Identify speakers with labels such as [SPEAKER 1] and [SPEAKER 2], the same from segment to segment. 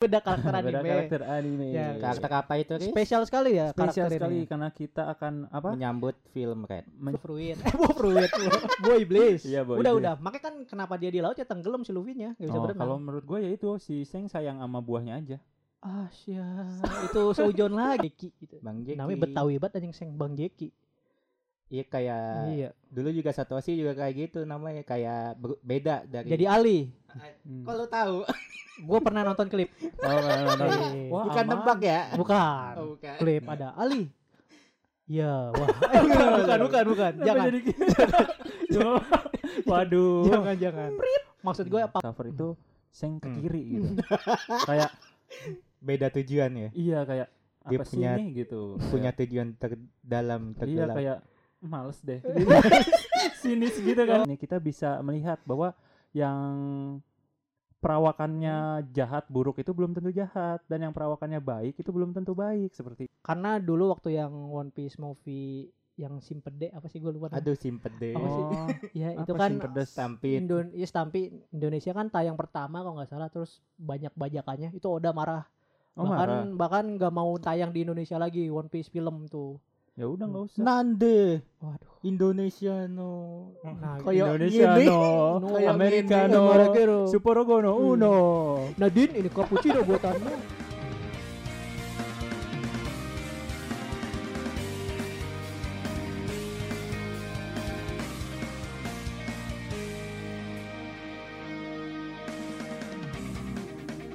[SPEAKER 1] beda karakter anime.
[SPEAKER 2] Beda karakter anime.
[SPEAKER 1] Ya,
[SPEAKER 3] Karakter apa itu Riz?
[SPEAKER 1] Spesial sekali ya karakter
[SPEAKER 2] Spesial sekali
[SPEAKER 1] ini. Hmm.
[SPEAKER 2] karena kita akan apa?
[SPEAKER 3] Menyambut film Red.
[SPEAKER 2] Men-
[SPEAKER 3] Fruit.
[SPEAKER 1] Eh, Bob Ruwet. Boy Iblis.
[SPEAKER 2] Iya, Boy
[SPEAKER 1] udah,
[SPEAKER 2] Iblis.
[SPEAKER 1] udah. Makanya kan kenapa dia di laut ya tenggelam si Luffy-nya. Nggak bisa
[SPEAKER 2] Oh,
[SPEAKER 1] berenang.
[SPEAKER 2] kalau menurut gue ya itu si Seng sayang sama buahnya aja.
[SPEAKER 1] Ah, sia. Itu seujon lagi. Ki, gitu.
[SPEAKER 3] Bang Jeki.
[SPEAKER 1] Namanya Betawi banget anjing seng Bang Jeki.
[SPEAKER 3] Iya kayak
[SPEAKER 1] iya.
[SPEAKER 3] dulu juga Satoshi juga kayak gitu namanya kayak ber- beda dari
[SPEAKER 1] Jadi Ali.
[SPEAKER 3] Kok lu tahu?
[SPEAKER 1] Gua pernah nonton klip.
[SPEAKER 2] Hmm. Oh, no, no, no.
[SPEAKER 1] Eh,
[SPEAKER 2] Wah,
[SPEAKER 3] Bukan
[SPEAKER 2] aman.
[SPEAKER 3] nebak ya?
[SPEAKER 1] Bukan.
[SPEAKER 3] Oh, bukan.
[SPEAKER 1] Klip ada Ali. Ya, wah. Eh, bukan, bukan, bukan, bukan.
[SPEAKER 2] Kenapa
[SPEAKER 1] Jangan.
[SPEAKER 2] jadi gini? Waduh.
[SPEAKER 1] Jangan, jangan. Maksud gue apa?
[SPEAKER 2] cover itu Seng ke
[SPEAKER 3] Hmm.
[SPEAKER 2] kiri gitu. kayak
[SPEAKER 3] Beda tujuan ya.
[SPEAKER 2] iya kayak
[SPEAKER 3] Dia
[SPEAKER 2] apa sih
[SPEAKER 3] punya-
[SPEAKER 2] ini gitu.
[SPEAKER 1] Iya.
[SPEAKER 3] Punya tujuan terdalam
[SPEAKER 2] Kayak- iya
[SPEAKER 3] terdalam.
[SPEAKER 2] kayak males deh. Sinis gitu kan. Ini kita bisa melihat bahwa yang perawakannya jahat buruk itu belum tentu jahat dan yang perawakannya baik itu belum tentu baik seperti
[SPEAKER 1] Karena dulu waktu yang One Piece movie yang simpede apa sih gue lupa.
[SPEAKER 3] Aduh simpede.
[SPEAKER 1] Apa sih?
[SPEAKER 2] Oh,
[SPEAKER 1] Ya, itu
[SPEAKER 2] apa
[SPEAKER 1] kan
[SPEAKER 2] sih pedes?
[SPEAKER 3] Stampede.
[SPEAKER 1] Indon ya Stampi Indonesia kan tayang pertama kalau nggak salah terus banyak bajakannya itu Oda marah
[SPEAKER 2] Oh,
[SPEAKER 1] bahkan
[SPEAKER 2] marah.
[SPEAKER 1] bahkan nggak mau tayang di Indonesia lagi One Piece film tuh
[SPEAKER 2] Ya udah nggak usah.
[SPEAKER 3] Nande
[SPEAKER 1] waduh
[SPEAKER 3] Indonesiano.
[SPEAKER 1] nah,
[SPEAKER 3] Kayak
[SPEAKER 2] Indonesia
[SPEAKER 3] gini.
[SPEAKER 2] no,
[SPEAKER 1] Kayak
[SPEAKER 2] Amerika
[SPEAKER 3] gini.
[SPEAKER 2] no,
[SPEAKER 1] Americano.
[SPEAKER 2] Suporogo no
[SPEAKER 1] Hmm.
[SPEAKER 2] uno.
[SPEAKER 1] Nadine ini cappuccino buatanmu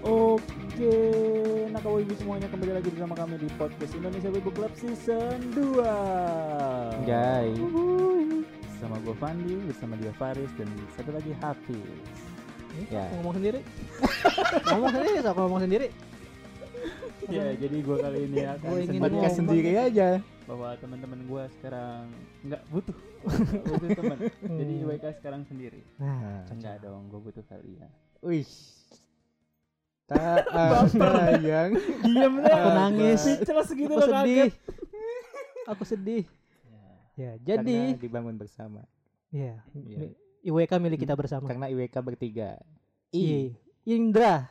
[SPEAKER 2] Oke, nakawai ibu semuanya kembali lagi bersama kami di podcast Indonesia Wibu Club season 2
[SPEAKER 3] Guys.
[SPEAKER 2] Sama gue Fandi, bersama dia Faris dan satu lagi Hafiz.
[SPEAKER 1] ya.
[SPEAKER 3] Ya.
[SPEAKER 1] ngomong sendiri ngomong sendiri sok ngomong sendiri
[SPEAKER 2] Ya, jadi gue kali ini akan
[SPEAKER 1] Gua ingin
[SPEAKER 2] sendiri
[SPEAKER 3] Podcast
[SPEAKER 1] ngomong.
[SPEAKER 3] sendiri aja.
[SPEAKER 2] bahwa teman-teman gue sekarang nggak butuh, Nggak butuh teman. Jadi
[SPEAKER 1] Hmm.
[SPEAKER 2] mereka sekarang sendiri.
[SPEAKER 1] nah
[SPEAKER 2] Enggak dong, gue butuh kalian.
[SPEAKER 3] Wih. Tak ada yang
[SPEAKER 2] Diam
[SPEAKER 1] deh. Aku nangis.
[SPEAKER 2] Speechless gitu
[SPEAKER 1] aku
[SPEAKER 2] loh
[SPEAKER 1] sedih
[SPEAKER 2] kaget.
[SPEAKER 1] aku sedih ya jadi
[SPEAKER 3] Jadi dibangun bersama.
[SPEAKER 1] ya
[SPEAKER 3] Iya.
[SPEAKER 1] mi- IWK milik
[SPEAKER 2] Hmm.
[SPEAKER 1] kita bersama
[SPEAKER 3] Karena IWK bertiga.
[SPEAKER 1] I Indra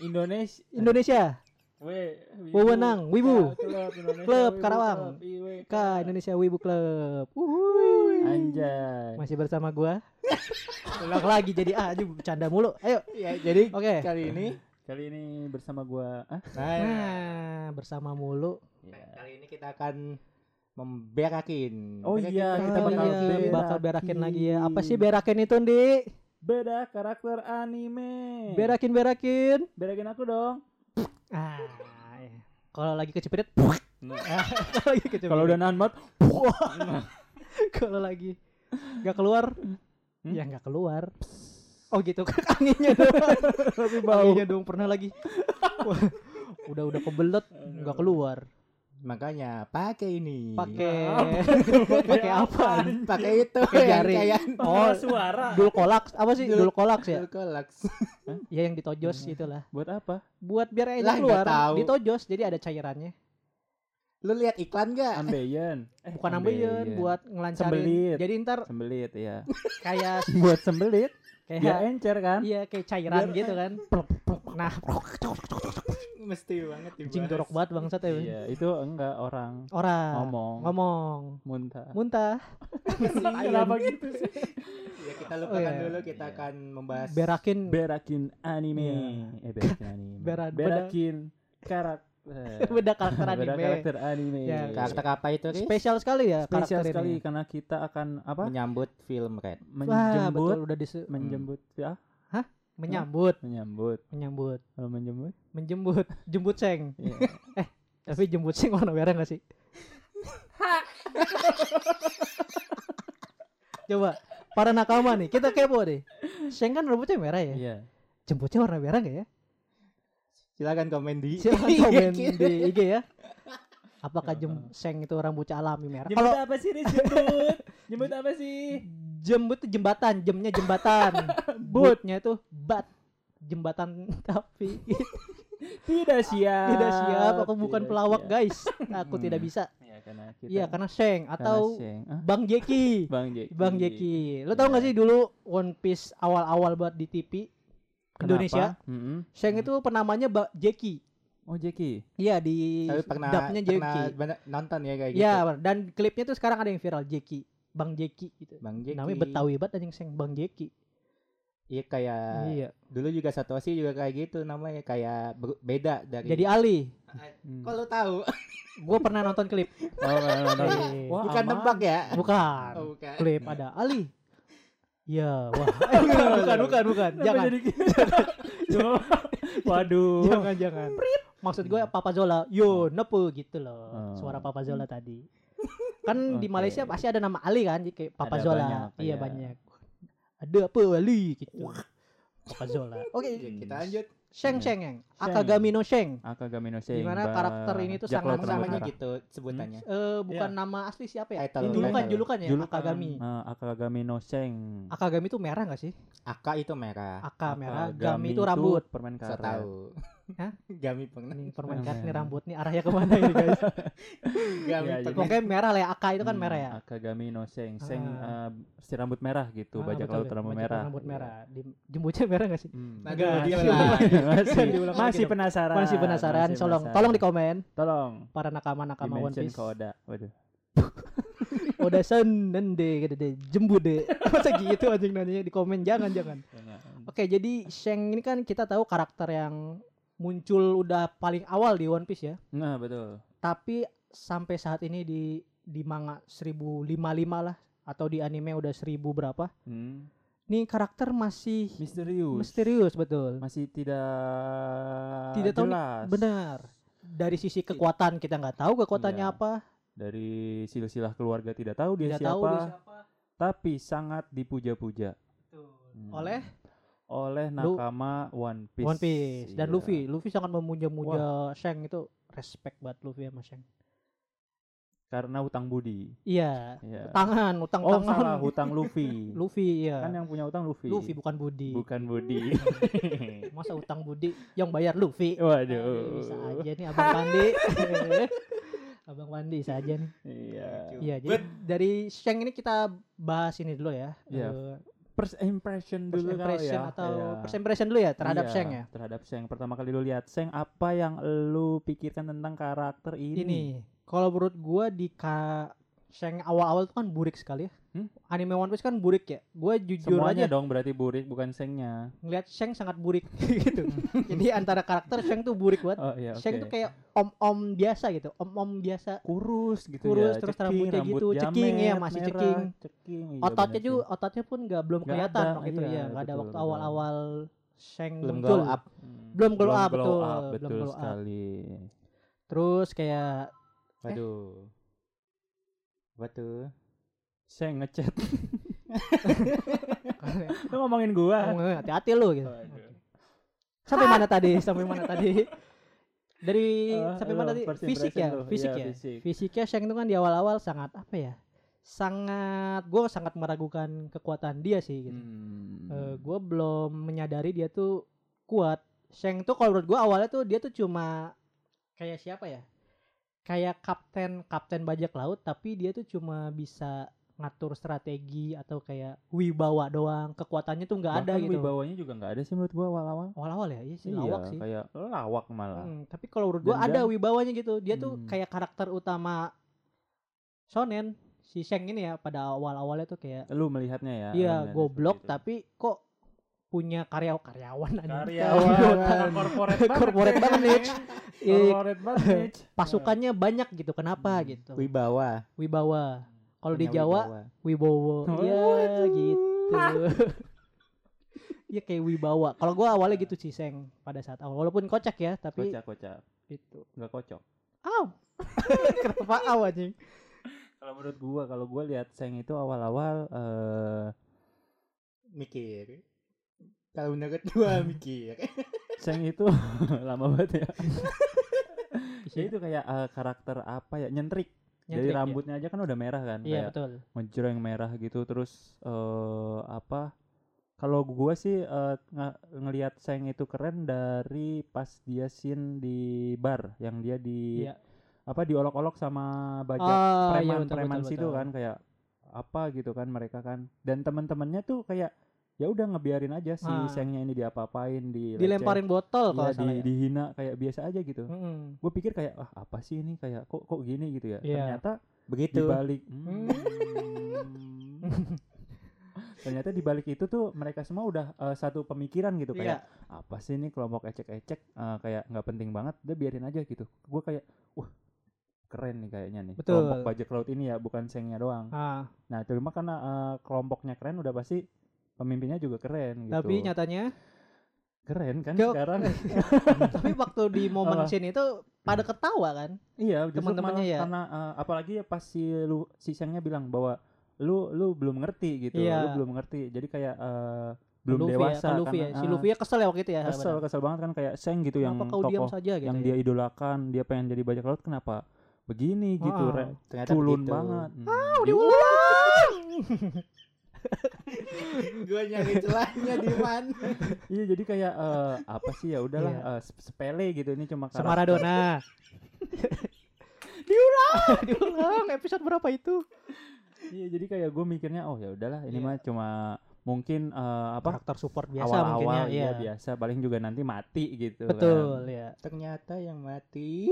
[SPEAKER 2] Indonesia.
[SPEAKER 1] Indonesia
[SPEAKER 2] We, wibu.
[SPEAKER 1] Wewenang, wibu.
[SPEAKER 2] Ya, klub, Indonesia,
[SPEAKER 1] Klub
[SPEAKER 2] wibu,
[SPEAKER 1] Karawang.
[SPEAKER 2] klub, IWK.
[SPEAKER 1] K Indonesia Wibu Club
[SPEAKER 2] Anjay.
[SPEAKER 1] Masih bersama gua. Ulang lagi jadi ah aja bercanda mulu. Ayo.
[SPEAKER 3] Ya, jadi
[SPEAKER 1] Oke.
[SPEAKER 3] kali ini
[SPEAKER 2] Kali ini bersama gua ah,
[SPEAKER 3] nah,
[SPEAKER 1] Nah, bersama mulu.
[SPEAKER 3] kali ini kita akan memberakin.
[SPEAKER 2] Oh
[SPEAKER 3] Berakin
[SPEAKER 2] iya,
[SPEAKER 3] apa?
[SPEAKER 2] kita
[SPEAKER 1] Oh
[SPEAKER 2] bakal
[SPEAKER 1] iya,
[SPEAKER 2] berakin.
[SPEAKER 1] bakal berakin lagi ya. Apa sih berakin itu, Ndi?
[SPEAKER 2] Hmm. beda karakter anime.
[SPEAKER 1] Berakin berakin.
[SPEAKER 2] Berakin aku dong.
[SPEAKER 1] Ah. iya. Kalau lagi kecepirit,
[SPEAKER 2] Nah,
[SPEAKER 1] kalau lagi kecepirit.
[SPEAKER 2] kalau udah nahan banget,
[SPEAKER 1] kalau lagi nggak keluar,
[SPEAKER 2] Hmm?
[SPEAKER 1] ya nggak keluar. Oh gitu, anginnya doang.
[SPEAKER 2] tapi bau.
[SPEAKER 1] Anginnya dong pernah lagi. Wah, udah udah kebelet nggak keluar.
[SPEAKER 3] Makanya pakai ini.
[SPEAKER 1] Pakai
[SPEAKER 2] Maaf.
[SPEAKER 1] pakai apa?
[SPEAKER 3] pakai itu
[SPEAKER 1] Pakai
[SPEAKER 3] yang
[SPEAKER 1] jaring.
[SPEAKER 3] kayak
[SPEAKER 1] Oh,
[SPEAKER 2] suara.
[SPEAKER 1] Dulkolaks apa sih?
[SPEAKER 3] Dul-
[SPEAKER 1] Dulkolaks ya?
[SPEAKER 3] Dulcolax.
[SPEAKER 1] Ya yang ditojos itulah.
[SPEAKER 2] Buat apa?
[SPEAKER 1] Buat biar
[SPEAKER 3] Lah,
[SPEAKER 1] aja
[SPEAKER 3] nggak
[SPEAKER 1] keluar,
[SPEAKER 3] tahu.
[SPEAKER 1] ditojos jadi ada cairannya.
[SPEAKER 3] Lu lihat iklan gak?
[SPEAKER 2] Ambeien. Eh,
[SPEAKER 1] Bukan ambeien, buat ngelancarin.
[SPEAKER 2] Sembelit.
[SPEAKER 1] Jadi ntar
[SPEAKER 2] sembelit ya.
[SPEAKER 1] kayak
[SPEAKER 2] buat sembelit, biar
[SPEAKER 1] kayak
[SPEAKER 2] encer kan?
[SPEAKER 1] iya kayak cairan gitu kan. Nah,
[SPEAKER 3] Mesti banget
[SPEAKER 1] anjing jorok banget bangsat ya.
[SPEAKER 2] Iya, itu enggak orang
[SPEAKER 1] Orang
[SPEAKER 2] ngomong
[SPEAKER 1] Ah, ngomong
[SPEAKER 2] muntah.
[SPEAKER 1] muntah Iya.
[SPEAKER 2] Kenapa gitu sih?
[SPEAKER 3] Ya kita lupakan
[SPEAKER 1] Oh, iya.
[SPEAKER 3] dulu kita
[SPEAKER 2] Iya.
[SPEAKER 3] akan membahas
[SPEAKER 1] berakin
[SPEAKER 2] Berakin anime.
[SPEAKER 1] Iya.
[SPEAKER 2] Eh, berakin anime.
[SPEAKER 1] Beran-
[SPEAKER 2] berakin karakter.
[SPEAKER 1] beda karakter
[SPEAKER 2] Beda
[SPEAKER 1] anime.
[SPEAKER 2] karakter anime.
[SPEAKER 1] Ya.
[SPEAKER 3] karakter apa itu Riz?
[SPEAKER 1] Spesial sekali ya
[SPEAKER 2] Spesial
[SPEAKER 1] karakter
[SPEAKER 2] sekali
[SPEAKER 1] ini.
[SPEAKER 2] karena kita akan apa?
[SPEAKER 3] menyambut film Red.
[SPEAKER 1] Wah,
[SPEAKER 2] Menjemput,
[SPEAKER 1] betul udah disu- Hmm.
[SPEAKER 2] menjemput ya,
[SPEAKER 1] menyambut,
[SPEAKER 2] menyambut.
[SPEAKER 1] menyambut,
[SPEAKER 2] Kalau menjemput,
[SPEAKER 1] menjemput, jemput seng.
[SPEAKER 2] iya.
[SPEAKER 1] Tapi jemput seng warna merah gak sih? Coba para nakama nih, kita kepo deh. Seng kan rambutnya merah ya?
[SPEAKER 2] Iya.
[SPEAKER 1] Jemputnya warna merah gak ya?
[SPEAKER 3] Silakan komen
[SPEAKER 2] Iya.
[SPEAKER 3] di Iya,
[SPEAKER 1] Silahkan komen di IG ya. Apakah
[SPEAKER 2] Ya,
[SPEAKER 1] jem Seng itu rambutnya alami merah?
[SPEAKER 2] Jemput
[SPEAKER 1] Kalau
[SPEAKER 2] apa sih Riz? Jemput? jemput apa sih?
[SPEAKER 1] jembut itu jembatan, jemnya jembatan. Butnya itu bat jembatan tapi
[SPEAKER 2] Tidak siap.
[SPEAKER 1] tidak siap aku bukan
[SPEAKER 2] Tidak
[SPEAKER 1] pelawak
[SPEAKER 2] siap.
[SPEAKER 1] guys aku tidak bisa
[SPEAKER 2] Iya, karena kita.
[SPEAKER 1] iya karena Seng atau
[SPEAKER 2] Sheng. Ah,
[SPEAKER 1] Bang Jeki
[SPEAKER 2] Bang Jeki.
[SPEAKER 1] Bang Jeki, lo tau gak
[SPEAKER 2] Iya.
[SPEAKER 1] sih dulu One Piece awal-awal buat di TV Indonesia.
[SPEAKER 2] Mm-mm.
[SPEAKER 1] Sheng itu penamanya ba- Jeki.
[SPEAKER 2] Oh Jeki.
[SPEAKER 1] Iya di
[SPEAKER 3] Tapi pernah,
[SPEAKER 1] dubnya
[SPEAKER 3] pernah
[SPEAKER 1] Jeki.
[SPEAKER 3] banyak nonton ya kayak gitu.
[SPEAKER 1] Iya dan klipnya tuh sekarang ada yang viral Jeki, Bang Jeki gitu.
[SPEAKER 3] Bang Jeki.
[SPEAKER 1] Namanya Betawi banget anjing Sheng Bang Jeki.
[SPEAKER 3] Iya kayak
[SPEAKER 1] iya.
[SPEAKER 3] dulu juga Satoshi juga kayak gitu namanya kayak ber- beda dari
[SPEAKER 1] Jadi Ali,
[SPEAKER 2] Hmm.
[SPEAKER 3] Eh, Kok lu tahu?
[SPEAKER 1] gue pernah nonton klip.
[SPEAKER 2] Oh, oh, oh, oh.
[SPEAKER 1] Iya.
[SPEAKER 2] Wah, iya.
[SPEAKER 3] Bukan
[SPEAKER 2] aman.
[SPEAKER 3] nebak ya.
[SPEAKER 1] Bukan.
[SPEAKER 3] Oh, bukan.
[SPEAKER 1] Klip ada Ali. Ya, wah. Eh, bukan, bukan, bukan, bukan.
[SPEAKER 2] Kenapa
[SPEAKER 1] Jangan,
[SPEAKER 2] jadi gitu? Waduh.
[SPEAKER 1] jangan, jangan. Maksud gue Papa Zola, yo nepu gitu loh.
[SPEAKER 2] Iya. Oh.
[SPEAKER 1] Suara Papa Zola tadi. Kan di
[SPEAKER 2] Oke.
[SPEAKER 1] Malaysia pasti ada nama Ali kan, kayak Papa
[SPEAKER 2] Ada
[SPEAKER 1] Zola.
[SPEAKER 2] banyak,
[SPEAKER 1] iya
[SPEAKER 2] iya.
[SPEAKER 1] banyak. Ada apa Ali gitu. Papa Zola. Oke,
[SPEAKER 3] Iya, Kita lanjut.
[SPEAKER 1] Sheng
[SPEAKER 2] Iya.
[SPEAKER 1] Sheng Yang. Akagami no Sheng.
[SPEAKER 2] Akagami no Sheng.
[SPEAKER 1] Dimana
[SPEAKER 2] Ba-
[SPEAKER 1] karakter ini tuh
[SPEAKER 2] Jack
[SPEAKER 1] sangat
[SPEAKER 2] Lantern
[SPEAKER 1] namanya
[SPEAKER 3] Namanya
[SPEAKER 2] Utara.
[SPEAKER 3] gitu
[SPEAKER 2] Iya.
[SPEAKER 3] sebutannya.
[SPEAKER 1] Eh bukan nama asli siapa ya?
[SPEAKER 3] Title,
[SPEAKER 1] julukan,
[SPEAKER 3] title.
[SPEAKER 1] julukan ya,
[SPEAKER 2] Julukan.
[SPEAKER 1] Akagami.
[SPEAKER 2] Ah, Akagami no Sheng.
[SPEAKER 1] Akagami itu merah gak sih?
[SPEAKER 3] Aka itu merah.
[SPEAKER 1] Aka merah,
[SPEAKER 2] Akagami
[SPEAKER 1] gami itu rambut.
[SPEAKER 2] Permen
[SPEAKER 3] So
[SPEAKER 2] karet.
[SPEAKER 3] tahu.
[SPEAKER 1] Hah? Iya,
[SPEAKER 3] Gami pengen.
[SPEAKER 1] Ini permen
[SPEAKER 2] Permen.
[SPEAKER 1] karet nih rambut nih arahnya kemana ini guys?
[SPEAKER 3] Gami
[SPEAKER 2] Iya,
[SPEAKER 3] pengen.
[SPEAKER 1] Pokoknya merah lah ya, Aka itu kan
[SPEAKER 2] Hmm,
[SPEAKER 1] merah ya.
[SPEAKER 2] Akagami no Sheng. Sheng
[SPEAKER 1] Ah.
[SPEAKER 2] eh, si rambut merah gitu,
[SPEAKER 1] Ah,
[SPEAKER 2] bajak
[SPEAKER 1] betul,
[SPEAKER 2] laut
[SPEAKER 1] betul.
[SPEAKER 2] rambut
[SPEAKER 1] Bajak
[SPEAKER 2] merah. Iya.
[SPEAKER 1] Rambut merah. Di, jembutnya merah gak sih?
[SPEAKER 2] Hmm.
[SPEAKER 3] Nah,
[SPEAKER 1] Enggak,
[SPEAKER 3] dia
[SPEAKER 1] cuma-
[SPEAKER 3] lah.
[SPEAKER 2] masih,
[SPEAKER 1] Diulang lagi
[SPEAKER 2] masih
[SPEAKER 1] dong.
[SPEAKER 2] penasaran.
[SPEAKER 1] Masih penasaran,
[SPEAKER 2] masih
[SPEAKER 1] tolong
[SPEAKER 2] penasaran.
[SPEAKER 1] tolong di komen
[SPEAKER 2] Tolong.
[SPEAKER 1] para nakama-nakama One
[SPEAKER 2] Dimention
[SPEAKER 1] Piece.
[SPEAKER 2] ke Oda. Waduh.
[SPEAKER 1] Udah senen deh, gitu deh, jembu deh. Masa gitu anjing nanya di komen jangan jangan. Oke, jadi Sheng ini kan kita tahu karakter yang muncul udah paling awal di One Piece ya.
[SPEAKER 2] Nah, betul.
[SPEAKER 1] Tapi sampai saat ini di di manga 1055 lah atau di anime udah 1000 berapa.
[SPEAKER 2] Hmm.
[SPEAKER 1] Nih karakter masih
[SPEAKER 2] Misterius.
[SPEAKER 1] misterius betul.
[SPEAKER 2] masih tidak
[SPEAKER 1] Tidak tahu nih,
[SPEAKER 2] jelas
[SPEAKER 1] Benar. Dari sisi kekuatan kita nggak tahu kekuatannya
[SPEAKER 2] Iya.
[SPEAKER 1] apa.
[SPEAKER 2] dari silsilah keluarga tidak tahu
[SPEAKER 1] Tidak
[SPEAKER 2] dia siapa
[SPEAKER 1] tahu dia siapa.
[SPEAKER 2] tapi sangat dipuja-puja Hmm.
[SPEAKER 1] Oleh
[SPEAKER 2] oleh
[SPEAKER 1] Lu-
[SPEAKER 2] nakama One Piece
[SPEAKER 1] One Piece dan
[SPEAKER 2] Iya.
[SPEAKER 1] Luffy. Luffy sangat memuja-muja Shang itu respect buat Luffy sama Shang.
[SPEAKER 2] karena hutang budi
[SPEAKER 1] Iya.
[SPEAKER 2] Iya.
[SPEAKER 1] Tangan, utang
[SPEAKER 2] oh
[SPEAKER 1] tangan.
[SPEAKER 2] salah hutang Luffy
[SPEAKER 1] Luffy ya.
[SPEAKER 2] kan yang punya hutang Luffy
[SPEAKER 1] Luffy bukan Budi.
[SPEAKER 2] bukan budi
[SPEAKER 1] Masa utang Budi yang bayar Luffy.
[SPEAKER 2] waduh
[SPEAKER 1] Aduh, bisa aja nih Abang Pandi. Abang Pandi bisa aja nih.
[SPEAKER 2] iya
[SPEAKER 1] Iya, jadi dari Shang ini kita bahas ini dulu ya.
[SPEAKER 2] Iya,
[SPEAKER 1] Eh,
[SPEAKER 2] first impression
[SPEAKER 1] first
[SPEAKER 2] dulu kali
[SPEAKER 1] impression
[SPEAKER 2] ya.
[SPEAKER 1] atau
[SPEAKER 2] Iya.
[SPEAKER 1] first impression dulu ya terhadap
[SPEAKER 2] Iya,
[SPEAKER 1] Shang ya.
[SPEAKER 2] terhadap Sheng pertama kali lu lihat Sheng apa yang lu pikirkan tentang karakter ini,
[SPEAKER 1] Ini, kalau menurut gua di ka Shang awal-awal tuh kan burik sekali ya.
[SPEAKER 2] Hmm?
[SPEAKER 1] Anime One Piece kan burik ya. Gua jujur aja
[SPEAKER 2] Semuanya dong berarti burik bukan sengnya.
[SPEAKER 1] ngelihat Shang sangat burik gitu. Jadi antara karakter Shang tuh burik banget.
[SPEAKER 2] Oh iya.
[SPEAKER 1] Shang
[SPEAKER 2] oke.
[SPEAKER 1] tuh kayak om-om biasa gitu, om-om biasa.
[SPEAKER 2] kurus gitu
[SPEAKER 1] kurus,
[SPEAKER 2] ya.
[SPEAKER 1] terus
[SPEAKER 2] ceking,
[SPEAKER 1] rambutnya
[SPEAKER 2] rambut
[SPEAKER 1] gitu, ceking ya,
[SPEAKER 2] jamet,
[SPEAKER 1] masih
[SPEAKER 2] merah,
[SPEAKER 1] ceking.
[SPEAKER 2] ceking, iya
[SPEAKER 1] Ototnya
[SPEAKER 2] bener
[SPEAKER 1] juga
[SPEAKER 2] sih.
[SPEAKER 1] ototnya pun nggak belum
[SPEAKER 2] Nggak
[SPEAKER 1] kelihatan
[SPEAKER 2] ada,
[SPEAKER 1] waktu itu
[SPEAKER 2] iya,
[SPEAKER 1] ya, nggak ada
[SPEAKER 2] betul,
[SPEAKER 1] waktu
[SPEAKER 2] betul.
[SPEAKER 1] awal-awal Shang
[SPEAKER 3] Belum
[SPEAKER 1] muncul.
[SPEAKER 3] glow up.
[SPEAKER 2] Hmm,
[SPEAKER 1] Belum glow up,
[SPEAKER 2] glow
[SPEAKER 1] betul,
[SPEAKER 2] up,
[SPEAKER 1] belum
[SPEAKER 2] betul
[SPEAKER 1] glow up.
[SPEAKER 2] sekali.
[SPEAKER 1] Terus kayak
[SPEAKER 3] Waduh. Apa tuh?
[SPEAKER 2] Saya ngechat. Lu ngomongin gua.
[SPEAKER 1] "Oh, hati-hati lu gitu. Sampai mana tadi? Sampai mana tadi? Dari
[SPEAKER 2] Eh,
[SPEAKER 1] sampai
[SPEAKER 2] lu,
[SPEAKER 1] mana tadi?
[SPEAKER 2] first
[SPEAKER 1] Fisik
[SPEAKER 2] impression
[SPEAKER 1] ya,
[SPEAKER 2] lu.
[SPEAKER 1] fisik
[SPEAKER 2] Iya,
[SPEAKER 1] ya.
[SPEAKER 2] fisik.
[SPEAKER 1] Fisiknya Shang itu kan di awal-awal sangat apa ya? Sangat gue sangat meragukan kekuatan dia sih gitu.
[SPEAKER 2] Hmm.
[SPEAKER 1] gue belum menyadari dia tuh kuat. Sheng tuh kalau menurut gue awalnya tuh dia tuh cuma kayak siapa ya? Kayak kapten kapten bajak laut tapi dia tuh cuma bisa ngatur strategi atau kayak wibawa doang. Kekuatannya tuh nggak ada
[SPEAKER 2] Bahkan
[SPEAKER 1] gitu.
[SPEAKER 2] wibawanya juga nggak ada sih menurut gua awal-awal.
[SPEAKER 1] Awal-awal ya, iya sih
[SPEAKER 2] Iya,
[SPEAKER 1] lawak sih.
[SPEAKER 2] kayak lawak malah.
[SPEAKER 1] Hmm, tapi kalau menurut gue
[SPEAKER 2] Dan-
[SPEAKER 1] ada wibawanya gitu. Dia tuh
[SPEAKER 2] Hmm.
[SPEAKER 1] kayak karakter utama shonen si Sheng ini ya pada awal-awalnya tuh kayak
[SPEAKER 2] Lu melihatnya ya. lu
[SPEAKER 1] Iya
[SPEAKER 2] melihatnya
[SPEAKER 1] goblok
[SPEAKER 2] seperti itu.
[SPEAKER 1] tapi kok punya karyawan karyawan aja.
[SPEAKER 2] Karyawan Oh. korporat banget.
[SPEAKER 1] Corporate banget, Nich. Iya,
[SPEAKER 2] Korporat banget. Nich.
[SPEAKER 1] pasukannya banyak gitu. Kenapa
[SPEAKER 2] Hmm.
[SPEAKER 1] gitu?
[SPEAKER 3] Wibawa.
[SPEAKER 1] Wibawa. Kalau di
[SPEAKER 3] Punya
[SPEAKER 1] Jawa
[SPEAKER 3] wibawa.
[SPEAKER 1] wibowo.
[SPEAKER 2] Oh,
[SPEAKER 1] Iya gitu. Iya kayak wibawa. Kalau gua awalnya gitu sih Seng pada saat awal. Walaupun kocak ya, tapi
[SPEAKER 2] Kocak kocak.
[SPEAKER 1] gitu.
[SPEAKER 2] Nggak kocok.
[SPEAKER 1] Aw. Kenapa aw anjing?
[SPEAKER 2] Kalau menurut gua, kalau gua lihat Seng itu awal-awal eh
[SPEAKER 3] Mikir. Kalau menurut gua mikir.
[SPEAKER 2] Seng itu lama banget ya. Dia itu kayak eh, karakter apa ya? Nyentrik. Dari
[SPEAKER 1] Iya. Nyentrik ya.
[SPEAKER 2] rambutnya aja kan udah merah kan,
[SPEAKER 1] Iya
[SPEAKER 2] kayak
[SPEAKER 1] betul.
[SPEAKER 2] ngejreng merah gitu terus eh apa? Kalau gua sih eh, nga- ngelihat Seng itu keren dari pas dia scene di bar yang dia di
[SPEAKER 1] Iya.
[SPEAKER 2] apa diolok-olok sama bajak
[SPEAKER 1] Ah, iya,
[SPEAKER 2] preman-preman kan,
[SPEAKER 1] betul, betul,
[SPEAKER 2] situ
[SPEAKER 1] betul.
[SPEAKER 2] kan kayak apa gitu kan mereka kan dan teman-temannya tuh kayak ya udah ngebiarin aja si
[SPEAKER 1] Ah.
[SPEAKER 2] Sengnya ini diapa-apain di
[SPEAKER 1] dilemparin botol kalau
[SPEAKER 2] ya, di,
[SPEAKER 1] salah ya. Hmm.
[SPEAKER 2] dihina kayak biasa aja gitu
[SPEAKER 1] Mm-mm.
[SPEAKER 2] gue pikir kayak ah apa sih ini kayak kok kok gini gitu ya
[SPEAKER 1] Iya. Gitu.
[SPEAKER 2] ternyata
[SPEAKER 3] begitu
[SPEAKER 2] dibalik Hmm. ternyata dibalik itu tuh mereka semua udah eh, satu pemikiran gitu
[SPEAKER 1] Iya.
[SPEAKER 2] kayak apa sih ini kelompok ecek-ecek eh, kayak nggak penting banget udah biarin aja gitu gue kayak wah keren nih kayaknya nih
[SPEAKER 1] Betul.
[SPEAKER 2] kelompok bajak laut ini ya bukan sengnya doang
[SPEAKER 1] Ah,
[SPEAKER 2] nah cuma karena eh, kelompoknya keren udah pasti pemimpinnya juga keren gitu
[SPEAKER 1] tapi nyatanya
[SPEAKER 2] keren kan
[SPEAKER 1] Gak-
[SPEAKER 2] sekarang
[SPEAKER 1] tapi waktu di momen
[SPEAKER 2] Apa? Hmm.
[SPEAKER 1] scene itu pada ketawa kan
[SPEAKER 2] Iya, justru
[SPEAKER 1] Teman-temannya
[SPEAKER 2] malah
[SPEAKER 1] ya.
[SPEAKER 2] Karena eh, apalagi ya pas si lu si Sengnya bilang bahwa lu lu belum ngerti gitu,
[SPEAKER 1] Iya.
[SPEAKER 2] lu belum ngerti. Jadi kayak eh, belum
[SPEAKER 1] Luffy ya,
[SPEAKER 2] dewasa
[SPEAKER 1] ke Luffy
[SPEAKER 2] karena,
[SPEAKER 1] ya. si
[SPEAKER 2] eh,
[SPEAKER 1] Luffy ya kesel ya waktu itu ya
[SPEAKER 2] kesel
[SPEAKER 1] benar.
[SPEAKER 2] kesel banget kan kayak Seng gitu yang
[SPEAKER 1] kenapa kau
[SPEAKER 2] tokoh
[SPEAKER 1] diam saja gitu
[SPEAKER 2] yang
[SPEAKER 1] ya?
[SPEAKER 2] dia idolakan, dia pengen jadi bajak laut kenapa begini gitu,
[SPEAKER 1] Ah.
[SPEAKER 2] re-
[SPEAKER 3] ternyata
[SPEAKER 2] culun
[SPEAKER 3] begitu.
[SPEAKER 2] banget. Hmm.
[SPEAKER 1] diulang
[SPEAKER 3] gue nyari celahnya di mana
[SPEAKER 2] Iya, jadi kayak eh, apa sih ya udahlah
[SPEAKER 1] Iya.
[SPEAKER 2] eh, se- sepele gitu ini cuma
[SPEAKER 1] sama
[SPEAKER 2] karakter.
[SPEAKER 1] Maradona diulang diulang episode berapa itu
[SPEAKER 2] Iya, jadi kayak gue mikirnya oh ya udahlah ini
[SPEAKER 1] Iya.
[SPEAKER 2] mah cuma mungkin eh, apa
[SPEAKER 1] karakter support biasa mungkin ya
[SPEAKER 2] awal-awal
[SPEAKER 1] iya.
[SPEAKER 2] ya biasa paling juga nanti mati gitu kan.
[SPEAKER 1] betul ya
[SPEAKER 3] ternyata yang mati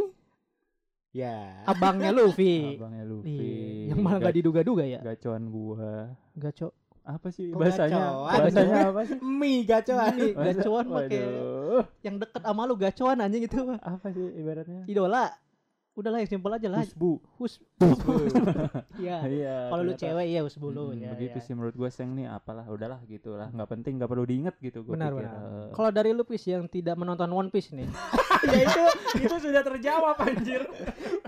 [SPEAKER 3] ya
[SPEAKER 1] abangnya Luffy
[SPEAKER 2] abangnya Luffy
[SPEAKER 1] Iya, yang malah nggak diduga-duga ya
[SPEAKER 2] gacoan gua
[SPEAKER 1] gaco
[SPEAKER 2] apa sih
[SPEAKER 3] Kok
[SPEAKER 2] bahasanya
[SPEAKER 3] gacoan?
[SPEAKER 2] bahasanya apa sih
[SPEAKER 3] mie gacoan
[SPEAKER 1] Ini gacoan
[SPEAKER 2] Bahasa-
[SPEAKER 1] pakai
[SPEAKER 2] Waduh,
[SPEAKER 1] yang deket sama lu gacoan anjing itu mah.
[SPEAKER 2] apa sih ibaratnya
[SPEAKER 1] idola udahlah yang simpel aja lah
[SPEAKER 2] husbu
[SPEAKER 1] hus
[SPEAKER 3] Iya, kan?
[SPEAKER 1] ya
[SPEAKER 2] iya
[SPEAKER 1] kalau lu
[SPEAKER 2] ternyata.
[SPEAKER 1] cewek ya husbu lu
[SPEAKER 2] Mm,
[SPEAKER 1] ya,
[SPEAKER 2] begitu
[SPEAKER 1] ya.
[SPEAKER 2] sih menurut gua seng nih apalah udahlah gitulah nggak penting nggak perlu diinget gitu gua
[SPEAKER 1] benar
[SPEAKER 2] pikir
[SPEAKER 1] benar
[SPEAKER 2] Eh,
[SPEAKER 1] kalau dari lu Pis, yang tidak menonton One Piece nih
[SPEAKER 3] ya itu itu sudah terjawab anjir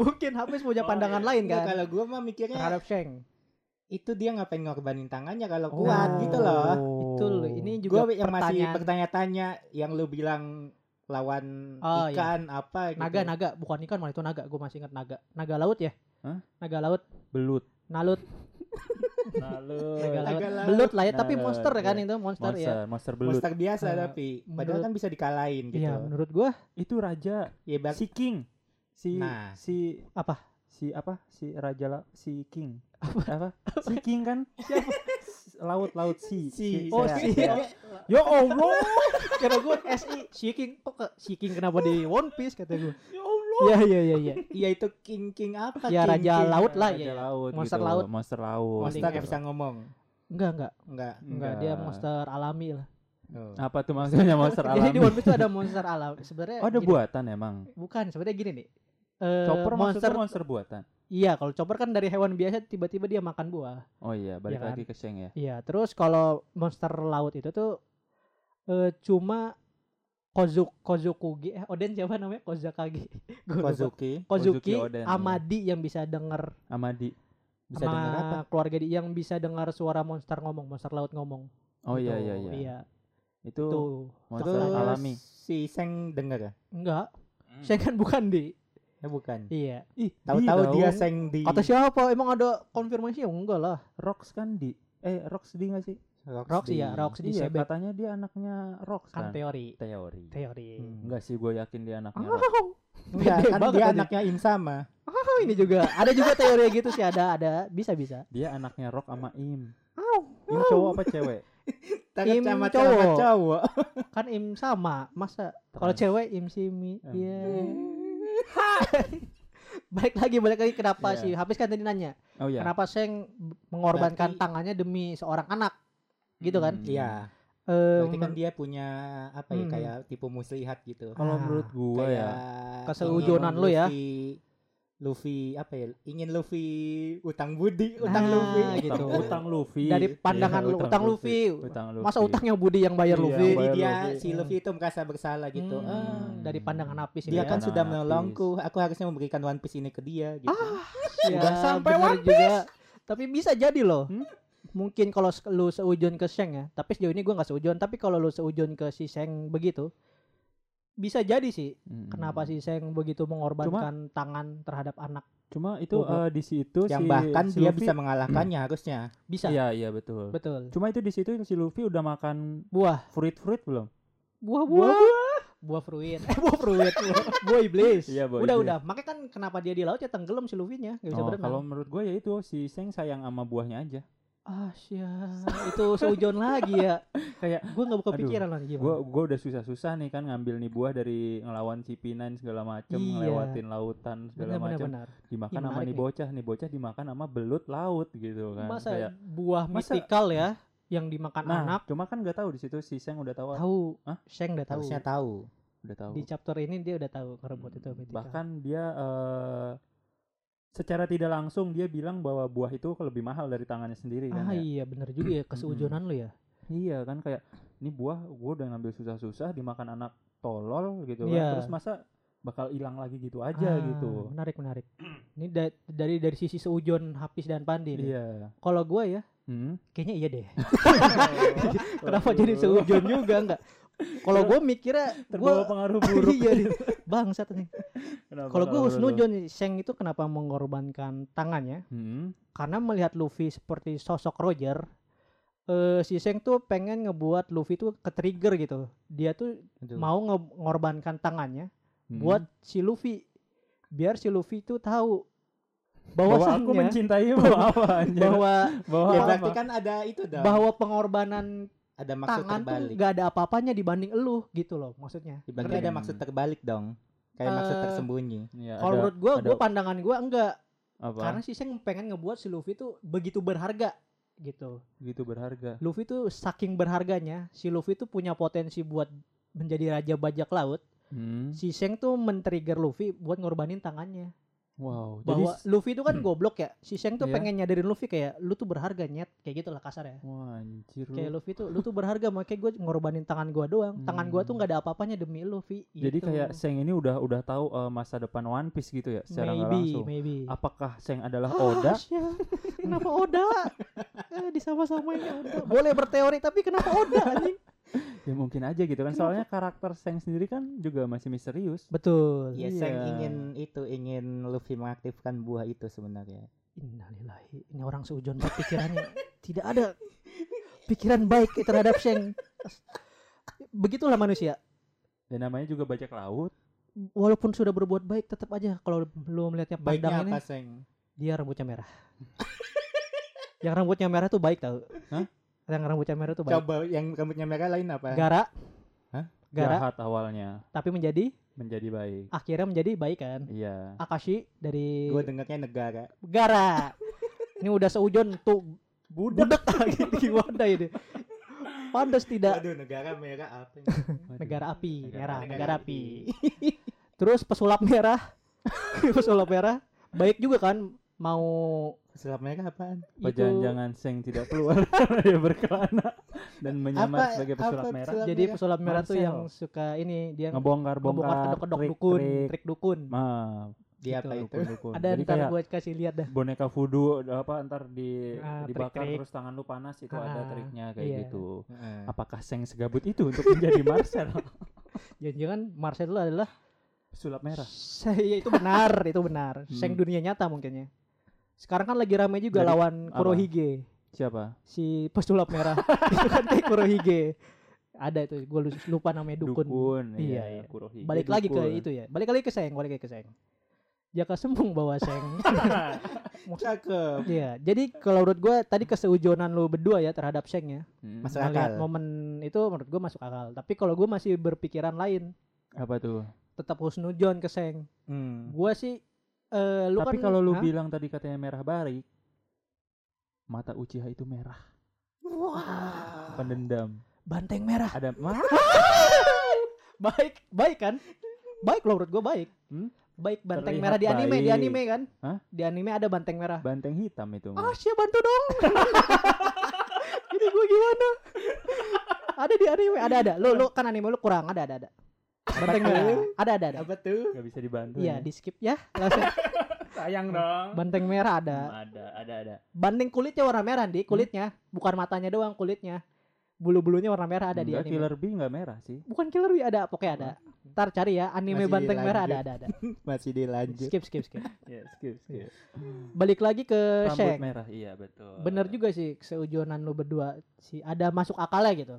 [SPEAKER 1] mungkin Hafiz punya
[SPEAKER 2] Oh,
[SPEAKER 1] pandangan
[SPEAKER 2] iya.
[SPEAKER 1] lain
[SPEAKER 3] Enggak,
[SPEAKER 1] kan
[SPEAKER 3] kalau gue mah mikirnya
[SPEAKER 1] terhadap Sheng
[SPEAKER 3] itu dia ngapain ngorbanin tangannya kalau
[SPEAKER 1] Oh.
[SPEAKER 3] kuat gitu loh
[SPEAKER 2] Oh.
[SPEAKER 1] itu lu ini
[SPEAKER 3] gue
[SPEAKER 1] juga
[SPEAKER 3] yang masih
[SPEAKER 1] pertanyaan
[SPEAKER 3] bertanya-tanya yang lu bilang lawan
[SPEAKER 1] Oh, iya.
[SPEAKER 3] ikan apa gitu.
[SPEAKER 1] naga naga bukan ikan malah itu naga gue masih ingat naga naga laut ya
[SPEAKER 2] Hah?
[SPEAKER 1] naga laut
[SPEAKER 2] belut
[SPEAKER 1] nalut
[SPEAKER 2] lalu
[SPEAKER 1] naga laut
[SPEAKER 3] Naga laut.
[SPEAKER 1] belut lah ya tapi
[SPEAKER 2] Nalut,
[SPEAKER 1] monster kan
[SPEAKER 2] iya.
[SPEAKER 1] itu monster, ya
[SPEAKER 2] monster monster belut
[SPEAKER 3] monster biasa
[SPEAKER 1] Eh,
[SPEAKER 3] tapi padahal
[SPEAKER 1] menurut-
[SPEAKER 3] kan bisa dikalahin gitu
[SPEAKER 1] Iya, menurut gua
[SPEAKER 2] itu raja
[SPEAKER 3] ya bak-
[SPEAKER 2] si king si
[SPEAKER 3] Nah.
[SPEAKER 2] si
[SPEAKER 1] Apa?
[SPEAKER 2] si apa si raja la, si king apa, si king kan siapa laut laut si
[SPEAKER 3] Si- Iya,
[SPEAKER 1] oh
[SPEAKER 2] saya-
[SPEAKER 1] si
[SPEAKER 2] saya- ya allah
[SPEAKER 1] kata gue SI si King kok ke si King kenapa di One Piece kata gue ya ya ya ya
[SPEAKER 3] ya itu king king apa
[SPEAKER 1] ya
[SPEAKER 3] king,
[SPEAKER 1] raja
[SPEAKER 3] king.
[SPEAKER 1] laut lah
[SPEAKER 2] Raja
[SPEAKER 1] ya
[SPEAKER 2] laut
[SPEAKER 1] Monster
[SPEAKER 2] gitu,
[SPEAKER 1] laut.
[SPEAKER 2] monster laut
[SPEAKER 3] monster
[SPEAKER 1] Paling-
[SPEAKER 3] nggak bisa ngomong
[SPEAKER 1] enggak enggak
[SPEAKER 3] enggak
[SPEAKER 1] enggak dia monster alami lah
[SPEAKER 3] Oh.
[SPEAKER 2] apa tuh maksudnya monster
[SPEAKER 1] jadi di
[SPEAKER 2] alami
[SPEAKER 1] One Piece tuh ada gitu. monster alam sebenarnya
[SPEAKER 2] oh ada
[SPEAKER 1] gini-
[SPEAKER 2] buatan emang
[SPEAKER 1] bukan sebenarnya gini nih Eh,
[SPEAKER 2] chopper monster
[SPEAKER 1] monster
[SPEAKER 2] monster buatan
[SPEAKER 1] iya kalau chopper kan dari hewan biasa tiba-tiba dia makan buah
[SPEAKER 2] oh iya balik
[SPEAKER 1] Iya kan?
[SPEAKER 2] lagi ke Sheng ya
[SPEAKER 1] iya terus kalau monster laut itu tuh eh, cuma Kozuk Kozukugi eh Oden siapa namanya Kozakagi Gua lupa.
[SPEAKER 3] Kozuki
[SPEAKER 1] Kozuki,
[SPEAKER 2] Kozuki Oden, iya.
[SPEAKER 1] Amadi yang bisa denger
[SPEAKER 2] Amadi
[SPEAKER 3] bisa
[SPEAKER 1] sama
[SPEAKER 3] dengar apa
[SPEAKER 1] keluarga di yang bisa dengar suara monster ngomong, monster laut ngomong.
[SPEAKER 2] oh iya
[SPEAKER 1] Gitu,
[SPEAKER 2] iya iya
[SPEAKER 1] Iya,
[SPEAKER 2] itu
[SPEAKER 1] tuh.
[SPEAKER 2] monster
[SPEAKER 1] Terus-
[SPEAKER 2] alami
[SPEAKER 3] si Seng dengar ya?
[SPEAKER 1] Enggak,
[SPEAKER 2] Hmm.
[SPEAKER 1] saya kan bukan di.
[SPEAKER 3] ya bukan
[SPEAKER 1] Iya.
[SPEAKER 2] ih
[SPEAKER 3] tahu-tahu dia Seng di
[SPEAKER 1] Kata siapa? Emang ada konfirmasi? Ya, enggak lah.
[SPEAKER 2] rocks kan di eh rocks di nggak sih
[SPEAKER 1] Rox
[SPEAKER 3] di-
[SPEAKER 1] ya, Rox di
[SPEAKER 2] iya
[SPEAKER 1] Sebek.
[SPEAKER 2] katanya dia anaknya rocks
[SPEAKER 1] Kan
[SPEAKER 2] kan
[SPEAKER 1] teori.
[SPEAKER 2] teori
[SPEAKER 1] Teori.
[SPEAKER 3] Hmm.
[SPEAKER 2] Enggak sih gue yakin dia anaknya Rock.
[SPEAKER 1] Oh,
[SPEAKER 3] Enggak,
[SPEAKER 1] Gede
[SPEAKER 3] kan
[SPEAKER 1] banget
[SPEAKER 3] dia
[SPEAKER 1] aja.
[SPEAKER 3] anaknya Im sama
[SPEAKER 1] oh, ini juga. Ada juga teori gitu sih, ada ada bisa bisa.
[SPEAKER 2] Dia anaknya Rock sama Im
[SPEAKER 1] Oh,
[SPEAKER 2] Im cowok apa cewek?
[SPEAKER 1] Im
[SPEAKER 3] Tamat-tamat
[SPEAKER 1] cowok.
[SPEAKER 3] cowok
[SPEAKER 1] kan im sama. Masa kalau
[SPEAKER 2] Trans.
[SPEAKER 1] cewek im simi.
[SPEAKER 2] Hmm.
[SPEAKER 1] Iya. Balik lagi, balik lagi kenapa
[SPEAKER 2] Iya.
[SPEAKER 1] sih? Habis kan tadi nanya.
[SPEAKER 2] Oh iya
[SPEAKER 1] Kenapa Seng mengorbankan
[SPEAKER 3] Berarti-
[SPEAKER 1] tangannya demi seorang anak? Gitu kan?
[SPEAKER 2] Hmm.
[SPEAKER 3] iya
[SPEAKER 1] Eh,
[SPEAKER 3] berarti kan
[SPEAKER 1] menurut-
[SPEAKER 3] dia punya apa ya
[SPEAKER 1] Hmm.
[SPEAKER 3] kayak tipu muslihat gitu
[SPEAKER 1] Ah,
[SPEAKER 2] Kalau menurut gua ya
[SPEAKER 3] Kayak
[SPEAKER 1] Keseujonan
[SPEAKER 3] ingin
[SPEAKER 1] lu ya.
[SPEAKER 3] Luffy, Luffy apa ya ingin Luffy utang budi
[SPEAKER 1] Nah,
[SPEAKER 3] utang Luffy
[SPEAKER 1] gitu.
[SPEAKER 2] utang, utang Luffy
[SPEAKER 1] Dari pandangan
[SPEAKER 2] Iya,
[SPEAKER 1] lu, utang Luffy.
[SPEAKER 2] utang Luffy
[SPEAKER 1] masa utangnya Budi yang bayar
[SPEAKER 2] Iya,
[SPEAKER 1] Luffy?
[SPEAKER 3] jadi
[SPEAKER 2] bayar
[SPEAKER 3] dia
[SPEAKER 2] Luffy.
[SPEAKER 3] si Luffy itu merasa bersalah gitu
[SPEAKER 1] Hmm,
[SPEAKER 3] Ah,
[SPEAKER 1] dari pandangan Apis ini
[SPEAKER 3] dia
[SPEAKER 1] ya.
[SPEAKER 3] kan sudah
[SPEAKER 2] Pandangan
[SPEAKER 3] menolongku aku harusnya memberikan One Piece ini ke dia gitu
[SPEAKER 1] Ya,
[SPEAKER 3] Udah sampai
[SPEAKER 1] bener
[SPEAKER 3] One
[SPEAKER 1] juga. Tapi bisa jadi loh.
[SPEAKER 2] Iya, Hmm?
[SPEAKER 1] Mungkin kalau se- lu seujon ke Sheng ya, tapi sejauh ini gua nggak seujon, tapi kalau lu seujon ke si Sheng begitu bisa jadi sih.
[SPEAKER 2] Mm-mm.
[SPEAKER 1] Kenapa si Sheng begitu mengorbankan tangan terhadap anak?
[SPEAKER 2] Cuma itu
[SPEAKER 1] Goblok.
[SPEAKER 2] eh, di situ si,
[SPEAKER 3] yang bahkan
[SPEAKER 2] si
[SPEAKER 3] dia
[SPEAKER 2] Luffy-
[SPEAKER 3] bisa mengalahkannya harusnya
[SPEAKER 1] Bisa.
[SPEAKER 2] Iya iya betul
[SPEAKER 1] Betul.
[SPEAKER 2] Cuma itu di situ si Luffy udah makan
[SPEAKER 1] Buah,
[SPEAKER 2] fruit-fruit belum?
[SPEAKER 1] buah-buah. Buah fruit. buah fruit. Buah, buah iblis.
[SPEAKER 2] Iya, buah
[SPEAKER 1] udah,
[SPEAKER 2] iblis.
[SPEAKER 1] udah. Makanya kan kenapa dia di laut ya tenggelam si Luffy-nya, nggak bisa
[SPEAKER 2] Oh,
[SPEAKER 1] berenang.
[SPEAKER 2] kalau menurut gua ya itu si Seng sayang sama buahnya aja
[SPEAKER 1] Asya, Ah, itu seujon lagi ya.
[SPEAKER 2] Kayak,
[SPEAKER 1] gue nggak buka
[SPEAKER 2] aduh,
[SPEAKER 1] pikiran lah gimana.
[SPEAKER 2] Gue gua udah susah-susah nih kan ngambil nih buah dari ngelawan si Pinan segala macem,
[SPEAKER 1] Iya.
[SPEAKER 2] ngelewatin lautan
[SPEAKER 1] benar
[SPEAKER 2] segala
[SPEAKER 1] benar
[SPEAKER 2] macem.
[SPEAKER 1] benar.
[SPEAKER 2] Dimakan
[SPEAKER 1] Ih,
[SPEAKER 2] sama
[SPEAKER 1] menarik
[SPEAKER 2] nih
[SPEAKER 1] nih.
[SPEAKER 2] bocah, nih bocah dimakan sama belut laut gitu kan.
[SPEAKER 1] Masa
[SPEAKER 2] Kayak,
[SPEAKER 1] buah
[SPEAKER 2] masa-
[SPEAKER 1] mystical ya yang dimakan
[SPEAKER 2] nah,
[SPEAKER 1] anak
[SPEAKER 2] cuma kan nggak tahu di situ si Seng udah tahu,
[SPEAKER 1] tahu
[SPEAKER 2] Hah?
[SPEAKER 1] Sheng udah tahu.
[SPEAKER 3] harusnya tahu
[SPEAKER 2] udah tahu.
[SPEAKER 1] Di chapter ini dia udah tahu ngerebut itu mythical.
[SPEAKER 2] Hmm, Bahkan dia eh, secara tidak langsung dia bilang bahwa buah itu lebih mahal dari tangannya sendiri
[SPEAKER 1] ah
[SPEAKER 2] kan.
[SPEAKER 1] iya
[SPEAKER 2] ya.
[SPEAKER 1] benar juga ya keseujonan lu ya.
[SPEAKER 2] Iya kan kayak ini buah gue udah ngambil susah-susah dimakan anak tolol
[SPEAKER 1] Iya.
[SPEAKER 2] gitu kan. Terus masa bakal hilang lagi gitu aja
[SPEAKER 1] Ah,
[SPEAKER 2] gitu.
[SPEAKER 1] Menarik menarik. Ini da- dari dari sisi seujon Hafiz dan Pandi nih.
[SPEAKER 2] Iya.
[SPEAKER 1] Kalau gue ya
[SPEAKER 2] Hmm.
[SPEAKER 1] kayaknya iya deh. Kenapa jadi seujon juga enggak? Kalau gue mikirnya
[SPEAKER 2] Terbawa
[SPEAKER 1] gue
[SPEAKER 2] pengaruh buruk.
[SPEAKER 1] iya nih. Bangsat nih.
[SPEAKER 2] Kenapa
[SPEAKER 1] Kalau gue
[SPEAKER 2] menurut lu?
[SPEAKER 1] husnujon Sheng itu kenapa mengorbankan tangannya?
[SPEAKER 2] Hmm.
[SPEAKER 1] karena melihat Luffy seperti sosok Roger eh si Shang tuh pengen ngebuat Luffy tuh ke trigger gitu dia tuh
[SPEAKER 2] Aduh.
[SPEAKER 1] mau nge- ngorbankan tangannya
[SPEAKER 2] Hmm.
[SPEAKER 1] buat si Luffy biar si Luffy tuh tahu
[SPEAKER 2] bahwa aku Nah.
[SPEAKER 1] bahwasannya
[SPEAKER 2] mencintai bahwa apa anjir?
[SPEAKER 1] bahwa
[SPEAKER 2] bahwa
[SPEAKER 1] Iya,
[SPEAKER 3] ya
[SPEAKER 2] apa?
[SPEAKER 3] berarti kan ada itu dong
[SPEAKER 1] bahwa pengorbanan
[SPEAKER 3] ada maksud
[SPEAKER 1] tangan tuh
[SPEAKER 3] terbalik
[SPEAKER 1] gak ada apa-apanya dibanding elu gitu loh maksudnya
[SPEAKER 3] berarti ada maksud terbalik dong kayak maksud
[SPEAKER 1] Eh,
[SPEAKER 3] tersembunyi
[SPEAKER 2] Iya,
[SPEAKER 1] kalau
[SPEAKER 2] ada-
[SPEAKER 1] menurut gua
[SPEAKER 2] ada
[SPEAKER 1] gua pandangan gua enggak
[SPEAKER 2] apa?
[SPEAKER 1] karena si Shang pengen ngebuat si Luffy tuh begitu berharga gitu
[SPEAKER 2] gitu berharga.
[SPEAKER 1] Luffy tuh saking berharganya, si Luffy tuh punya potensi buat menjadi raja bajak laut.
[SPEAKER 2] Hmm.
[SPEAKER 1] Si Sheng tuh men-trigger Luffy buat ngorbanin tangannya.
[SPEAKER 2] Wow. Jadi Hmm.
[SPEAKER 1] Bahwa Luffy tuh kan goblok ya. Si Sheng tuh
[SPEAKER 2] Iya.
[SPEAKER 1] pengen nyadarin Luffy kayak lu tuh berharga nyet, kayak gitulah kasar ya.
[SPEAKER 2] Wah, anjir lu.
[SPEAKER 1] Kayak Luffy tuh lu tuh berharga makanya gue ngorbanin tangan gua doang. Tangan gua tuh nggak ada apa-apanya demi Luffy.
[SPEAKER 2] Hmm. Jadi
[SPEAKER 1] Gitu.
[SPEAKER 2] kayak Seng ini udah udah tahu eh, masa depan One Piece gitu ya secara nggak
[SPEAKER 1] maybe,
[SPEAKER 2] langsung.
[SPEAKER 1] maybe.
[SPEAKER 2] Apakah Seng adalah
[SPEAKER 1] Ah,
[SPEAKER 2] Oda?
[SPEAKER 1] Sia. kenapa Oda? eh, disama-samain Oda. Boleh berteori tapi kenapa Oda anjing?
[SPEAKER 2] ya mungkin aja gitu kan. Soalnya karakter Seng sendiri kan juga masih misterius.
[SPEAKER 1] Betul.
[SPEAKER 3] ya Seng
[SPEAKER 2] Iya.
[SPEAKER 3] ingin itu ingin Luffy mengaktifkan buah itu sebenarnya
[SPEAKER 1] Innalillahi. Ini orang seujon banget pikirannya. Tidak ada pikiran baik terhadap Sheng. Begitulah manusia.
[SPEAKER 2] Dan namanya juga bajak laut.
[SPEAKER 1] Walaupun sudah berbuat baik tetap aja kalau lu melihatnya pandang
[SPEAKER 3] baiknya
[SPEAKER 1] ini
[SPEAKER 3] apa Seng
[SPEAKER 1] dia rambutnya merah. yang rambutnya merah tuh baik tau
[SPEAKER 2] Hah?
[SPEAKER 1] Yang rambutnya merah tuh baik.
[SPEAKER 3] coba yang rambutnya merah lain apa
[SPEAKER 1] Gara.
[SPEAKER 3] Hah?
[SPEAKER 1] Gara
[SPEAKER 2] Jahat awalnya
[SPEAKER 1] tapi menjadi
[SPEAKER 2] menjadi baik.
[SPEAKER 1] akhirnya menjadi baik kan.
[SPEAKER 2] Iya.
[SPEAKER 1] Akashi dari
[SPEAKER 3] gue dengarnya negara
[SPEAKER 1] Gara. ini udah seujon tuh budak lagi gimana ini. Pandas tidak
[SPEAKER 3] Waduh negara merah apa ini?
[SPEAKER 2] Waduh.
[SPEAKER 1] negara api
[SPEAKER 2] Negara
[SPEAKER 1] merah
[SPEAKER 3] api.
[SPEAKER 1] negara api terus pesulap merah pesulap merah baik juga kan mau
[SPEAKER 3] Pesulap merah apaan?
[SPEAKER 2] Apa
[SPEAKER 1] itu
[SPEAKER 2] Oh, jangan-jangan Seng tidak keluar karena dia berkelana dan menyamar
[SPEAKER 3] Apa-
[SPEAKER 2] sebagai
[SPEAKER 3] apa
[SPEAKER 2] pesulap merah?
[SPEAKER 3] pesulap
[SPEAKER 1] jadi
[SPEAKER 3] merah?
[SPEAKER 1] pesulap merah tuh
[SPEAKER 2] Marcel.
[SPEAKER 1] yang suka ini dia
[SPEAKER 2] Ngebongkar
[SPEAKER 1] ngebongkar
[SPEAKER 2] bongkar
[SPEAKER 1] kedok-kedok dukun trik dukun
[SPEAKER 2] Maaf,
[SPEAKER 3] Dia
[SPEAKER 1] Gitu,
[SPEAKER 3] apa itu?
[SPEAKER 2] dukun-dukun.
[SPEAKER 1] ada
[SPEAKER 2] Jadi
[SPEAKER 1] ntar
[SPEAKER 2] kayak
[SPEAKER 1] gue kasih lihat dah
[SPEAKER 2] boneka voodoo apa ntar di
[SPEAKER 1] Ah,
[SPEAKER 2] dibakar
[SPEAKER 1] trik-trik.
[SPEAKER 2] terus tangan lu panas itu ada
[SPEAKER 1] Ah,
[SPEAKER 2] triknya kayak
[SPEAKER 1] iya.
[SPEAKER 2] gitu.
[SPEAKER 3] Heeh.
[SPEAKER 2] Apakah Seng segabut itu untuk menjadi Marcel
[SPEAKER 1] jangan-jangan Marcel itu adalah
[SPEAKER 2] sulap merah?
[SPEAKER 1] saya itu benar itu benar
[SPEAKER 2] Hmm.
[SPEAKER 1] seng dunia nyata mungkinnya sekarang kan lagi rame juga
[SPEAKER 2] Jadi,
[SPEAKER 1] lawan
[SPEAKER 2] apa?
[SPEAKER 1] Kurohige
[SPEAKER 2] Siapa?
[SPEAKER 1] si pesulap merah itu kan kayak Kurohige ada itu gue lupa namanya Iya,
[SPEAKER 2] Dukun. iya,
[SPEAKER 1] iya.
[SPEAKER 2] Kurohige
[SPEAKER 1] balik lagi ke
[SPEAKER 2] dukun.
[SPEAKER 1] itu ya balik lagi ke Seng balik lagi ke Seng Jaka sembung bawa Seng
[SPEAKER 3] Cakep.
[SPEAKER 1] Iya jadi kalau menurut gue tadi keseujonan lo berdua ya terhadap Seng ya
[SPEAKER 2] Hmm,
[SPEAKER 3] Masuk
[SPEAKER 1] melihat
[SPEAKER 3] akal.
[SPEAKER 1] momen itu menurut gue masuk akal tapi kalau gue masih berpikiran lain
[SPEAKER 2] Apa tuh?
[SPEAKER 1] tetap husnujon ke Seng
[SPEAKER 3] Hmm.
[SPEAKER 1] gue sih eh lu
[SPEAKER 2] Tapi
[SPEAKER 1] kan
[SPEAKER 2] kalau lu
[SPEAKER 1] Hah?
[SPEAKER 2] bilang tadi katanya merah barik, mata Uchiha itu merah.
[SPEAKER 1] Wah,
[SPEAKER 2] Pendendam.
[SPEAKER 1] banteng merah
[SPEAKER 2] Ada ma
[SPEAKER 1] baik baik kan baik loh menurut gue baik
[SPEAKER 2] Hmm?
[SPEAKER 1] baik banteng
[SPEAKER 2] Terlihat
[SPEAKER 1] merah di anime di
[SPEAKER 2] baik.
[SPEAKER 1] anime kan
[SPEAKER 2] Hah?
[SPEAKER 1] di anime ada banteng merah
[SPEAKER 2] banteng hitam itu.
[SPEAKER 1] Ah, siap bantu dong. Ini gue gimana? ada di anime, ada ada. Lo lo kan anime lu kurang, ada ada ada. Banteng
[SPEAKER 3] tuh?
[SPEAKER 1] merah. Ada ada ada.
[SPEAKER 3] Apa tuh?
[SPEAKER 2] Gak bisa dibantu.
[SPEAKER 1] Iya,
[SPEAKER 2] ya.
[SPEAKER 1] di skip ya. Langsung
[SPEAKER 2] sayang dong.
[SPEAKER 1] banteng merah ada.
[SPEAKER 2] Hmm, ada, ada, ada.
[SPEAKER 1] Banteng kulitnya warna merah, Di, kulitnya, bukan matanya doang kulitnya. Bulu-bulunya warna merah ada di
[SPEAKER 2] Enggak,
[SPEAKER 1] anime.
[SPEAKER 2] Killer Bee nggak merah sih.
[SPEAKER 1] Bukan killer Bee, ada, pokoknya ada. Ntar cari ya, anime
[SPEAKER 3] Masih
[SPEAKER 1] banteng merah ada
[SPEAKER 3] lanjut.
[SPEAKER 1] ada ada.
[SPEAKER 3] Masih dilanjut.
[SPEAKER 1] Skip skip skip.
[SPEAKER 2] Ya, skip, skip.
[SPEAKER 1] Balik lagi ke
[SPEAKER 2] Rambut
[SPEAKER 1] Shaq.
[SPEAKER 2] merah, iya betul.
[SPEAKER 1] Eh, Bener juga sih seujonan lu berdua sih ada masuk akalnya gitu.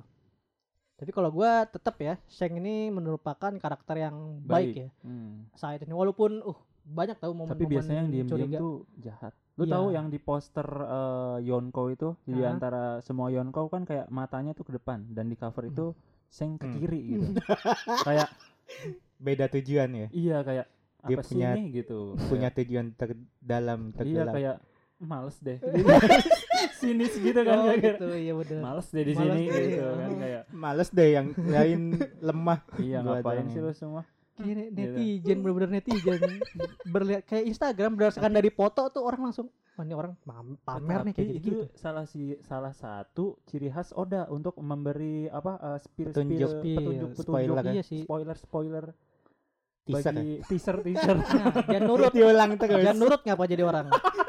[SPEAKER 1] Tapi kalau gua tetap ya, Sheng ini merupakan karakter yang baik,
[SPEAKER 2] Baik.
[SPEAKER 1] ya
[SPEAKER 2] Hmm.
[SPEAKER 1] saat ini. Walaupun uh banyak tahu momen-momen
[SPEAKER 2] Tapi biasanya yang diem-diem
[SPEAKER 1] curiga.
[SPEAKER 2] tuh jahat. Lu
[SPEAKER 1] Iya.
[SPEAKER 2] tahu yang di poster eh, Yonko itu di
[SPEAKER 1] Hah?
[SPEAKER 2] antara semua Yonko kan kayak matanya tuh ke depan dan di cover itu Seng ke
[SPEAKER 3] Hmm.
[SPEAKER 2] kiri gitu. kayak
[SPEAKER 3] Beda tujuan ya.
[SPEAKER 2] iya kayak
[SPEAKER 3] Dia
[SPEAKER 2] apa sih
[SPEAKER 3] punya-
[SPEAKER 2] ini gitu.
[SPEAKER 3] Punya tujuan terdalam
[SPEAKER 2] Iya
[SPEAKER 3] terdalam.
[SPEAKER 2] kayak males deh. Gitu. Sinis gitu kan
[SPEAKER 1] Oh,
[SPEAKER 2] kayak
[SPEAKER 1] gitu, iya bener.
[SPEAKER 2] Males deh di
[SPEAKER 1] Males
[SPEAKER 2] sini
[SPEAKER 1] deh,
[SPEAKER 2] gitu
[SPEAKER 1] iya.
[SPEAKER 2] kan kayak
[SPEAKER 3] Males deh yang lain lemah.
[SPEAKER 2] iya
[SPEAKER 3] Gua
[SPEAKER 2] ngapain
[SPEAKER 3] doang
[SPEAKER 2] sih
[SPEAKER 3] ya.
[SPEAKER 2] lu semua?
[SPEAKER 1] Kira
[SPEAKER 2] Gitu.
[SPEAKER 1] netizen bener-bener netizen berlihat kayak Instagram berdasarkan dari foto tuh orang langsung wah ini orang pam- pamer nih kayak
[SPEAKER 2] Tapi
[SPEAKER 1] gitu.
[SPEAKER 2] itu salah si salah satu ciri khas Oda untuk memberi apa eh, spill
[SPEAKER 3] Petunjuk.
[SPEAKER 2] spill petunjuk petunjuk
[SPEAKER 3] Spoiler kan?
[SPEAKER 1] Iya sih.
[SPEAKER 2] spoiler spoiler
[SPEAKER 3] Teaser ya.
[SPEAKER 2] bagi teaser Iya, teaser
[SPEAKER 1] Nah, jangan nurut,
[SPEAKER 3] Diulang terus.
[SPEAKER 1] jangan nurut ngapa jadi orang.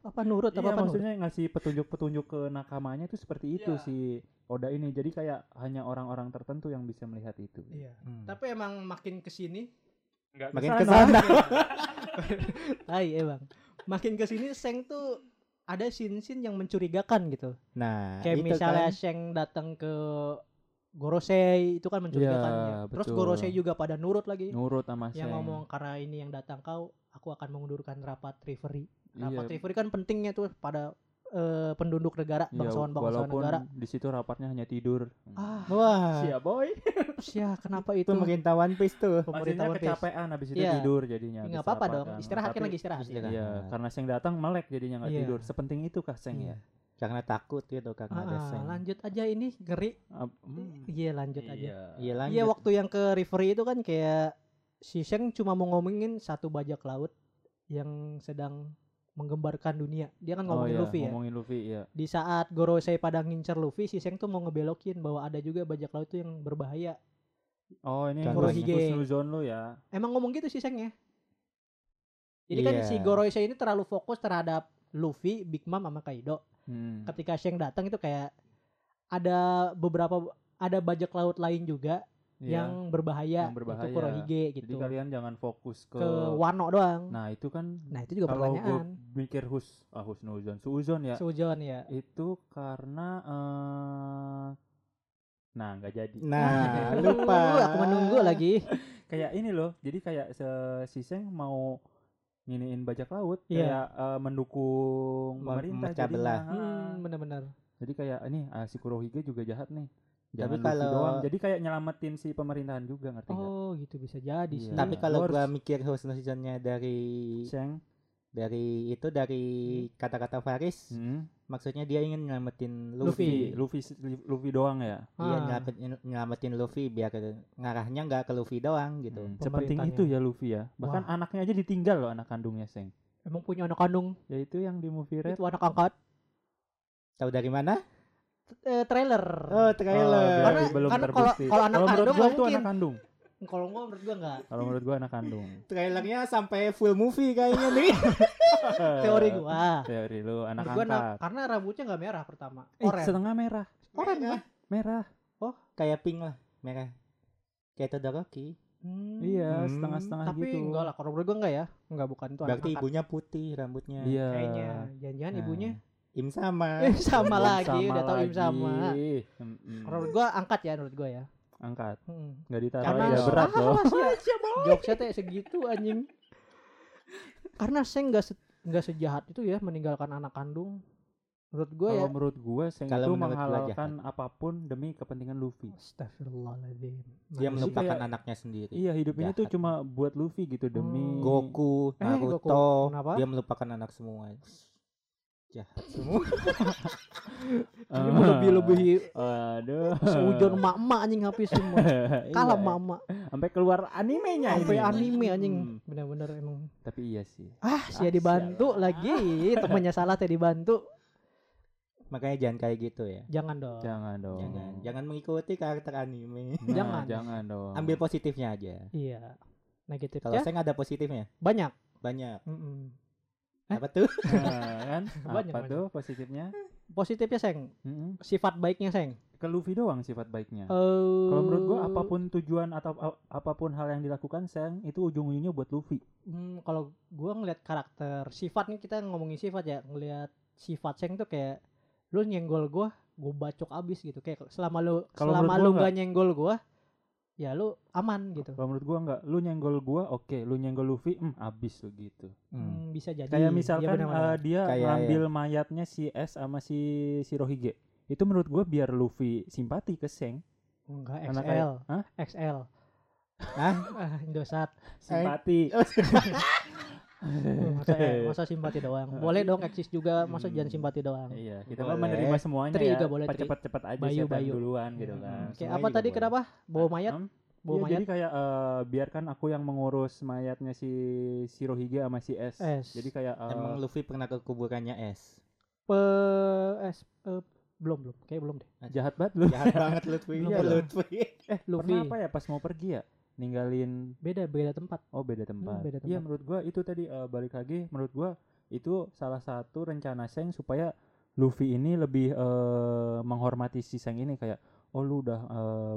[SPEAKER 1] apa nurut apa apa
[SPEAKER 2] iya,
[SPEAKER 1] nurut?
[SPEAKER 2] maksudnya ngasih petunjuk-petunjuk ke nakamanya itu seperti itu
[SPEAKER 1] Iya.
[SPEAKER 2] si Oda ini. Jadi kayak hanya orang-orang tertentu yang bisa melihat itu.
[SPEAKER 1] Iya.
[SPEAKER 3] Hmm.
[SPEAKER 1] Tapi emang makin kesini
[SPEAKER 2] Nggak
[SPEAKER 3] Makin
[SPEAKER 2] kesana.
[SPEAKER 3] kesana.
[SPEAKER 1] tai emang. Makin kesini Seng tuh ada sin-sin yang mencurigakan gitu.
[SPEAKER 3] Nah,
[SPEAKER 1] Kayak
[SPEAKER 3] itu
[SPEAKER 1] misalnya
[SPEAKER 3] kan.
[SPEAKER 1] Seng datang ke Gorosei itu kan mencurigakan.
[SPEAKER 2] Iya,
[SPEAKER 1] ya. Terus
[SPEAKER 2] betul.
[SPEAKER 1] Gorosei juga pada nurut lagi.
[SPEAKER 2] Nurut sama
[SPEAKER 1] yang
[SPEAKER 2] Seng.
[SPEAKER 1] ngomong karena ini yang datang kau, aku akan mengundurkan rapat referee.
[SPEAKER 2] Iya,
[SPEAKER 1] Rapat referee kan pentingnya tuh pada eh, penduduk negara,
[SPEAKER 2] iya,
[SPEAKER 1] bangsawan-bangsawan
[SPEAKER 2] walaupun
[SPEAKER 1] negara.
[SPEAKER 2] di situ rapatnya hanya tidur.
[SPEAKER 1] Ah,
[SPEAKER 3] Wah,
[SPEAKER 2] Siap Iya, boy.
[SPEAKER 1] sia Ya, kenapa itu?
[SPEAKER 3] itu pemerintah One Piece tuh.
[SPEAKER 1] Pemerintah
[SPEAKER 2] Maksudnya
[SPEAKER 1] One Piece.
[SPEAKER 2] kecapean habis itu
[SPEAKER 1] Iya.
[SPEAKER 2] tidur jadinya.
[SPEAKER 1] Enggak
[SPEAKER 2] habis
[SPEAKER 1] apa-apa
[SPEAKER 2] rapat
[SPEAKER 1] dong,
[SPEAKER 2] kan.
[SPEAKER 1] istirahat kan
[SPEAKER 2] Tapi-
[SPEAKER 1] lagi istirahat.
[SPEAKER 3] Istirahat.
[SPEAKER 2] Iya, karena Seng datang melek jadinya nggak
[SPEAKER 1] Iya.
[SPEAKER 2] tidur. Sepenting itu kah Seng ya?
[SPEAKER 3] Karena takut gitu karena
[SPEAKER 1] Ah,
[SPEAKER 3] ada
[SPEAKER 1] ah,
[SPEAKER 3] seng.
[SPEAKER 1] lanjut aja ini ngeri.
[SPEAKER 2] Ap- hmm.
[SPEAKER 1] Iya, lanjut aja.
[SPEAKER 3] Iya lanjut.
[SPEAKER 1] Iya, waktu yang ke referee itu kan kayak si Sheng cuma mau ngomongin satu bajak laut yang sedang menggembarkan dunia. Dia kan
[SPEAKER 2] Oh
[SPEAKER 1] ngomongin
[SPEAKER 2] iya,
[SPEAKER 1] Luffy ya.
[SPEAKER 2] ngomongin Luffy ya.
[SPEAKER 1] di saat Gorosei pada ngincer Luffy, si Seng tuh mau ngebelokin bahwa ada juga bajak laut tuh yang berbahaya.
[SPEAKER 2] Oh ini
[SPEAKER 3] Jangan
[SPEAKER 1] Kurohige.
[SPEAKER 2] Kurohige. lu ya.
[SPEAKER 1] Emang ngomong gitu si Seng ya? Jadi kan
[SPEAKER 3] Iya.
[SPEAKER 1] si Gorosei ini terlalu fokus terhadap Luffy, Big Mom sama Kaido.
[SPEAKER 2] Hmm.
[SPEAKER 1] Ketika Seng datang itu kayak ada beberapa ada bajak laut lain juga
[SPEAKER 2] Iya.
[SPEAKER 1] yang berbahaya,
[SPEAKER 2] Yang berbahaya.
[SPEAKER 1] itu Kurohige gitu.
[SPEAKER 2] Jadi kalian jangan fokus ke,
[SPEAKER 1] ke Wano doang. Nah,
[SPEAKER 2] Nah, itu kan
[SPEAKER 1] itu juga
[SPEAKER 2] kalau gue
[SPEAKER 1] pertanyaan.
[SPEAKER 2] mikir hus ah husnuzon, suuzon ya.
[SPEAKER 1] Sujon ya.
[SPEAKER 2] itu karena eh nah nggak jadi.
[SPEAKER 3] Nah,
[SPEAKER 1] Aduh,
[SPEAKER 3] lupa.
[SPEAKER 1] Aku menunggu lagi.
[SPEAKER 2] Kayak ini loh. Jadi kayak se- si Seng mau nginiin bajak laut
[SPEAKER 1] Iya.
[SPEAKER 2] kayak eh, mendukung
[SPEAKER 3] Mem-
[SPEAKER 2] pemerintah
[SPEAKER 3] memecah belah.
[SPEAKER 2] jadinya. Ah.
[SPEAKER 1] Hmm, benar-benar.
[SPEAKER 2] Jadi kayak ini ah, si Kurohige juga jahat nih. Jangan
[SPEAKER 3] Tapi
[SPEAKER 2] Luffy
[SPEAKER 3] kalau-
[SPEAKER 2] doang. Jadi kayak nyelamatin si pemerintahan juga ngerti nggak?
[SPEAKER 1] Oh, gitu bisa jadi
[SPEAKER 2] Iya.
[SPEAKER 1] sih.
[SPEAKER 3] Tapi
[SPEAKER 2] Lu
[SPEAKER 3] kalau
[SPEAKER 2] harus-
[SPEAKER 3] gua mikir husnuzonnya dari
[SPEAKER 2] Seng.
[SPEAKER 3] dari itu
[SPEAKER 1] Hmm.
[SPEAKER 3] dari kata-kata Faris,
[SPEAKER 2] Hmm.
[SPEAKER 3] maksudnya dia ingin nyelamatin
[SPEAKER 1] Luffy.
[SPEAKER 3] Luffy.
[SPEAKER 2] Luffy Luffy doang ya.
[SPEAKER 3] Dia
[SPEAKER 1] Ah.
[SPEAKER 3] nyelamatin, nyelamatin Luffy biar ke- ngarahnya nggak ke Luffy doang gitu.
[SPEAKER 2] Hmm, Sepenting
[SPEAKER 1] pemerintahnya.
[SPEAKER 2] itu ya Luffy ya. Bahkan anaknya aja ditinggal loh anak kandungnya Seng.
[SPEAKER 1] Emang punya anak kandung
[SPEAKER 2] Yaitu yang di movie Red.
[SPEAKER 1] itu anak angkat
[SPEAKER 3] Tahu dari mana?
[SPEAKER 1] eh, trailer.
[SPEAKER 3] Oh, trailer.
[SPEAKER 1] iya. Karena- karena kalau- kalau anak
[SPEAKER 2] menurut
[SPEAKER 1] kandung
[SPEAKER 2] gua
[SPEAKER 1] nggak
[SPEAKER 2] itu
[SPEAKER 1] mungkin.
[SPEAKER 2] anak kandung.
[SPEAKER 1] Kalau gua menurut gua enggak.
[SPEAKER 2] Kalau menurut gua anak kandung.
[SPEAKER 3] Trailernya sampai full movie kayaknya nih.
[SPEAKER 1] Teori gua.
[SPEAKER 2] Teori lu Eh, anak
[SPEAKER 1] Menurut gua anak-
[SPEAKER 2] angkat.
[SPEAKER 1] karena rambutnya enggak merah pertama.
[SPEAKER 2] Eh,
[SPEAKER 1] Oren.
[SPEAKER 2] setengah merah.
[SPEAKER 1] Oren
[SPEAKER 3] Merah.
[SPEAKER 1] kan?
[SPEAKER 2] Merah.
[SPEAKER 3] kayak pink lah merah kayak Todoroki
[SPEAKER 1] Hmm,
[SPEAKER 2] Iya,
[SPEAKER 3] Hmm,
[SPEAKER 2] setengah-setengah
[SPEAKER 1] Tapi
[SPEAKER 2] gitu.
[SPEAKER 1] enggak lah, kalau menurut gua enggak ya. Enggak bukan itu anak
[SPEAKER 3] berarti
[SPEAKER 1] angkat.
[SPEAKER 3] ibunya putih rambutnya
[SPEAKER 2] Iya.
[SPEAKER 1] Kayaknya jangan-jangan
[SPEAKER 3] Nah,
[SPEAKER 1] ibunya
[SPEAKER 3] im sama
[SPEAKER 1] Eh, sama
[SPEAKER 2] Im
[SPEAKER 1] lagi, udah tau im
[SPEAKER 2] lagi.
[SPEAKER 1] sama.
[SPEAKER 2] Mm-mm.
[SPEAKER 1] Kalau menurut gua angkat ya menurut gua ya. Hmm.
[SPEAKER 2] Angkat.
[SPEAKER 1] Heeh.
[SPEAKER 2] Nggak ditaruh
[SPEAKER 3] Karena-
[SPEAKER 2] aja berat
[SPEAKER 1] Ah,
[SPEAKER 2] loh.
[SPEAKER 1] Iya, Jokesnya teh segitu anjing. Karena saya enggak se- enggak sejahat itu ya meninggalkan anak kandung. Menurut gua ya
[SPEAKER 2] Kalau menurut gua Seng
[SPEAKER 3] Kalau
[SPEAKER 2] itu
[SPEAKER 3] menurut gua
[SPEAKER 2] menghalalkan apapun demi kepentingan Luffy.
[SPEAKER 1] Astagfirullahaladzim. Manusia.
[SPEAKER 3] dia melupakan
[SPEAKER 2] kayak-
[SPEAKER 3] anaknya sendiri
[SPEAKER 2] Iya, hidup ini tuh
[SPEAKER 3] Jahat.
[SPEAKER 2] cuma buat Luffy gitu demi
[SPEAKER 1] Hmm.
[SPEAKER 3] Goku
[SPEAKER 1] Eh,
[SPEAKER 3] Naruto
[SPEAKER 1] Goku. Kenapa?
[SPEAKER 3] dia melupakan anak semua jahat semua
[SPEAKER 1] Ini
[SPEAKER 2] Ah.
[SPEAKER 1] mau lebih lebih
[SPEAKER 2] Aduh.
[SPEAKER 1] seujung emak-emak anjing habis semua. Kalah
[SPEAKER 2] Iya.
[SPEAKER 1] emak-emak
[SPEAKER 2] Sampai keluar animenya
[SPEAKER 1] sampai
[SPEAKER 2] ini.
[SPEAKER 1] anime anjing.
[SPEAKER 2] Hmm.
[SPEAKER 1] Benar-benar emang.
[SPEAKER 2] Tapi iya sih.
[SPEAKER 1] Iya. Ah, sia
[SPEAKER 2] Ah,
[SPEAKER 1] dibantu lagi. Temannya salah teh dibantu.
[SPEAKER 3] makanya jangan kayak gitu ya
[SPEAKER 1] Jangan dong.
[SPEAKER 2] Jangan dong.
[SPEAKER 3] jangan jangan mengikuti karakter
[SPEAKER 2] Nah,
[SPEAKER 3] anime
[SPEAKER 1] Jangan.
[SPEAKER 2] Jangan dong.
[SPEAKER 3] ambil positifnya aja
[SPEAKER 1] Iya.
[SPEAKER 3] kalau
[SPEAKER 1] Negatifnya
[SPEAKER 3] saya nggak ada positifnya
[SPEAKER 1] banyak.
[SPEAKER 3] banyak
[SPEAKER 1] Mm-mm. Eh?
[SPEAKER 3] apa tuh
[SPEAKER 2] Nah, kan?
[SPEAKER 1] Banyak,
[SPEAKER 2] Apa
[SPEAKER 1] banyak.
[SPEAKER 2] tuh positifnya?
[SPEAKER 1] Positifnya seng,
[SPEAKER 2] Mm-mm.
[SPEAKER 1] sifat baiknya seng.
[SPEAKER 2] Ke Luffy doang sifat baiknya.
[SPEAKER 1] Eh,
[SPEAKER 2] Kalau menurut gua apapun tujuan atau a- apapun hal yang dilakukan Seng itu ujung-ujungnya buat Luffy.
[SPEAKER 1] Hmm, kalau gua ngelihat karakter sifatnya kita ngomongin sifat ya ngelihat sifat Seng tuh kayak lu nyenggol gua gua bacok abis gitu kayak selama lu
[SPEAKER 2] Kalau
[SPEAKER 1] selama
[SPEAKER 2] menurut gua
[SPEAKER 1] lu nggak nyenggol gua ya lu aman gitu.
[SPEAKER 2] Kalau menurut gua enggak, lu nyenggol gua, oke, lu nyenggol Luffy, hmm, abis lu gitu.
[SPEAKER 1] Hmm, bisa jadi.
[SPEAKER 2] Kayak
[SPEAKER 1] Iya,
[SPEAKER 2] misalkan
[SPEAKER 1] benar-benar. ya.
[SPEAKER 2] eh, dia
[SPEAKER 3] Kayak,
[SPEAKER 2] ngambil mayatnya si S sama si Shirohige. Itu menurut gua biar Luffy simpati ke Seng.
[SPEAKER 1] enggak
[SPEAKER 2] Karena
[SPEAKER 1] XL,
[SPEAKER 2] kayak, Hah?
[SPEAKER 1] XL.
[SPEAKER 3] Hah?
[SPEAKER 1] Ah, Indosat. Eh.
[SPEAKER 2] Simpati.
[SPEAKER 1] Hmm, Masa eh, masa simpati doang. Boleh dong eksis juga, masa
[SPEAKER 2] Hmm.
[SPEAKER 1] jangan simpati doang.
[SPEAKER 2] Iya, kita mah
[SPEAKER 3] Boleh.
[SPEAKER 2] menerima semuanya
[SPEAKER 1] Tri
[SPEAKER 2] ya.
[SPEAKER 1] juga boleh, Tri.
[SPEAKER 2] Cepat-cepat aja
[SPEAKER 1] Bayu,
[SPEAKER 2] siapa yang
[SPEAKER 1] Bayu.
[SPEAKER 2] duluan gitu
[SPEAKER 1] Hmm,
[SPEAKER 2] kan.
[SPEAKER 1] Oke,
[SPEAKER 2] Semuanya
[SPEAKER 1] apa
[SPEAKER 2] juga
[SPEAKER 1] tadi
[SPEAKER 2] boleh.
[SPEAKER 1] kenapa? Bawa mayat,
[SPEAKER 2] Hmm?
[SPEAKER 1] bawa
[SPEAKER 2] Iya,
[SPEAKER 1] mayat.
[SPEAKER 2] Jadi kayak eh, biarkan aku yang mengurus mayatnya si Shirohige sama si S.
[SPEAKER 1] S.
[SPEAKER 2] Jadi kayak eh,
[SPEAKER 3] Emang Luffy pernah ke kuburannya S?
[SPEAKER 1] Pe eh, s- eh, belum belum, kayak belum deh.
[SPEAKER 2] jahat banget lu.
[SPEAKER 3] Jahat banget Lutfi.
[SPEAKER 1] Belum
[SPEAKER 3] Iya,
[SPEAKER 1] belum.
[SPEAKER 3] Lutfi.
[SPEAKER 1] Iya, Luffy.
[SPEAKER 2] Pernah apa ya pas mau pergi ya? Ninggalin
[SPEAKER 1] Beda beda tempat.
[SPEAKER 2] oh beda tempat.
[SPEAKER 1] Hmm, beda
[SPEAKER 2] Iya
[SPEAKER 1] tempat.
[SPEAKER 2] menurut gua itu tadi eh, balik lagi menurut gua itu salah satu rencana Seng supaya Luffy ini lebih eh, menghormati si Seng ini kayak oh lu udah eh,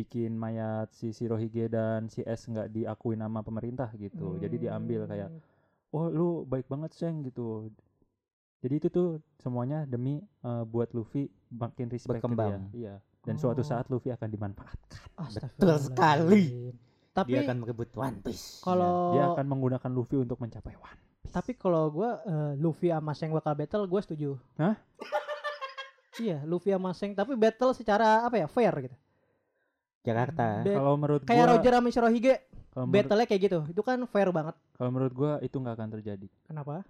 [SPEAKER 2] bikin mayat si Shirohige dan si S nggak diakui nama pemerintah gitu. Jadi diambil kayak
[SPEAKER 1] Hmm,
[SPEAKER 2] oh lu baik banget Seng gitu. Jadi itu tuh semuanya demi eh, buat Luffy makin respect ke dia.
[SPEAKER 3] Berkembang.
[SPEAKER 2] Iya. Dan suatu
[SPEAKER 1] Oh.
[SPEAKER 2] saat Luffy akan dimanfaatkan.
[SPEAKER 1] astagfirullahaladzim.
[SPEAKER 3] sekali.
[SPEAKER 1] Tapi
[SPEAKER 3] Dia akan merebut One Piece.
[SPEAKER 1] kalau
[SPEAKER 2] kan iya, Dia akan menggunakan Luffy untuk mencapai One Piece.
[SPEAKER 1] tapi kalau gua eh, Luffy sama Seng bakal battle, gua setuju.
[SPEAKER 2] Hah?
[SPEAKER 1] iya, Luffy sama Seng tapi battle secara apa ya? Fair gitu.
[SPEAKER 3] Jakarta.
[SPEAKER 1] Be-
[SPEAKER 2] kalau menurut
[SPEAKER 1] kayak
[SPEAKER 2] gua,
[SPEAKER 1] Roger sama Shirohige
[SPEAKER 2] kalau menurut,
[SPEAKER 1] battle-nya kayak gitu. Itu kan fair banget.
[SPEAKER 2] kalau menurut gua itu nggak akan terjadi
[SPEAKER 1] Kenapa?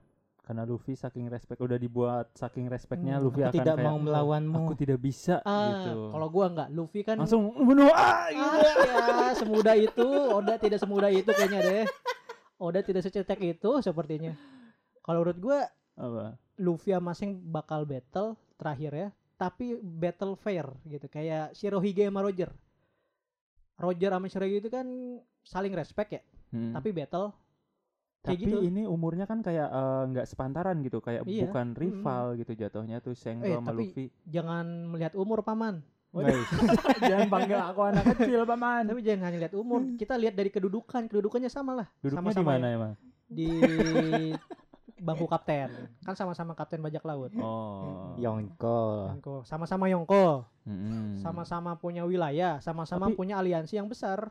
[SPEAKER 2] karena Luffy saking respect udah dibuat saking respectnya
[SPEAKER 1] Hmm,
[SPEAKER 2] Luffy
[SPEAKER 3] Aku
[SPEAKER 2] akan
[SPEAKER 3] tidak
[SPEAKER 2] kayak
[SPEAKER 3] mau
[SPEAKER 2] aku
[SPEAKER 3] melawanmu.
[SPEAKER 2] tidak bisa
[SPEAKER 1] Ah,
[SPEAKER 2] gitu.
[SPEAKER 1] kalau gua enggak, Luffy kan
[SPEAKER 2] Langsung bunuh ah gitu.
[SPEAKER 1] Ah, ya, semudah itu, Oda tidak semudah itu kayaknya deh. Oda tidak secetek itu sepertinya. Kalau menurut gua
[SPEAKER 2] Apa?
[SPEAKER 1] Luffy sama Seng bakal battle terakhir ya, tapi battle fair gitu. Kayak Shirohige sama Roger. Roger sama Shirohige itu kan saling respect ya,
[SPEAKER 2] Hmm.
[SPEAKER 1] tapi battle kayak
[SPEAKER 2] Tapi
[SPEAKER 1] gitu.
[SPEAKER 2] ini umurnya kan kayak eh, nggak sepantaran gitu, kayak
[SPEAKER 1] Iya.
[SPEAKER 2] bukan rival gitu jatuhnya tuh Seng
[SPEAKER 1] Eh,
[SPEAKER 2] sama
[SPEAKER 1] tapi-
[SPEAKER 2] Luffy.
[SPEAKER 1] Jangan melihat umur paman,
[SPEAKER 3] Guys,
[SPEAKER 2] Jangan panggil aku anak kecil paman.
[SPEAKER 1] tapi jangan hanya lihat umur. Kita lihat dari kedudukan, kedudukannya sama lah
[SPEAKER 2] Duduknya di
[SPEAKER 1] Sama-sama ya.
[SPEAKER 2] mana emang?
[SPEAKER 1] di bangku kapten. Kan sama-sama kapten bajak laut.
[SPEAKER 2] Oh.
[SPEAKER 1] ya.
[SPEAKER 3] Yongko.
[SPEAKER 1] Yongko. Sama-sama Yongko,
[SPEAKER 2] Mm-mm.
[SPEAKER 1] sama-sama punya wilayah, sama-sama
[SPEAKER 2] Hmm. Tapi-
[SPEAKER 1] punya aliansi yang besar.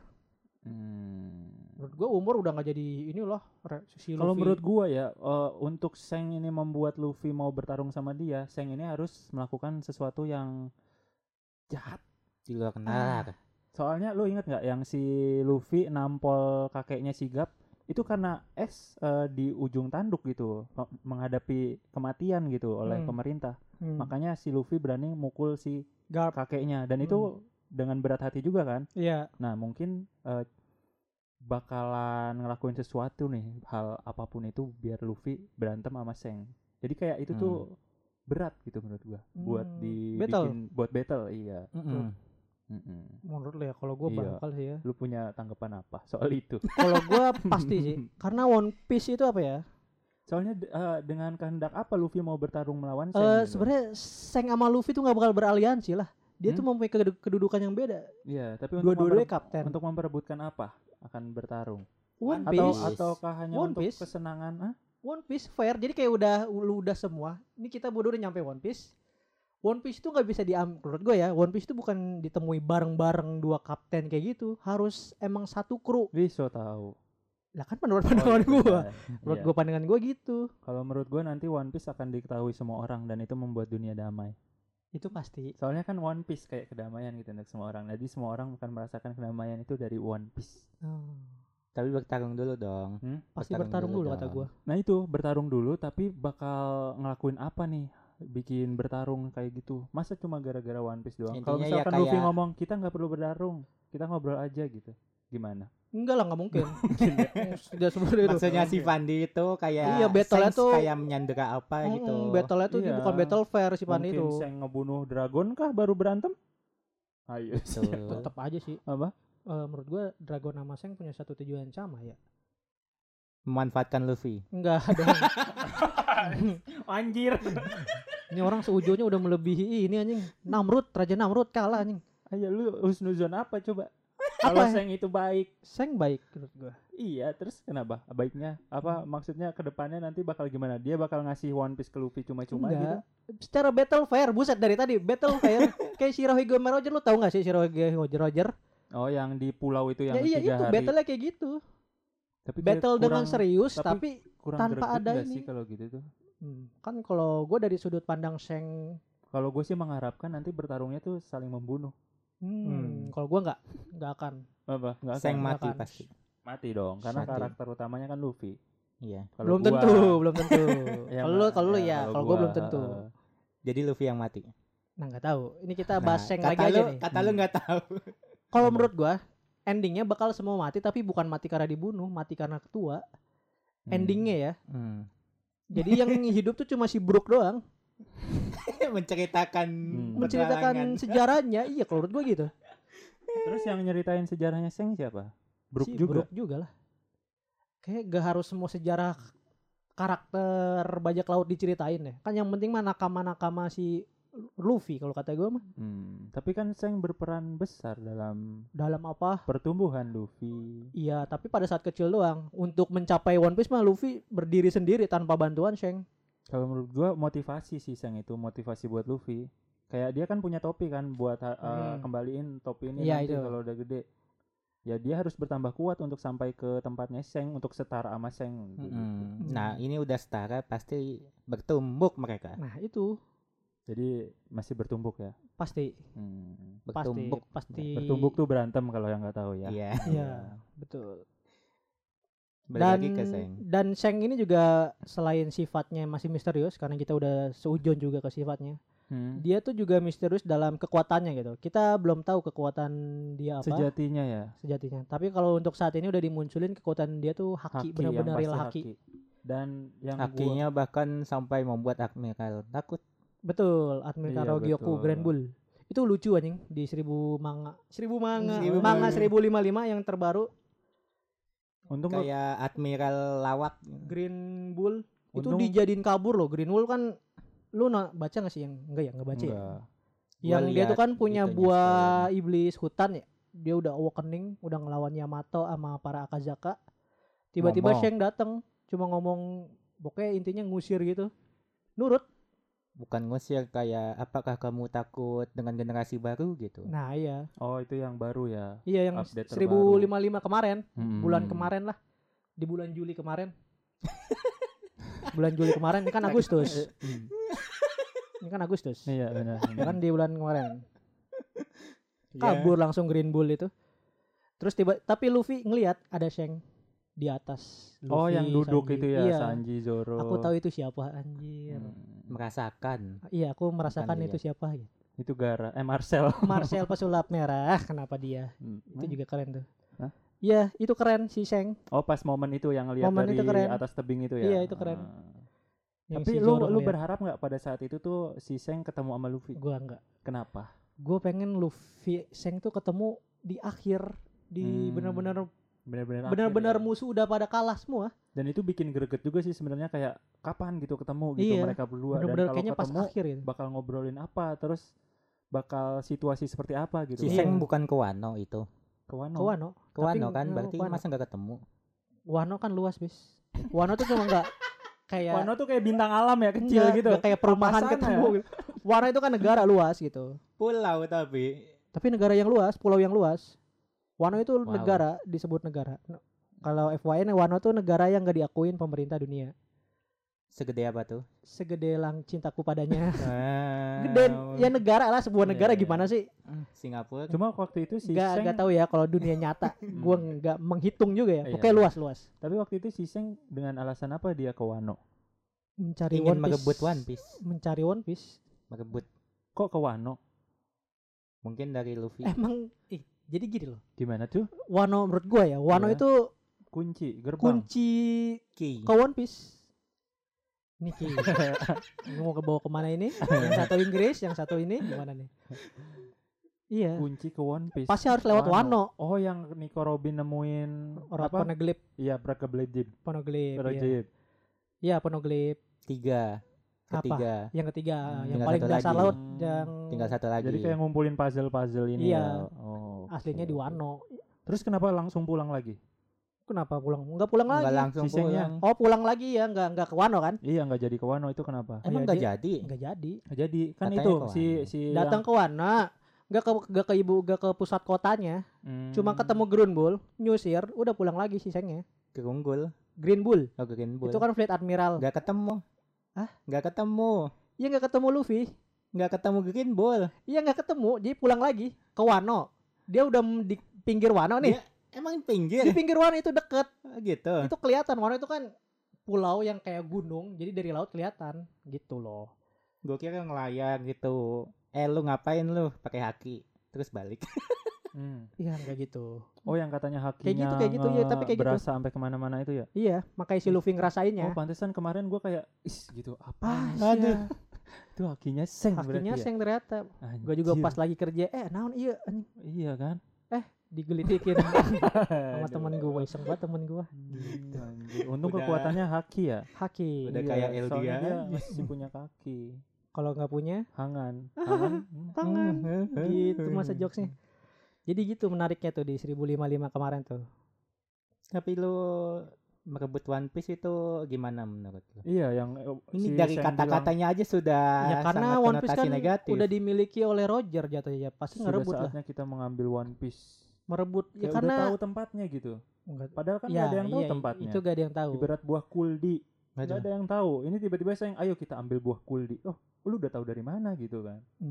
[SPEAKER 2] Hmm.
[SPEAKER 1] Menurut gua umur udah nggak jadi ini loh. re- si
[SPEAKER 2] Kalau
[SPEAKER 1] Luffy.
[SPEAKER 2] menurut gua ya eh, untuk Seng ini membuat Luffy mau bertarung sama dia, Seng ini harus melakukan sesuatu yang jahat.
[SPEAKER 3] Di luar nalar.
[SPEAKER 2] Soalnya lu inget nggak yang si Luffy nampol kakeknya si Gap itu karena S eh, di ujung tanduk gitu eh, menghadapi kematian gitu oleh
[SPEAKER 1] Hmm.
[SPEAKER 2] pemerintah.
[SPEAKER 1] Hmm.
[SPEAKER 2] Makanya si Luffy berani mukul si
[SPEAKER 1] Garp.
[SPEAKER 2] kakeknya dan
[SPEAKER 1] Hmm.
[SPEAKER 2] Kan itu dengan berat hati juga kan.
[SPEAKER 1] Iya.
[SPEAKER 2] Nah, mungkin eh, bakalan ngelakuin sesuatu nih, hal apapun itu biar Luffy berantem sama Seng. Jadi kayak itu tuh berat gitu menurut gua buat
[SPEAKER 1] Hmm,
[SPEAKER 2] di
[SPEAKER 1] battle.
[SPEAKER 2] bikin- buat battle, iya.
[SPEAKER 3] Mm-mm.
[SPEAKER 2] Mm-mm.
[SPEAKER 1] Menurut lo ya kalau gua
[SPEAKER 2] Iya.
[SPEAKER 1] bakal sih ya.
[SPEAKER 2] Lu punya tanggapan apa soal itu?
[SPEAKER 1] Kalau gua pasti sih. Karena One Piece itu apa ya?
[SPEAKER 2] Soalnya de- eh, dengan kehendak apa Luffy mau bertarung melawan
[SPEAKER 1] Eh
[SPEAKER 2] Seng? gitu?
[SPEAKER 1] sebenarnya Seng sama Luffy tuh nggak bakal beraliansi lah. Dia tuh mempunyai kedu- kedudukan yang beda.
[SPEAKER 2] Hmm? Iya, tapi untuk,
[SPEAKER 1] Dua-duanya
[SPEAKER 2] memper-
[SPEAKER 1] kapten.
[SPEAKER 2] untuk memperebutkan apa akan bertarung?
[SPEAKER 1] One
[SPEAKER 2] Atau
[SPEAKER 1] Piece,
[SPEAKER 3] Piece.
[SPEAKER 2] ataukah hanya
[SPEAKER 1] One
[SPEAKER 2] untuk
[SPEAKER 1] Piece.
[SPEAKER 2] kesenangan? ah? Hah?
[SPEAKER 1] One Piece fair. Jadi kayak udah lu udah semua. Ini kita bodoh udah nyampe One Piece. One Piece tuh nggak bisa diam menurut gue ya. One Piece tuh bukan ditemui bareng-bareng dua kapten kayak gitu. Harus emang satu kru.
[SPEAKER 2] Wih, so tahu.
[SPEAKER 1] Lah kan menurut pandangan
[SPEAKER 2] Oh, iya,
[SPEAKER 1] gua.
[SPEAKER 2] benar.
[SPEAKER 1] Menurut
[SPEAKER 2] Iya.
[SPEAKER 1] gua pandangan gua gitu.
[SPEAKER 2] Kalau menurut gue nanti One Piece akan diketahui semua orang dan itu membuat dunia damai.
[SPEAKER 1] Itu pasti.
[SPEAKER 2] Soalnya kan One Piece kayak kedamaian gitu untuk semua orang. Jadi semua orang akan merasakan kedamaian itu dari One Piece. Hmm?
[SPEAKER 1] Hmm,
[SPEAKER 3] Tapi bertarung dulu dong.
[SPEAKER 1] pasti
[SPEAKER 3] Bertarung
[SPEAKER 1] bertarung dulu
[SPEAKER 3] dulu
[SPEAKER 1] kata
[SPEAKER 3] dong.
[SPEAKER 1] gua.
[SPEAKER 2] Nah itu bertarung dulu tapi bakal ngelakuin apa nih? Bikin bertarung kayak gitu. Masa cuma gara-gara One Piece doang? Kalau
[SPEAKER 3] Intinya ya
[SPEAKER 2] misalkan Luffy
[SPEAKER 3] kayak-
[SPEAKER 2] ngomong kita nggak perlu bertarung, kita ngobrol aja gitu. Gimana?
[SPEAKER 1] Enggak lah nggak mungkin. Tidak seperti itu.
[SPEAKER 3] Maksudnya si Fandi itu kayak
[SPEAKER 1] Iya, battle-nya
[SPEAKER 3] sense
[SPEAKER 1] tuh-
[SPEAKER 3] kayak menyandera apa
[SPEAKER 1] Mm,
[SPEAKER 3] gitu.
[SPEAKER 1] battle-nya tuh
[SPEAKER 2] Iya.
[SPEAKER 1] bukan battle fair si Pan
[SPEAKER 2] Mungkin
[SPEAKER 1] itu.
[SPEAKER 2] Seng ngebunuh dragon kah baru berantem? Ayo.
[SPEAKER 3] Betul.
[SPEAKER 1] Tetap aja sih.
[SPEAKER 2] Apa?
[SPEAKER 1] Eh, menurut gua Dragon sama Seng punya satu tujuan sama ya.
[SPEAKER 3] Memanfaatkan Luffy.
[SPEAKER 1] Enggak dong.
[SPEAKER 2] Anjir.
[SPEAKER 1] Ini orang seujonya udah melebihi ini anjing. Namrud, Raja Namrud kalah anjing.
[SPEAKER 2] Ayo lu husnuzon apa coba? Kalau
[SPEAKER 1] Apa?
[SPEAKER 2] Seng itu baik
[SPEAKER 1] Seng baik menurut gua.
[SPEAKER 2] Iya, terus kenapa? Baiknya apa maksudnya kedepannya nanti bakal gimana? Dia bakal ngasih One Piece ke Luffy cuma-cuma gitu?
[SPEAKER 1] Enggak. Secara battle fair, buset dari tadi battle fair kayak Shirohige sama Roger lu tahu enggak sih Shirohige sama Roger?
[SPEAKER 2] Oh, yang di pulau itu
[SPEAKER 1] ya
[SPEAKER 2] yang
[SPEAKER 1] iya
[SPEAKER 2] tiga
[SPEAKER 1] itu
[SPEAKER 2] hari.
[SPEAKER 1] battle-nya kayak gitu.
[SPEAKER 2] Tapi kayak
[SPEAKER 1] Battle dengan
[SPEAKER 2] kurang-
[SPEAKER 1] serius
[SPEAKER 2] tapi-
[SPEAKER 1] tapi,
[SPEAKER 2] kurang
[SPEAKER 1] tanpa
[SPEAKER 2] greget
[SPEAKER 1] ada
[SPEAKER 2] nggak
[SPEAKER 1] ini.
[SPEAKER 2] sih kalau gitu tuh.
[SPEAKER 1] Hmm, kan kalau gue dari sudut pandang Sheng
[SPEAKER 2] Kalau gue sih mengharapkan nanti bertarungnya tuh saling membunuh.
[SPEAKER 1] hmm,
[SPEAKER 2] Hmm.
[SPEAKER 1] kalau gue nggak nggak akan.
[SPEAKER 2] Apa? Nggak akan.
[SPEAKER 3] Seng mati
[SPEAKER 1] akan.
[SPEAKER 3] pasti.
[SPEAKER 2] mati dong, karena
[SPEAKER 3] Mati.
[SPEAKER 2] karakter utamanya kan Luffy.
[SPEAKER 3] Iya.
[SPEAKER 2] Kalau
[SPEAKER 1] belum
[SPEAKER 2] gua-
[SPEAKER 1] tentu, belum tentu.
[SPEAKER 2] Ya,
[SPEAKER 1] kalau lu
[SPEAKER 2] ma-
[SPEAKER 1] kalau lu ya, kalau gue belum
[SPEAKER 2] gua,
[SPEAKER 1] tentu.
[SPEAKER 2] eh,
[SPEAKER 3] Jadi Luffy yang mati.
[SPEAKER 1] Nah nggak tahu. Ini kita bahas Sheng
[SPEAKER 3] kata
[SPEAKER 1] lagi aja
[SPEAKER 3] lu,
[SPEAKER 1] nih.
[SPEAKER 3] kata lu
[SPEAKER 2] Hmm.
[SPEAKER 3] nggak tahu.
[SPEAKER 1] Kalau menurut gue endingnya bakal semua mati tapi bukan mati karena dibunuh, mati karena ketua.
[SPEAKER 2] hmm.
[SPEAKER 1] Endingnya ya. Jadi yang hidup tuh cuma si Brook doang.
[SPEAKER 3] Menceritakan
[SPEAKER 2] Hmm.
[SPEAKER 1] Menceritakan
[SPEAKER 3] petualangan.
[SPEAKER 1] sejarahnya, iya kalau menurut gue gitu.
[SPEAKER 2] Terus yang nyeritain sejarahnya Seng siapa? Brook
[SPEAKER 1] Si
[SPEAKER 2] juga.
[SPEAKER 1] Brook juga lah. Kayak gak harus semua sejarah karakter bajak laut diceritain ya. Kan yang penting mah nakama-nakama si Luffy kalau kata gue mah.
[SPEAKER 2] Hmm, Tapi kan Seng berperan besar dalam
[SPEAKER 1] Dalam apa?
[SPEAKER 2] pertumbuhan Luffy.
[SPEAKER 1] Iya, tapi pada saat kecil doang. Untuk mencapai One Piece mah Luffy berdiri sendiri tanpa bantuan Sheng.
[SPEAKER 2] Kalau menurut gua motivasi sih Seng itu motivasi buat Luffy. Kayak dia kan punya topi kan buat ha- eh,
[SPEAKER 1] Hmm.
[SPEAKER 2] kembaliin topi ini
[SPEAKER 1] Iya,
[SPEAKER 2] nanti
[SPEAKER 1] itu.
[SPEAKER 2] kalau udah gede. Ya dia harus bertambah kuat untuk sampai ke tempatnya Seng untuk setara sama Seng. gitu.
[SPEAKER 3] Hmm. Nah, ini udah setara pasti bertumbuk mereka.
[SPEAKER 1] Nah, itu
[SPEAKER 2] Jadi masih bertumbuk ya.
[SPEAKER 1] pasti
[SPEAKER 2] Hmm.
[SPEAKER 1] pasti
[SPEAKER 3] Bertumbuk.
[SPEAKER 1] pasti
[SPEAKER 2] Bertumbuk tuh berantem kalau yang nggak tahu ya.
[SPEAKER 3] Iya.
[SPEAKER 1] Iya, betul.
[SPEAKER 3] Balik
[SPEAKER 1] Dan
[SPEAKER 3] lagi ke Seng.
[SPEAKER 1] dan Sheng ini juga selain sifatnya masih misterius karena kita udah seujon juga ke sifatnya.
[SPEAKER 2] Hmm.
[SPEAKER 1] dia tuh juga misterius dalam kekuatannya gitu. Kita belum tahu kekuatan dia apa
[SPEAKER 2] Sejatinya ya.
[SPEAKER 1] sejatinya. Tapi kalau untuk saat ini udah dimunculin kekuatan dia tuh haki,
[SPEAKER 2] Haki
[SPEAKER 1] benar-benar
[SPEAKER 2] yang
[SPEAKER 1] real
[SPEAKER 2] pasti
[SPEAKER 1] haki.
[SPEAKER 2] Dan yang gua-
[SPEAKER 3] Akhirnya bahkan sampai membuat Admiral takut.
[SPEAKER 1] Betul, Admiral Karo
[SPEAKER 2] Iya,
[SPEAKER 1] Gyoku
[SPEAKER 2] betul.
[SPEAKER 1] Grand Bull. Itu lucu anjing di 1000 manga. 1000 manga.
[SPEAKER 3] Seribu
[SPEAKER 1] manga
[SPEAKER 3] manga.
[SPEAKER 2] iya.
[SPEAKER 1] 1055 yang terbaru
[SPEAKER 2] untung gua-
[SPEAKER 3] Kayak Admiral lawak.
[SPEAKER 1] Green Bull itu
[SPEAKER 2] Untung-
[SPEAKER 1] dijadiin kabur loh. Green Bull kan lu na- baca gak sih yang enggak ya enggak baca ya?
[SPEAKER 2] Enggak.
[SPEAKER 3] Gua
[SPEAKER 1] Yang dia tuh
[SPEAKER 3] lihat gitu
[SPEAKER 1] kan punya
[SPEAKER 3] itunya
[SPEAKER 1] buah iblis hutan ya. Dia udah awakening, udah ngelawan Yamato sama para Akazaka. Tiba-tiba
[SPEAKER 3] Ngomong.
[SPEAKER 1] Sheng datang, cuma ngomong pokoknya intinya ngusir gitu. Nurut.
[SPEAKER 3] Bukan ngusir kayak apakah kamu takut dengan generasi baru gitu.
[SPEAKER 1] Nah, iya.
[SPEAKER 2] Oh itu yang baru ya.
[SPEAKER 1] Iya yang
[SPEAKER 2] Update
[SPEAKER 1] 1055 kemarin, bulan
[SPEAKER 2] Hmm.
[SPEAKER 1] kemarin lah. Di bulan Juli kemarin. bulan Juli kemarin ini kan Agustus.
[SPEAKER 2] Hmm.
[SPEAKER 1] Ini kan Agustus.
[SPEAKER 2] Iya benar.
[SPEAKER 1] Ya kan di bulan kemarin.
[SPEAKER 3] Iya.
[SPEAKER 1] kabur langsung Green Bull itu. Terus tiba tapi Luffy ngelihat ada Sheng di atas.
[SPEAKER 2] Oh
[SPEAKER 1] Luffy,
[SPEAKER 2] yang duduk
[SPEAKER 1] Sanji.
[SPEAKER 2] itu ya
[SPEAKER 1] Iya.
[SPEAKER 2] Sanji Zoro.
[SPEAKER 1] Aku tahu itu siapa anjir.
[SPEAKER 2] Hmm.
[SPEAKER 3] Merasakan.
[SPEAKER 1] Iya, aku merasakan
[SPEAKER 3] dilihat.
[SPEAKER 1] itu siapa gitu.
[SPEAKER 2] Itu Gara, eh Marcel.
[SPEAKER 1] Marcel pesulap merah, kenapa dia? Itu juga keren tuh.
[SPEAKER 2] Hah?
[SPEAKER 1] Iya, itu keren si Sheng.
[SPEAKER 2] Oh pas momen itu yang lihat
[SPEAKER 1] Momen
[SPEAKER 2] dari
[SPEAKER 1] itu keren.
[SPEAKER 2] atas tebing itu ya.
[SPEAKER 1] Iya, itu keren.
[SPEAKER 2] Ah.
[SPEAKER 1] yang si
[SPEAKER 2] Tapi lu
[SPEAKER 1] Zoro
[SPEAKER 2] lu
[SPEAKER 1] ngeliat.
[SPEAKER 2] berharap nggak pada saat itu tuh si Seng ketemu sama Luffy?
[SPEAKER 1] gua enggak.
[SPEAKER 2] Kenapa?
[SPEAKER 1] Gua pengen Luffy Sheng tuh ketemu di akhir di
[SPEAKER 2] Hmm.
[SPEAKER 1] benar-benar
[SPEAKER 2] Benar-benar akhir
[SPEAKER 1] benar-benar
[SPEAKER 2] ya.
[SPEAKER 1] musuh udah pada kalah semua.
[SPEAKER 2] Dan itu bikin greget juga sih sebenarnya kayak kapan gitu ketemu gitu
[SPEAKER 1] Iya.
[SPEAKER 2] mereka berdua dan
[SPEAKER 1] Benar-benar
[SPEAKER 2] kalau
[SPEAKER 1] kayaknya pas
[SPEAKER 2] ketemu
[SPEAKER 1] akhir gitu.
[SPEAKER 2] bakal ngobrolin apa terus bakal situasi seperti apa gitu.
[SPEAKER 3] Si
[SPEAKER 1] Iya.
[SPEAKER 3] Seng bukan ke Wano itu.
[SPEAKER 2] Ke Wano.
[SPEAKER 1] Ke Wano.
[SPEAKER 3] Ke
[SPEAKER 1] Tapi
[SPEAKER 3] Wano kan
[SPEAKER 1] nggak
[SPEAKER 3] berarti
[SPEAKER 1] Wano.
[SPEAKER 3] masa nggak ketemu.
[SPEAKER 1] Wano kan luas bis Wano tuh cuma nggak kayak
[SPEAKER 2] Wano tuh kayak bintang alam ya kecil
[SPEAKER 1] nggak-
[SPEAKER 2] gitu. ya?
[SPEAKER 1] nggak kayak perumahan
[SPEAKER 2] Papasan
[SPEAKER 1] ketemu gitu. Wano itu kan negara luas gitu
[SPEAKER 3] Pulau tapi.
[SPEAKER 1] tapi negara yang luas pulau yang luas Wano itu
[SPEAKER 3] Wow.
[SPEAKER 1] negara disebut negara N- kalau FYN Wano tuh negara yang nggak diakuin pemerintah dunia
[SPEAKER 3] Segede apa tuh?
[SPEAKER 1] segede lang cintaku padanya gede
[SPEAKER 3] Gede
[SPEAKER 1] ya negara lah sebuah
[SPEAKER 2] Iya,
[SPEAKER 1] negara
[SPEAKER 2] iya.
[SPEAKER 1] gimana sih
[SPEAKER 3] Hmm. Singapura.
[SPEAKER 2] Cuma waktu itu si
[SPEAKER 1] nggak
[SPEAKER 2] Seng, Hmm.
[SPEAKER 1] nggak tahu ya kalau dunia nyata gue nggak menghitung juga ya
[SPEAKER 2] Iya,
[SPEAKER 1] pokoknya
[SPEAKER 2] iya.
[SPEAKER 1] luas luas
[SPEAKER 2] tapi waktu itu si Seng dengan alasan apa dia ke Wano?
[SPEAKER 1] mencari
[SPEAKER 3] ingin
[SPEAKER 1] One Piece
[SPEAKER 3] merebut One Piece.
[SPEAKER 1] mencari One Piece
[SPEAKER 3] Merebut.
[SPEAKER 2] Kok ke Wano?
[SPEAKER 3] Mungkin dari Luffy.
[SPEAKER 1] emang ih, jadi gini loh
[SPEAKER 2] Gimana tuh?
[SPEAKER 1] Wano menurut gue ya Wano
[SPEAKER 2] Iya.
[SPEAKER 1] itu
[SPEAKER 2] Kunci gerbang.
[SPEAKER 1] kunci
[SPEAKER 3] Ki.
[SPEAKER 1] ke One Piece. Niki, Ini mau ke bawah kemana ini? Yang satu Inggris, yang satu ini gimana nih? Iya,
[SPEAKER 2] Kunci ke One Piece.
[SPEAKER 1] pasti harus lewat Wano.
[SPEAKER 2] Oh yang Nico Robin nemuin
[SPEAKER 1] Orang
[SPEAKER 2] apa?
[SPEAKER 1] Ponoglip,
[SPEAKER 2] Iya Brakablejib.
[SPEAKER 1] Ponoglip. Iya,
[SPEAKER 2] Brakablejib.
[SPEAKER 1] Iya, Ponoglip.
[SPEAKER 3] Tiga.
[SPEAKER 1] Apa?
[SPEAKER 3] Ketiga.
[SPEAKER 1] Yang ketiga,
[SPEAKER 2] Hmm,
[SPEAKER 1] yang
[SPEAKER 3] tinggal
[SPEAKER 1] paling
[SPEAKER 3] satu
[SPEAKER 1] dasar
[SPEAKER 3] lagi.
[SPEAKER 1] laut yang
[SPEAKER 3] Tinggal satu lagi.
[SPEAKER 2] Jadi kayak ngumpulin puzzle-puzzle ini
[SPEAKER 1] Iya.
[SPEAKER 2] ya. Oh. oke,
[SPEAKER 1] aslinya di
[SPEAKER 2] oke.
[SPEAKER 1] Wano.
[SPEAKER 2] Terus kenapa langsung pulang lagi?
[SPEAKER 1] Kenapa pulang? Enggak pulang
[SPEAKER 3] Nggak
[SPEAKER 1] lagi.
[SPEAKER 3] langsung
[SPEAKER 2] Si Sengnya.
[SPEAKER 3] pulang.
[SPEAKER 1] Oh, pulang lagi ya, enggak enggak ke Wano kan?
[SPEAKER 2] Iya nggak jadi ke Wano itu kenapa?
[SPEAKER 1] Iya,
[SPEAKER 3] Emang nggak
[SPEAKER 1] dia-
[SPEAKER 3] jadi?
[SPEAKER 1] Enggak jadi.
[SPEAKER 2] Nggak jadi kan
[SPEAKER 3] Katanya
[SPEAKER 2] itu
[SPEAKER 3] ke
[SPEAKER 2] si
[SPEAKER 3] Wano.
[SPEAKER 2] si
[SPEAKER 1] Datang ke Wano, Gak ke gak ke ibu gak ke pusat kotanya, cuma
[SPEAKER 2] Hmm.
[SPEAKER 1] ketemu Green Bull, nyusir, udah pulang lagi si Sengnya.
[SPEAKER 3] ke Unggul
[SPEAKER 1] Green Bull,
[SPEAKER 3] oh ke Green Bull
[SPEAKER 1] itu kan Fleet Admiral.
[SPEAKER 3] nggak ketemu
[SPEAKER 1] Hah?
[SPEAKER 3] nggak ketemu
[SPEAKER 1] Iya nggak ketemu Luffy,
[SPEAKER 3] nggak ketemu Green Bull
[SPEAKER 1] iya nggak ketemu, jadi pulang lagi ke Wano. Dia udah m- di pinggir Wano nih.
[SPEAKER 3] Dia- emang pinggir
[SPEAKER 1] Di pinggir Wano itu deket,
[SPEAKER 3] gitu
[SPEAKER 1] itu kelihatan Wano itu kan pulau yang kayak gunung, jadi dari laut kelihatan gitu loh.
[SPEAKER 3] gue kira ngelayar gitu eh lu ngapain lu pakai haki terus balik
[SPEAKER 2] Hmm.
[SPEAKER 1] Iya nggak gitu.
[SPEAKER 2] Oh yang katanya hakinya
[SPEAKER 1] gitu, kayak gitu, iya, tapi kayak gitu.
[SPEAKER 2] berasa sampai kemana-mana itu ya.
[SPEAKER 1] Iya, makanya si Luffy
[SPEAKER 2] Oh
[SPEAKER 1] ngerasainnya.
[SPEAKER 2] pantesan kemarin gua kayak is gitu
[SPEAKER 1] ah,
[SPEAKER 2] apa?
[SPEAKER 1] iya.
[SPEAKER 3] Aduh.
[SPEAKER 2] Itu hakinya seng
[SPEAKER 1] Akhirnya
[SPEAKER 2] berarti ya?
[SPEAKER 1] seng ternyata. Gue juga
[SPEAKER 2] Anjir.
[SPEAKER 1] pas lagi kerja, eh naon iya anjing
[SPEAKER 2] Iya kan?
[SPEAKER 1] digelitikin sama teman gue, iseng banget teman gue.
[SPEAKER 2] Gitu. Anjir. Untung
[SPEAKER 3] Udah-
[SPEAKER 2] kekuatannya haki ya.
[SPEAKER 1] Haki.
[SPEAKER 3] Udah
[SPEAKER 2] Iya,
[SPEAKER 3] kayak
[SPEAKER 2] soalnya
[SPEAKER 3] Eldia
[SPEAKER 2] dia
[SPEAKER 3] aja.
[SPEAKER 2] masih punya kaki.
[SPEAKER 1] Kalau nggak punya
[SPEAKER 2] Hangan. Hangan. Hmm.
[SPEAKER 1] tangan. gitu
[SPEAKER 2] Eh,
[SPEAKER 1] masa jokesnya. Jadi gitu menariknya tuh di 1055 kemarin tuh.
[SPEAKER 3] tapi lu merebut One Piece itu gimana menurut lu
[SPEAKER 2] Iya yang eh, si
[SPEAKER 3] ini dari
[SPEAKER 2] Seng bilang,
[SPEAKER 3] kata-katanya aja sudah
[SPEAKER 2] Ah,
[SPEAKER 1] ya karena
[SPEAKER 3] sangat
[SPEAKER 1] One Piece
[SPEAKER 3] konotasi
[SPEAKER 1] kan
[SPEAKER 3] negatif
[SPEAKER 1] udah dimiliki oleh Roger jatuhnya ya. Pasti
[SPEAKER 2] sudah
[SPEAKER 1] ngerebut lah,
[SPEAKER 2] saatnya kita mengambil One Piece.
[SPEAKER 1] merebut. Ya
[SPEAKER 2] Kayak
[SPEAKER 1] karena
[SPEAKER 2] udah tahu tempatnya gitu.
[SPEAKER 1] Nggak-
[SPEAKER 2] Padahal kan
[SPEAKER 1] ya,
[SPEAKER 2] nggak ada yang tahu
[SPEAKER 1] iya,
[SPEAKER 2] tempatnya.
[SPEAKER 1] Itu gak ada yang tahu.
[SPEAKER 2] Ibarat buah kuldi,
[SPEAKER 3] Nggak
[SPEAKER 2] nggak
[SPEAKER 3] ada.
[SPEAKER 2] ada yang tahu. Ini tiba-tiba sayang, ayo kita ambil buah kuldi. Oh, lu udah tahu dari mana gitu kan?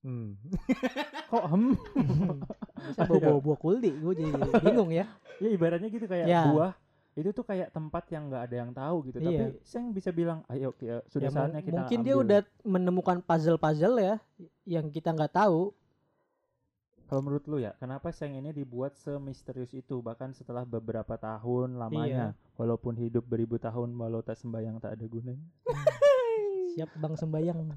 [SPEAKER 1] Hmm.
[SPEAKER 3] Hmm.
[SPEAKER 2] Kok hmm? hem?
[SPEAKER 1] Saya bawa bawa kuldi, gue jadi bingung ya.
[SPEAKER 2] ya ibaratnya gitu kayak
[SPEAKER 1] Ya.
[SPEAKER 2] buah itu tuh kayak tempat yang nggak ada yang tahu gitu. Tapi
[SPEAKER 1] Iya.
[SPEAKER 2] sayang bisa bilang, ayo
[SPEAKER 1] Ya,
[SPEAKER 2] ya, sudah
[SPEAKER 1] mung-
[SPEAKER 2] saatnya kita
[SPEAKER 1] mungkin
[SPEAKER 2] ambil.
[SPEAKER 1] dia udah menemukan puzzle-puzzle ya yang kita nggak tahu.
[SPEAKER 2] Kalau menurut lu ya, kenapa sayang ini dibuat semisterius itu bahkan setelah beberapa tahun
[SPEAKER 1] Iya.
[SPEAKER 2] lamanya, walaupun hidup beribu tahun walau tak sembayang tak ada gunanya.
[SPEAKER 1] Siap Bang Sembayang.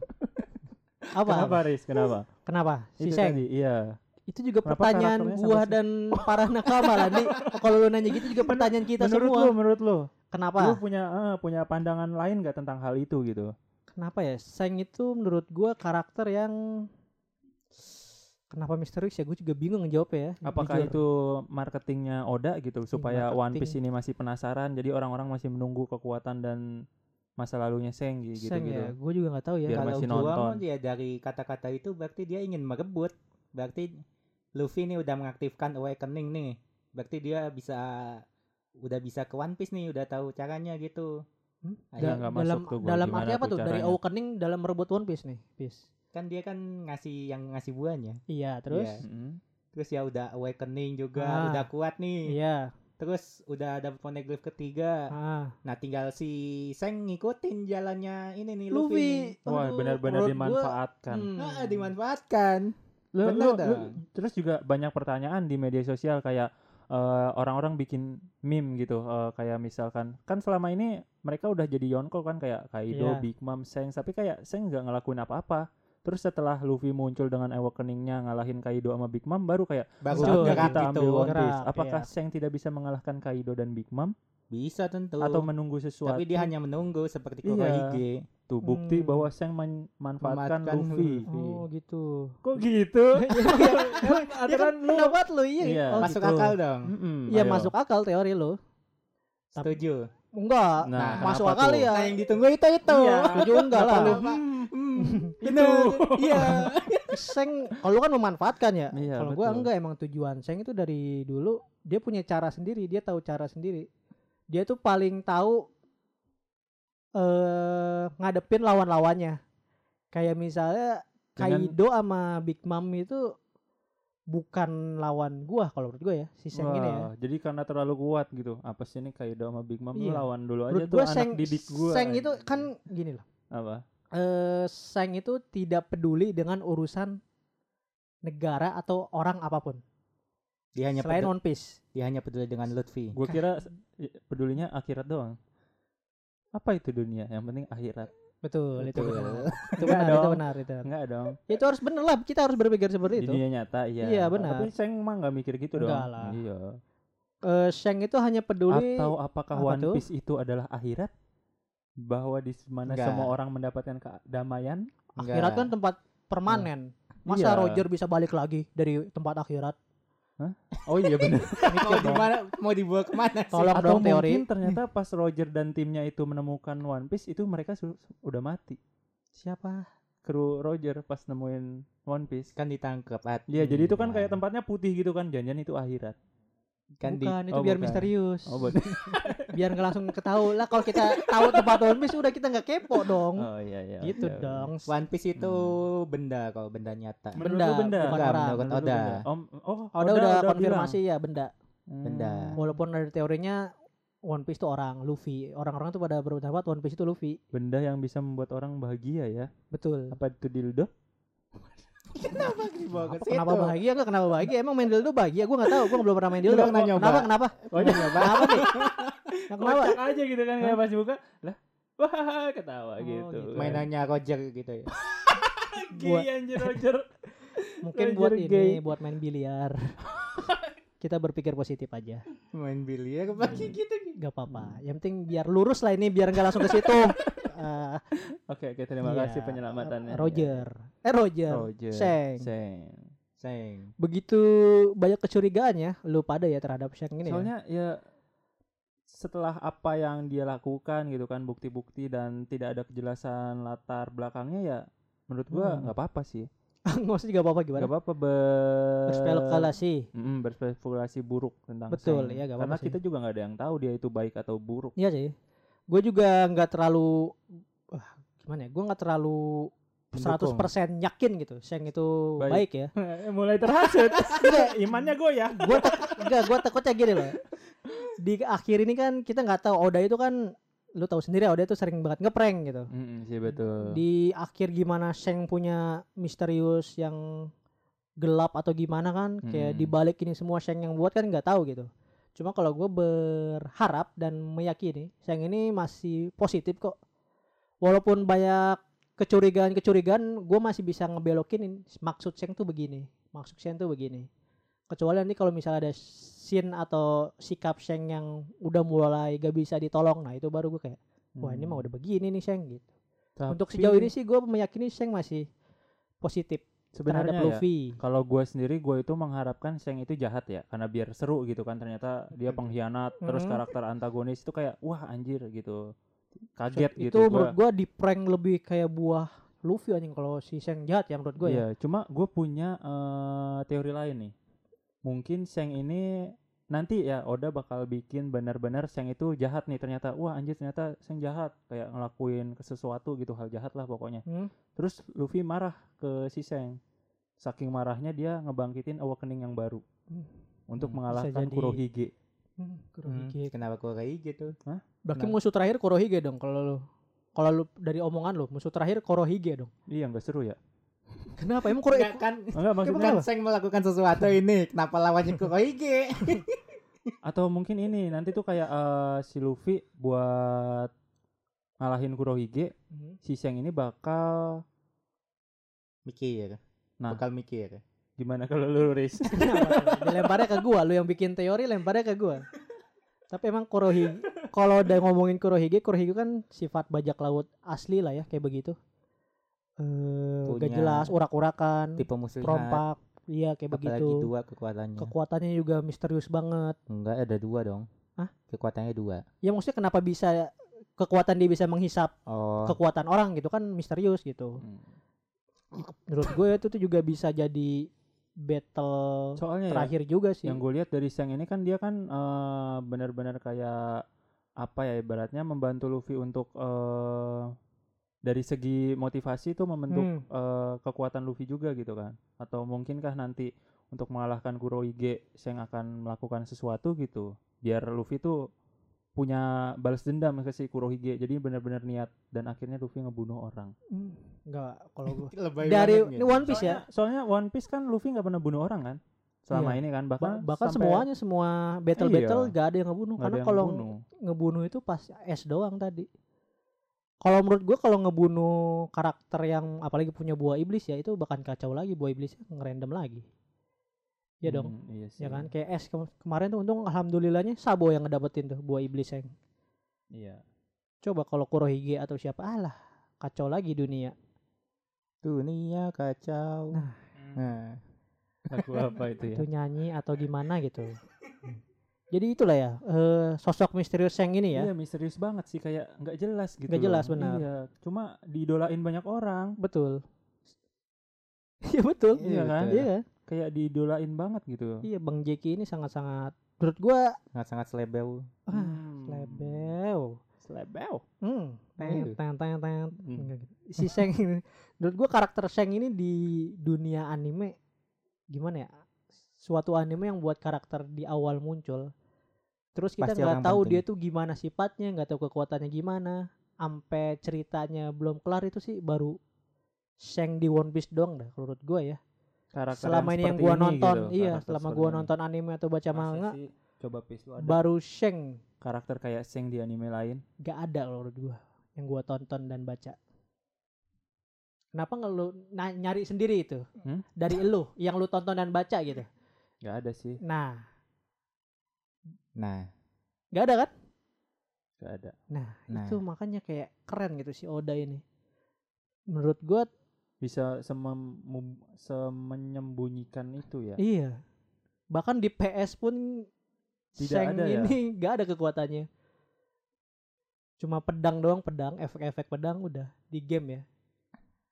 [SPEAKER 1] Apa?
[SPEAKER 2] Kenapa Riz? Kenapa?
[SPEAKER 1] Kenapa? Si
[SPEAKER 2] itu
[SPEAKER 1] Seng.
[SPEAKER 2] tadi, iya.
[SPEAKER 1] Itu juga
[SPEAKER 2] Kenapa
[SPEAKER 1] pertanyaan
[SPEAKER 2] karakternya sama
[SPEAKER 1] gua
[SPEAKER 2] si-
[SPEAKER 1] dan para nakama lah nih. Kalau lu nanya gitu juga pertanyaan kita
[SPEAKER 2] menurut
[SPEAKER 1] semua.
[SPEAKER 2] lu, menurut lu,
[SPEAKER 1] Kenapa?
[SPEAKER 2] lu punya eh, punya pandangan lain nggak tentang hal itu gitu?
[SPEAKER 1] Kenapa ya? Seng itu menurut gua karakter yang Kenapa misterius ya? Gue juga bingung ngejawabnya ya.
[SPEAKER 2] Apakah
[SPEAKER 1] Jujur. Iya,
[SPEAKER 2] itu marketingnya Oda gitu supaya One
[SPEAKER 1] marketing.
[SPEAKER 2] Piece ini masih penasaran, jadi orang-orang masih menunggu kekuatan dan masa lalunya Sengi gitu
[SPEAKER 1] Seng ya?
[SPEAKER 2] gitu.
[SPEAKER 1] Gue juga nggak tahu ya.
[SPEAKER 2] Biar
[SPEAKER 3] Kalau
[SPEAKER 2] masih
[SPEAKER 3] gua
[SPEAKER 2] nonton.
[SPEAKER 3] mau dia dari kata-kata itu berarti dia ingin merebut. Berarti Luffy nih udah mengaktifkan awakening nih. Berarti dia bisa udah bisa ke One Piece nih, udah tahu caranya gitu.
[SPEAKER 1] Hmm? Da-
[SPEAKER 3] Ayo,
[SPEAKER 2] Ah, iya, nggak masuk
[SPEAKER 1] dalam
[SPEAKER 2] tuh gua,
[SPEAKER 1] dalam
[SPEAKER 2] gimana
[SPEAKER 1] arti apa
[SPEAKER 2] tuh
[SPEAKER 1] tuh? Dari
[SPEAKER 2] caranya?
[SPEAKER 1] awakening dalam merebut One Piece nih, Piece.
[SPEAKER 3] kan dia kan ngasih yang ngasih buahnya.
[SPEAKER 1] Iya, terus
[SPEAKER 3] Iya. Terus ya udah awakening juga,
[SPEAKER 1] Ah.
[SPEAKER 3] udah kuat nih.
[SPEAKER 1] iya.
[SPEAKER 3] Terus udah dapat poneglyph ketiga.
[SPEAKER 1] Ah.
[SPEAKER 3] Nah, tinggal si Seng ngikutin jalannya ini nih Luffy.
[SPEAKER 1] Luffy.
[SPEAKER 3] nih.
[SPEAKER 2] Wah
[SPEAKER 1] Aduh,
[SPEAKER 2] benar-benar
[SPEAKER 1] menurut gua-
[SPEAKER 2] dimanfaatkan.
[SPEAKER 1] Hmm.
[SPEAKER 3] Ah, dimanfaatkan.
[SPEAKER 2] Lu-
[SPEAKER 3] bener
[SPEAKER 2] lu-
[SPEAKER 3] dah.
[SPEAKER 2] lu- terus juga banyak pertanyaan di media sosial kayak eh, orang-orang bikin meme gitu eh, kayak misalkan kan selama ini mereka udah jadi Yonko kan kayak Kaido,
[SPEAKER 1] Iya.
[SPEAKER 2] Big Mom, Seng tapi kayak Seng nggak ngelakuin apa-apa. Terus setelah Luffy muncul dengan awakening-nya ngalahin Kaido sama Big Mom baru kayak
[SPEAKER 3] Baru
[SPEAKER 1] Betul.
[SPEAKER 2] saatnya
[SPEAKER 3] gerak
[SPEAKER 2] kita
[SPEAKER 3] gitu.
[SPEAKER 2] ambil One Piece.
[SPEAKER 1] Gerak,
[SPEAKER 2] Apakah
[SPEAKER 1] iya.
[SPEAKER 2] Seng tidak bisa mengalahkan Kaido dan Big Mom
[SPEAKER 3] Bisa tentu.
[SPEAKER 2] atau menunggu sesuatu?
[SPEAKER 3] Tapi dia hanya menunggu seperti
[SPEAKER 2] Iya.
[SPEAKER 3] Kurohige.
[SPEAKER 2] tuh bukti
[SPEAKER 1] Hmm.
[SPEAKER 2] bahwa Seng memanfaatkan
[SPEAKER 3] Memanfaatkan
[SPEAKER 2] Luffy.
[SPEAKER 1] Oh, gitu.
[SPEAKER 2] Kok gitu?
[SPEAKER 1] ya kan lu buat lu iya.
[SPEAKER 2] Iya.
[SPEAKER 1] Oh,
[SPEAKER 3] Masuk
[SPEAKER 1] gitu.
[SPEAKER 3] akal dong.
[SPEAKER 2] Mm-mm,
[SPEAKER 1] Iya,
[SPEAKER 2] ayo.
[SPEAKER 1] masuk akal teori lu. Tapi-
[SPEAKER 3] Setuju.
[SPEAKER 1] Enggak.
[SPEAKER 2] Nah,
[SPEAKER 1] masuk
[SPEAKER 2] kenapa
[SPEAKER 1] akal
[SPEAKER 2] tuh?
[SPEAKER 1] ya.
[SPEAKER 3] Nah, yang ditunggu itu itu.
[SPEAKER 1] Iya, Hmm. setuju enggak lah.
[SPEAKER 3] Kenapa lu? Itu. Iya.
[SPEAKER 1] Seng kalau lu kan memanfaatkan ya.
[SPEAKER 2] Iya,
[SPEAKER 1] kalau gua
[SPEAKER 2] betul.
[SPEAKER 1] enggak emang tujuan Seng itu dari dulu dia punya cara sendiri, dia tahu cara sendiri. Dia tuh paling tahu eh ngadepin lawan-lawannya. Kayak misalnya
[SPEAKER 2] Dengan-
[SPEAKER 1] Kaido sama Big Mom itu bukan lawan gua kalau menurut gua ya, si Seng ini ya.
[SPEAKER 2] Wah, Jadi karena terlalu kuat gitu. Apa sih ini Kaido sama Big Mom lu
[SPEAKER 1] Iya.
[SPEAKER 2] lawan dulu aja
[SPEAKER 1] Menurut
[SPEAKER 2] tuh
[SPEAKER 1] gua
[SPEAKER 2] anak
[SPEAKER 1] Seng,
[SPEAKER 2] didik gua.
[SPEAKER 1] Seng itu
[SPEAKER 2] anjing.
[SPEAKER 1] kan gini loh.
[SPEAKER 2] apa?
[SPEAKER 1] Eh Seng itu tidak peduli dengan urusan negara atau orang apapun.
[SPEAKER 2] Iya,
[SPEAKER 3] Dia hanya
[SPEAKER 1] selain
[SPEAKER 3] peduli,
[SPEAKER 1] One Piece.
[SPEAKER 3] dia hanya peduli dengan Lutfi.
[SPEAKER 2] Gua kira s- i- pedulinya akhirat doang. Apa itu dunia? Yang penting akhirat.
[SPEAKER 1] Betul, itu
[SPEAKER 3] Betul.
[SPEAKER 1] benar. itu
[SPEAKER 2] Enggak
[SPEAKER 1] benar, itu
[SPEAKER 2] Iya dong.
[SPEAKER 1] benar, itu benar.
[SPEAKER 2] Enggak dong.
[SPEAKER 1] Ya, Itu harus benar lah, kita harus berpikir seperti
[SPEAKER 2] Di
[SPEAKER 1] itu.
[SPEAKER 2] dunia nyata iya.
[SPEAKER 1] Iya, benar.
[SPEAKER 2] Tapi Seng mah nggak mikir gitu dong.
[SPEAKER 1] Enggak lah.
[SPEAKER 2] Iya.
[SPEAKER 1] Eh Shang itu hanya peduli
[SPEAKER 2] Atau apakah
[SPEAKER 1] apa
[SPEAKER 2] One
[SPEAKER 1] tuh?
[SPEAKER 2] Piece itu adalah akhirat? Bahwa di mana
[SPEAKER 3] Enggak.
[SPEAKER 2] semua orang mendapatkan kedamaian?
[SPEAKER 1] akhirat kan tempat permanen. Masa
[SPEAKER 2] Iya.
[SPEAKER 1] Roger bisa balik lagi dari tempat akhirat?
[SPEAKER 2] Oh iya benar.
[SPEAKER 3] mau di mana mau dibawa kemana sih?
[SPEAKER 1] Tolong
[SPEAKER 2] Atau
[SPEAKER 1] dong teori.
[SPEAKER 2] mungkin ternyata pas Roger dan timnya itu menemukan One Piece itu mereka su- su- udah mati.
[SPEAKER 1] Siapa?
[SPEAKER 2] kru Roger pas nemuin One Piece.
[SPEAKER 3] kan ditangkap at
[SPEAKER 2] Iya, jadi itu kan
[SPEAKER 3] Iya.
[SPEAKER 2] kayak tempatnya putih gitu kan, janjian itu akhirat.
[SPEAKER 3] kan di
[SPEAKER 1] bukan itu
[SPEAKER 2] oh,
[SPEAKER 1] biar
[SPEAKER 2] bukan.
[SPEAKER 1] misterius
[SPEAKER 2] Oh, buat.
[SPEAKER 1] biar nggak langsung ketahui lah kalau kita tahu tempat One Piece udah kita nggak kepo dong
[SPEAKER 2] oh iya iya.
[SPEAKER 1] gitu
[SPEAKER 2] oke, oke.
[SPEAKER 1] dong
[SPEAKER 3] One Piece itu
[SPEAKER 1] Hmm.
[SPEAKER 3] benda kalau benda nyata
[SPEAKER 2] Menurut
[SPEAKER 1] benda,
[SPEAKER 2] lu benda?
[SPEAKER 1] bukan
[SPEAKER 3] Enggak,
[SPEAKER 1] orang
[SPEAKER 3] menurut
[SPEAKER 1] Menurut-
[SPEAKER 2] Oda.
[SPEAKER 3] Oda.
[SPEAKER 2] Om, oh,
[SPEAKER 1] Oda udah, konfirmasi ya benda
[SPEAKER 2] bilang.
[SPEAKER 3] Benda.
[SPEAKER 2] Hmm,
[SPEAKER 1] walaupun ada teorinya One Piece itu orang Luffy orang-orang tuh pada berpendapat One Piece itu Luffy
[SPEAKER 2] Benda yang bisa membuat orang bahagia ya.
[SPEAKER 1] betul
[SPEAKER 2] Apa itu dildo?
[SPEAKER 3] kenapa dibawa
[SPEAKER 1] Apa, kenapa bahagia nggak kenapa bahagia emang main dildo bahagia gue nggak tahu gue belum pernah main dildo
[SPEAKER 3] Lu pernah nyoba?
[SPEAKER 1] kenapa kenapa
[SPEAKER 3] oh nyoba
[SPEAKER 1] kenapa nih Nah, kenapa
[SPEAKER 2] Kocak aja gitu kan kayak pas buka lah wah ketawa
[SPEAKER 1] Oh,
[SPEAKER 2] gitu.
[SPEAKER 1] gitu.
[SPEAKER 3] mainannya Roger gitu ya
[SPEAKER 1] Buat-
[SPEAKER 2] Gay anjir Roger.
[SPEAKER 1] mungkin
[SPEAKER 2] Roger
[SPEAKER 1] buat
[SPEAKER 2] Gay.
[SPEAKER 1] ini buat main biliar kita berpikir positif aja
[SPEAKER 3] main biliar
[SPEAKER 1] Hmm.
[SPEAKER 3] pakai gitu
[SPEAKER 1] nggak apa-apa yang penting biar lurus lah ini biar nggak langsung ke situ Eh,
[SPEAKER 2] Oke, oke terima
[SPEAKER 1] iya,
[SPEAKER 2] kasih penyelamatannya. Iya.
[SPEAKER 1] Roger eh Roger,
[SPEAKER 2] Roger.
[SPEAKER 1] Seng.
[SPEAKER 2] Seng.
[SPEAKER 3] sayang
[SPEAKER 1] begitu banyak kecurigaan ya lu pada ya terhadap Sheng ini ya.
[SPEAKER 2] Soalnya ya setelah apa yang dia lakukan gitu kan bukti-bukti dan tidak ada kejelasan latar belakangnya ya menurut gua
[SPEAKER 1] Hmm.
[SPEAKER 2] nggak apa-apa sih
[SPEAKER 1] nggak usah juga apa-apa gimana
[SPEAKER 2] nggak apa-apa ber
[SPEAKER 1] berspekulasi
[SPEAKER 2] Mm, berspekulasi buruk tentang
[SPEAKER 1] Betul,
[SPEAKER 2] Seng.
[SPEAKER 1] iya, nggak
[SPEAKER 2] karena
[SPEAKER 1] apa-apa sih.
[SPEAKER 2] kita juga nggak ada yang tahu dia itu baik atau buruk
[SPEAKER 1] iya sih gue juga nggak terlalu wah, gimana ya gue nggak terlalu 100% yakin gitu Sheng itu
[SPEAKER 2] Baik.
[SPEAKER 1] baik, ya
[SPEAKER 2] mulai terhasut imannya gue ya
[SPEAKER 1] gue enggak gue takutnya gini loh di akhir ini kan kita nggak tahu Oda itu kan lu tahu sendiri Oda itu sering banget ngeprank gitu
[SPEAKER 2] sih betul
[SPEAKER 1] di akhir gimana Sheng punya misterius yang gelap atau gimana kan kayak
[SPEAKER 2] Hmm.
[SPEAKER 1] dibalik ini semua Sheng yang buat kan nggak tahu gitu cuma kalau gue berharap dan meyakini Sheng ini masih positif kok walaupun banyak kecurigaan-kecurigaan gue masih bisa ngebelokin ini. maksud Sheng tuh begini maksud Sheng tuh begini kecuali nanti kalau misalnya ada scene atau sikap Sheng yang udah mulai gak bisa ditolong nah itu baru gue kayak wah ini
[SPEAKER 2] Hmm.
[SPEAKER 1] mah udah begini nih Sheng gitu untuk sejauh ini sih gue meyakini Sheng masih positif terhadap
[SPEAKER 2] sebenarnya ya,
[SPEAKER 1] Luffy.
[SPEAKER 2] kalau gue sendiri gue itu mengharapkan Seng itu jahat ya karena biar seru gitu kan ternyata dia pengkhianat terus
[SPEAKER 1] Mhm.
[SPEAKER 2] karakter antagonis itu kayak wah anjir gitu kaget
[SPEAKER 1] itu
[SPEAKER 2] gitu
[SPEAKER 1] menurut gue di prank lebih kayak buah Luffy anjing kalau si Sheng jahat ya menurut gue ya.
[SPEAKER 2] Iya, cuma gue punya eh, teori lain nih. Mungkin Seng ini nanti ya Oda bakal bikin benar-benar Seng itu jahat nih ternyata. Wah anjir ternyata Seng jahat kayak ngelakuin ke sesuatu gitu hal jahat lah pokoknya.
[SPEAKER 1] Hmm.
[SPEAKER 2] Terus Luffy marah ke si Seng. Saking marahnya dia ngebangkitin awakening yang baru
[SPEAKER 1] Hmm.
[SPEAKER 2] untuk
[SPEAKER 3] Hmm, bisa
[SPEAKER 2] mengalahkan
[SPEAKER 1] jadi.
[SPEAKER 2] Kurohige.
[SPEAKER 1] Hmm,
[SPEAKER 3] Hmm,
[SPEAKER 1] Kurohige.
[SPEAKER 3] kenapa gue kayak gitu
[SPEAKER 1] Berarti
[SPEAKER 2] Nah.
[SPEAKER 1] musuh terakhir Kurohige dong kalau lu. Kalau lu dari omongan lu, musuh terakhir Kurohige dong.
[SPEAKER 2] Iya nggak seru ya?
[SPEAKER 1] Kenapa? Emang Kurohige
[SPEAKER 3] Nggak, kan
[SPEAKER 2] Enggak maksudnya
[SPEAKER 3] bukan Seng melakukan sesuatu ini kenapa lawannya Kurohige
[SPEAKER 2] atau mungkin ini nanti tuh kayak eh, si Luffy buat ngalahin Kurohige,
[SPEAKER 1] Hmm.
[SPEAKER 2] si Seng ini bakal
[SPEAKER 3] mikir
[SPEAKER 2] Nah.
[SPEAKER 3] bakal mikir
[SPEAKER 2] gimana kalau lu Riz?
[SPEAKER 1] Kenapa? Dilemparnya ke gua, lu yang bikin teori lemparnya ke gua. Tapi emang Kurohige kalau udah ngomongin Kurohige, Kurohige kan sifat bajak laut asli lah ya kayak begitu. Eh, gak
[SPEAKER 3] Punya
[SPEAKER 1] jelas, urak-urakan,
[SPEAKER 3] tipe
[SPEAKER 2] gitu kan.
[SPEAKER 3] musuh
[SPEAKER 1] perompak, iya kayak
[SPEAKER 3] apalagi
[SPEAKER 1] begitu.
[SPEAKER 3] dua kekuatannya
[SPEAKER 1] Kekuatannya juga misterius banget.
[SPEAKER 3] enggak ada dua dong
[SPEAKER 1] Hah?
[SPEAKER 3] kekuatannya dua
[SPEAKER 1] Ya maksudnya kenapa bisa kekuatan dia bisa menghisap
[SPEAKER 3] oh
[SPEAKER 1] kekuatan orang gitu kan misterius gitu.
[SPEAKER 2] Hmm.
[SPEAKER 1] Menurut gue itu tuh juga bisa jadi battle
[SPEAKER 2] Soalnya ya,
[SPEAKER 1] terakhir juga sih.
[SPEAKER 2] yang gue lihat dari Seng ini kan dia kan eh, benar-benar kayak apa ya ibaratnya membantu Luffy untuk eh, dari segi motivasi itu membentuk
[SPEAKER 1] Hmm.
[SPEAKER 2] eh, kekuatan Luffy juga gitu kan. Atau mungkinkah nanti untuk mengalahkan Kurohige Seng akan melakukan sesuatu gitu biar Luffy tuh punya balas dendam ke si Kurohige. Jadi benar-benar niat dan akhirnya Luffy ngebunuh orang.
[SPEAKER 1] Hmm, Enggak, kalau gue
[SPEAKER 3] Lebay
[SPEAKER 1] dari
[SPEAKER 3] banget
[SPEAKER 1] ini
[SPEAKER 3] gitu.
[SPEAKER 1] One Piece ya.
[SPEAKER 2] Soalnya, soalnya One Piece kan Luffy nggak pernah bunuh orang kan? Selama
[SPEAKER 1] Iya.
[SPEAKER 2] ini kan bahkan
[SPEAKER 1] Ba- bahkan
[SPEAKER 2] sampai-
[SPEAKER 1] semuanya semua battle battle
[SPEAKER 2] Iya.
[SPEAKER 1] gak ada yang ngebunuh
[SPEAKER 2] Nggak ada
[SPEAKER 1] karena
[SPEAKER 2] yang
[SPEAKER 1] kalau
[SPEAKER 2] bunuh.
[SPEAKER 1] ngebunuh itu pas S doang tadi kalau menurut gue kalau ngebunuh karakter yang apalagi punya buah iblis ya itu bahkan kacau lagi buah iblisnya ngerandom lagi ya dong
[SPEAKER 2] Hmm, iya sih.
[SPEAKER 1] ya kan kayak S kema- kemarin tuh untung alhamdulillahnya Sabo yang ngedapetin tuh buah iblis yang
[SPEAKER 2] Iya.
[SPEAKER 1] coba kalau Kurohige atau siapa alah kacau lagi dunia
[SPEAKER 3] dunia kacau
[SPEAKER 1] Nah.
[SPEAKER 3] nah
[SPEAKER 2] Lagu apa itu ya?
[SPEAKER 1] itu nyanyi atau gimana gitu Jadi itulah ya eh, sosok misterius Shang ini ya.
[SPEAKER 2] Iya misterius banget sih kayak nggak jelas gitu.
[SPEAKER 1] Nggak
[SPEAKER 2] loh.
[SPEAKER 1] jelas, benar.
[SPEAKER 2] Iya, cuma diidolain banyak orang.
[SPEAKER 1] Betul. Iya betul.
[SPEAKER 2] Iya kan?
[SPEAKER 1] Iya kan?
[SPEAKER 2] Kayak diidolain banget gitu.
[SPEAKER 1] Iya Bang Jeki ini sangat-sangat menurut gua
[SPEAKER 3] sangat-sangat selebel
[SPEAKER 1] Ah,
[SPEAKER 2] Hmm.
[SPEAKER 1] Lebel.
[SPEAKER 2] Slebel.
[SPEAKER 1] Hmm.
[SPEAKER 3] Ayo.
[SPEAKER 1] Teng teng teng teng.
[SPEAKER 2] Hmm.
[SPEAKER 1] Enggak gitu. Si Shang ini menurut gua karakter Shang ini di dunia anime gimana ya? Suatu anime yang buat karakter di awal muncul. Terus kita
[SPEAKER 3] Pasti
[SPEAKER 1] nggak
[SPEAKER 3] orang
[SPEAKER 1] tahu
[SPEAKER 3] penting.
[SPEAKER 1] dia tuh gimana sifatnya, nggak tahu kekuatannya gimana. Ampe ceritanya belum kelar itu sih baru Shang di One Piece doang dah menurut gua ya.
[SPEAKER 2] Karakter
[SPEAKER 1] selama ini yang
[SPEAKER 2] seperti
[SPEAKER 1] gua
[SPEAKER 2] ini
[SPEAKER 1] nonton,
[SPEAKER 2] gitu,
[SPEAKER 1] iya,
[SPEAKER 2] karakter
[SPEAKER 1] selama
[SPEAKER 2] seperti
[SPEAKER 1] gua
[SPEAKER 2] ini.
[SPEAKER 1] nonton anime atau baca
[SPEAKER 2] Masa
[SPEAKER 1] manga
[SPEAKER 2] sih, coba Pis lu ada
[SPEAKER 1] baru Shang
[SPEAKER 2] karakter kayak Seng di anime lain.
[SPEAKER 1] gak ada loh menurut gua yang gua tonton dan baca. Kenapa nggak lu na- nyari sendiri itu
[SPEAKER 2] Hmm?
[SPEAKER 1] dari lu yang lu tonton dan baca gitu?
[SPEAKER 2] Gak ada sih,
[SPEAKER 1] Nah,
[SPEAKER 3] nah
[SPEAKER 1] nggak ada kan?
[SPEAKER 2] gak ada.
[SPEAKER 1] Nah,
[SPEAKER 3] Nah.
[SPEAKER 1] itu makanya kayak keren gitu si Oda ini. Menurut gua
[SPEAKER 2] Bisa semem- mem- semenyembunyikan itu ya.
[SPEAKER 1] iya. Bahkan di PS pun
[SPEAKER 2] Tidak
[SPEAKER 1] Shang
[SPEAKER 2] ada ya?
[SPEAKER 1] ini nggak ada kekuatannya. Cuma pedang doang, pedang, efek-efek pedang udah di game ya.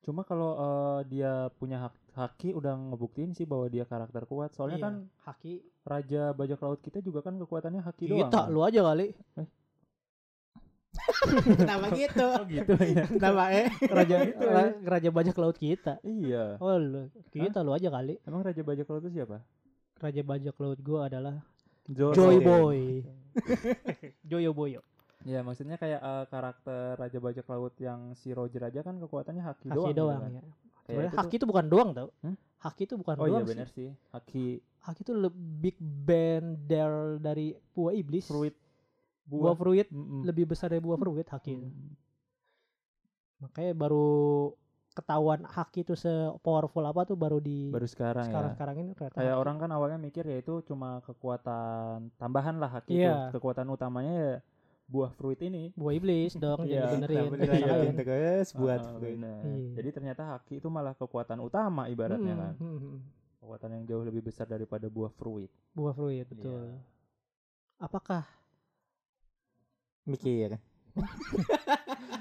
[SPEAKER 2] Cuma kalau eh, dia punya hak haki udah ngebuktiin sih bahwa dia karakter kuat. Soalnya
[SPEAKER 1] Iya.
[SPEAKER 2] kan
[SPEAKER 1] Haki
[SPEAKER 2] raja bajak laut kita juga kan kekuatannya haki doang.
[SPEAKER 1] kita
[SPEAKER 2] kan?
[SPEAKER 1] Iya, lu aja kali.
[SPEAKER 3] kenapa gitu
[SPEAKER 2] Oh gitu ya.
[SPEAKER 3] kenapa eh
[SPEAKER 2] raja ra-
[SPEAKER 1] Ra- Raja bajak laut kita.
[SPEAKER 2] Iya.
[SPEAKER 1] Oh lu, kita lu aja kali.
[SPEAKER 2] Emang raja bajak laut itu siapa?
[SPEAKER 1] Raja bajak laut gua adalah
[SPEAKER 2] Joy,
[SPEAKER 1] Joy
[SPEAKER 3] Oke.
[SPEAKER 1] Boy. Joyo Boyo.
[SPEAKER 2] Ya maksudnya kayak eh, karakter raja bajak laut yang si Roger aja kan kekuatannya haki,
[SPEAKER 1] Haki
[SPEAKER 2] doang. gitu
[SPEAKER 1] doang,
[SPEAKER 2] kan.
[SPEAKER 1] ya.
[SPEAKER 2] Kayak
[SPEAKER 1] Sebenarnya
[SPEAKER 2] itu
[SPEAKER 1] Haki itu bukan doang tau.
[SPEAKER 2] Hmm?
[SPEAKER 1] Haki itu bukan
[SPEAKER 2] tuh- Oh iya
[SPEAKER 1] doang
[SPEAKER 2] benar
[SPEAKER 1] sih.
[SPEAKER 2] sih. Haki
[SPEAKER 1] Haki itu le- big bender dari buah iblis.
[SPEAKER 2] fruit
[SPEAKER 1] Buah
[SPEAKER 2] buah.
[SPEAKER 1] fruit
[SPEAKER 2] Mm-mm.
[SPEAKER 1] lebih besar dari buah fruit Haki. itu.
[SPEAKER 2] Mm.
[SPEAKER 1] Makanya baru ketahuan Haki itu se powerful apa tuh baru di
[SPEAKER 2] Baru sekarang, ya.
[SPEAKER 1] sekarang-sekarang ini ternyata
[SPEAKER 2] Kayak
[SPEAKER 1] Haki.
[SPEAKER 2] orang kan awalnya mikir ya itu cuma kekuatan tambahan lah haki
[SPEAKER 1] Iya.
[SPEAKER 2] itu. Kekuatan utamanya ya buah fruit ini.
[SPEAKER 1] buah iblis dong
[SPEAKER 2] Iya,
[SPEAKER 1] jadi kan? benerin.
[SPEAKER 3] Kenapa
[SPEAKER 2] Iya.
[SPEAKER 3] diracunin terus buat
[SPEAKER 2] Ah,
[SPEAKER 3] fruit?
[SPEAKER 2] bener.
[SPEAKER 1] Iya.
[SPEAKER 2] Jadi ternyata haki itu malah kekuatan utama ibaratnya
[SPEAKER 1] Mm,
[SPEAKER 2] kan.
[SPEAKER 1] mm, mm.
[SPEAKER 2] Kekuatan yang jauh lebih besar daripada buah fruit.
[SPEAKER 1] Buah fruit betul.
[SPEAKER 2] Iya.
[SPEAKER 1] Apakah
[SPEAKER 3] mikir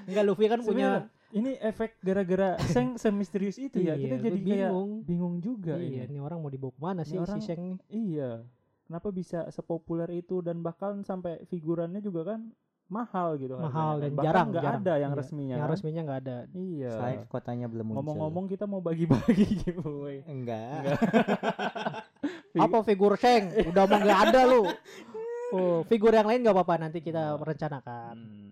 [SPEAKER 1] Enggak Luffy kan punya
[SPEAKER 2] Sebenarnya ini efek gara-gara seng semisterius itu
[SPEAKER 1] Iya,
[SPEAKER 2] ya. Kita jadi
[SPEAKER 1] gua
[SPEAKER 2] kayak
[SPEAKER 1] bingung.
[SPEAKER 2] bingung juga
[SPEAKER 1] iya,
[SPEAKER 2] ini.
[SPEAKER 1] ini orang mau dibawa kemana
[SPEAKER 2] Ini
[SPEAKER 1] sih
[SPEAKER 2] orang-
[SPEAKER 1] si Sheng ini?
[SPEAKER 2] Iya. Kenapa bisa sepopuler itu dan bahkan sampai figurannya juga kan mahal gitu
[SPEAKER 1] Mahal
[SPEAKER 2] harganya kan.
[SPEAKER 1] dan
[SPEAKER 2] Bahkan
[SPEAKER 1] jarang,
[SPEAKER 2] nggak
[SPEAKER 1] jarang.
[SPEAKER 2] ada yang
[SPEAKER 1] Iya,
[SPEAKER 2] resminya.
[SPEAKER 1] Yang
[SPEAKER 2] kan.
[SPEAKER 1] resminya nggak ada.
[SPEAKER 2] Iya.
[SPEAKER 3] selain kekuatannya belum muncul
[SPEAKER 2] Ngomong-ngomong kita mau bagi-bagi giveaway.
[SPEAKER 3] enggak
[SPEAKER 2] Figu-
[SPEAKER 1] Apa figur Sheng? Udah mau nggak ada lu. Oh, figur yang lain nggak apa-apa nanti kita
[SPEAKER 2] Nggak.
[SPEAKER 1] rencanakan.
[SPEAKER 2] Hmm,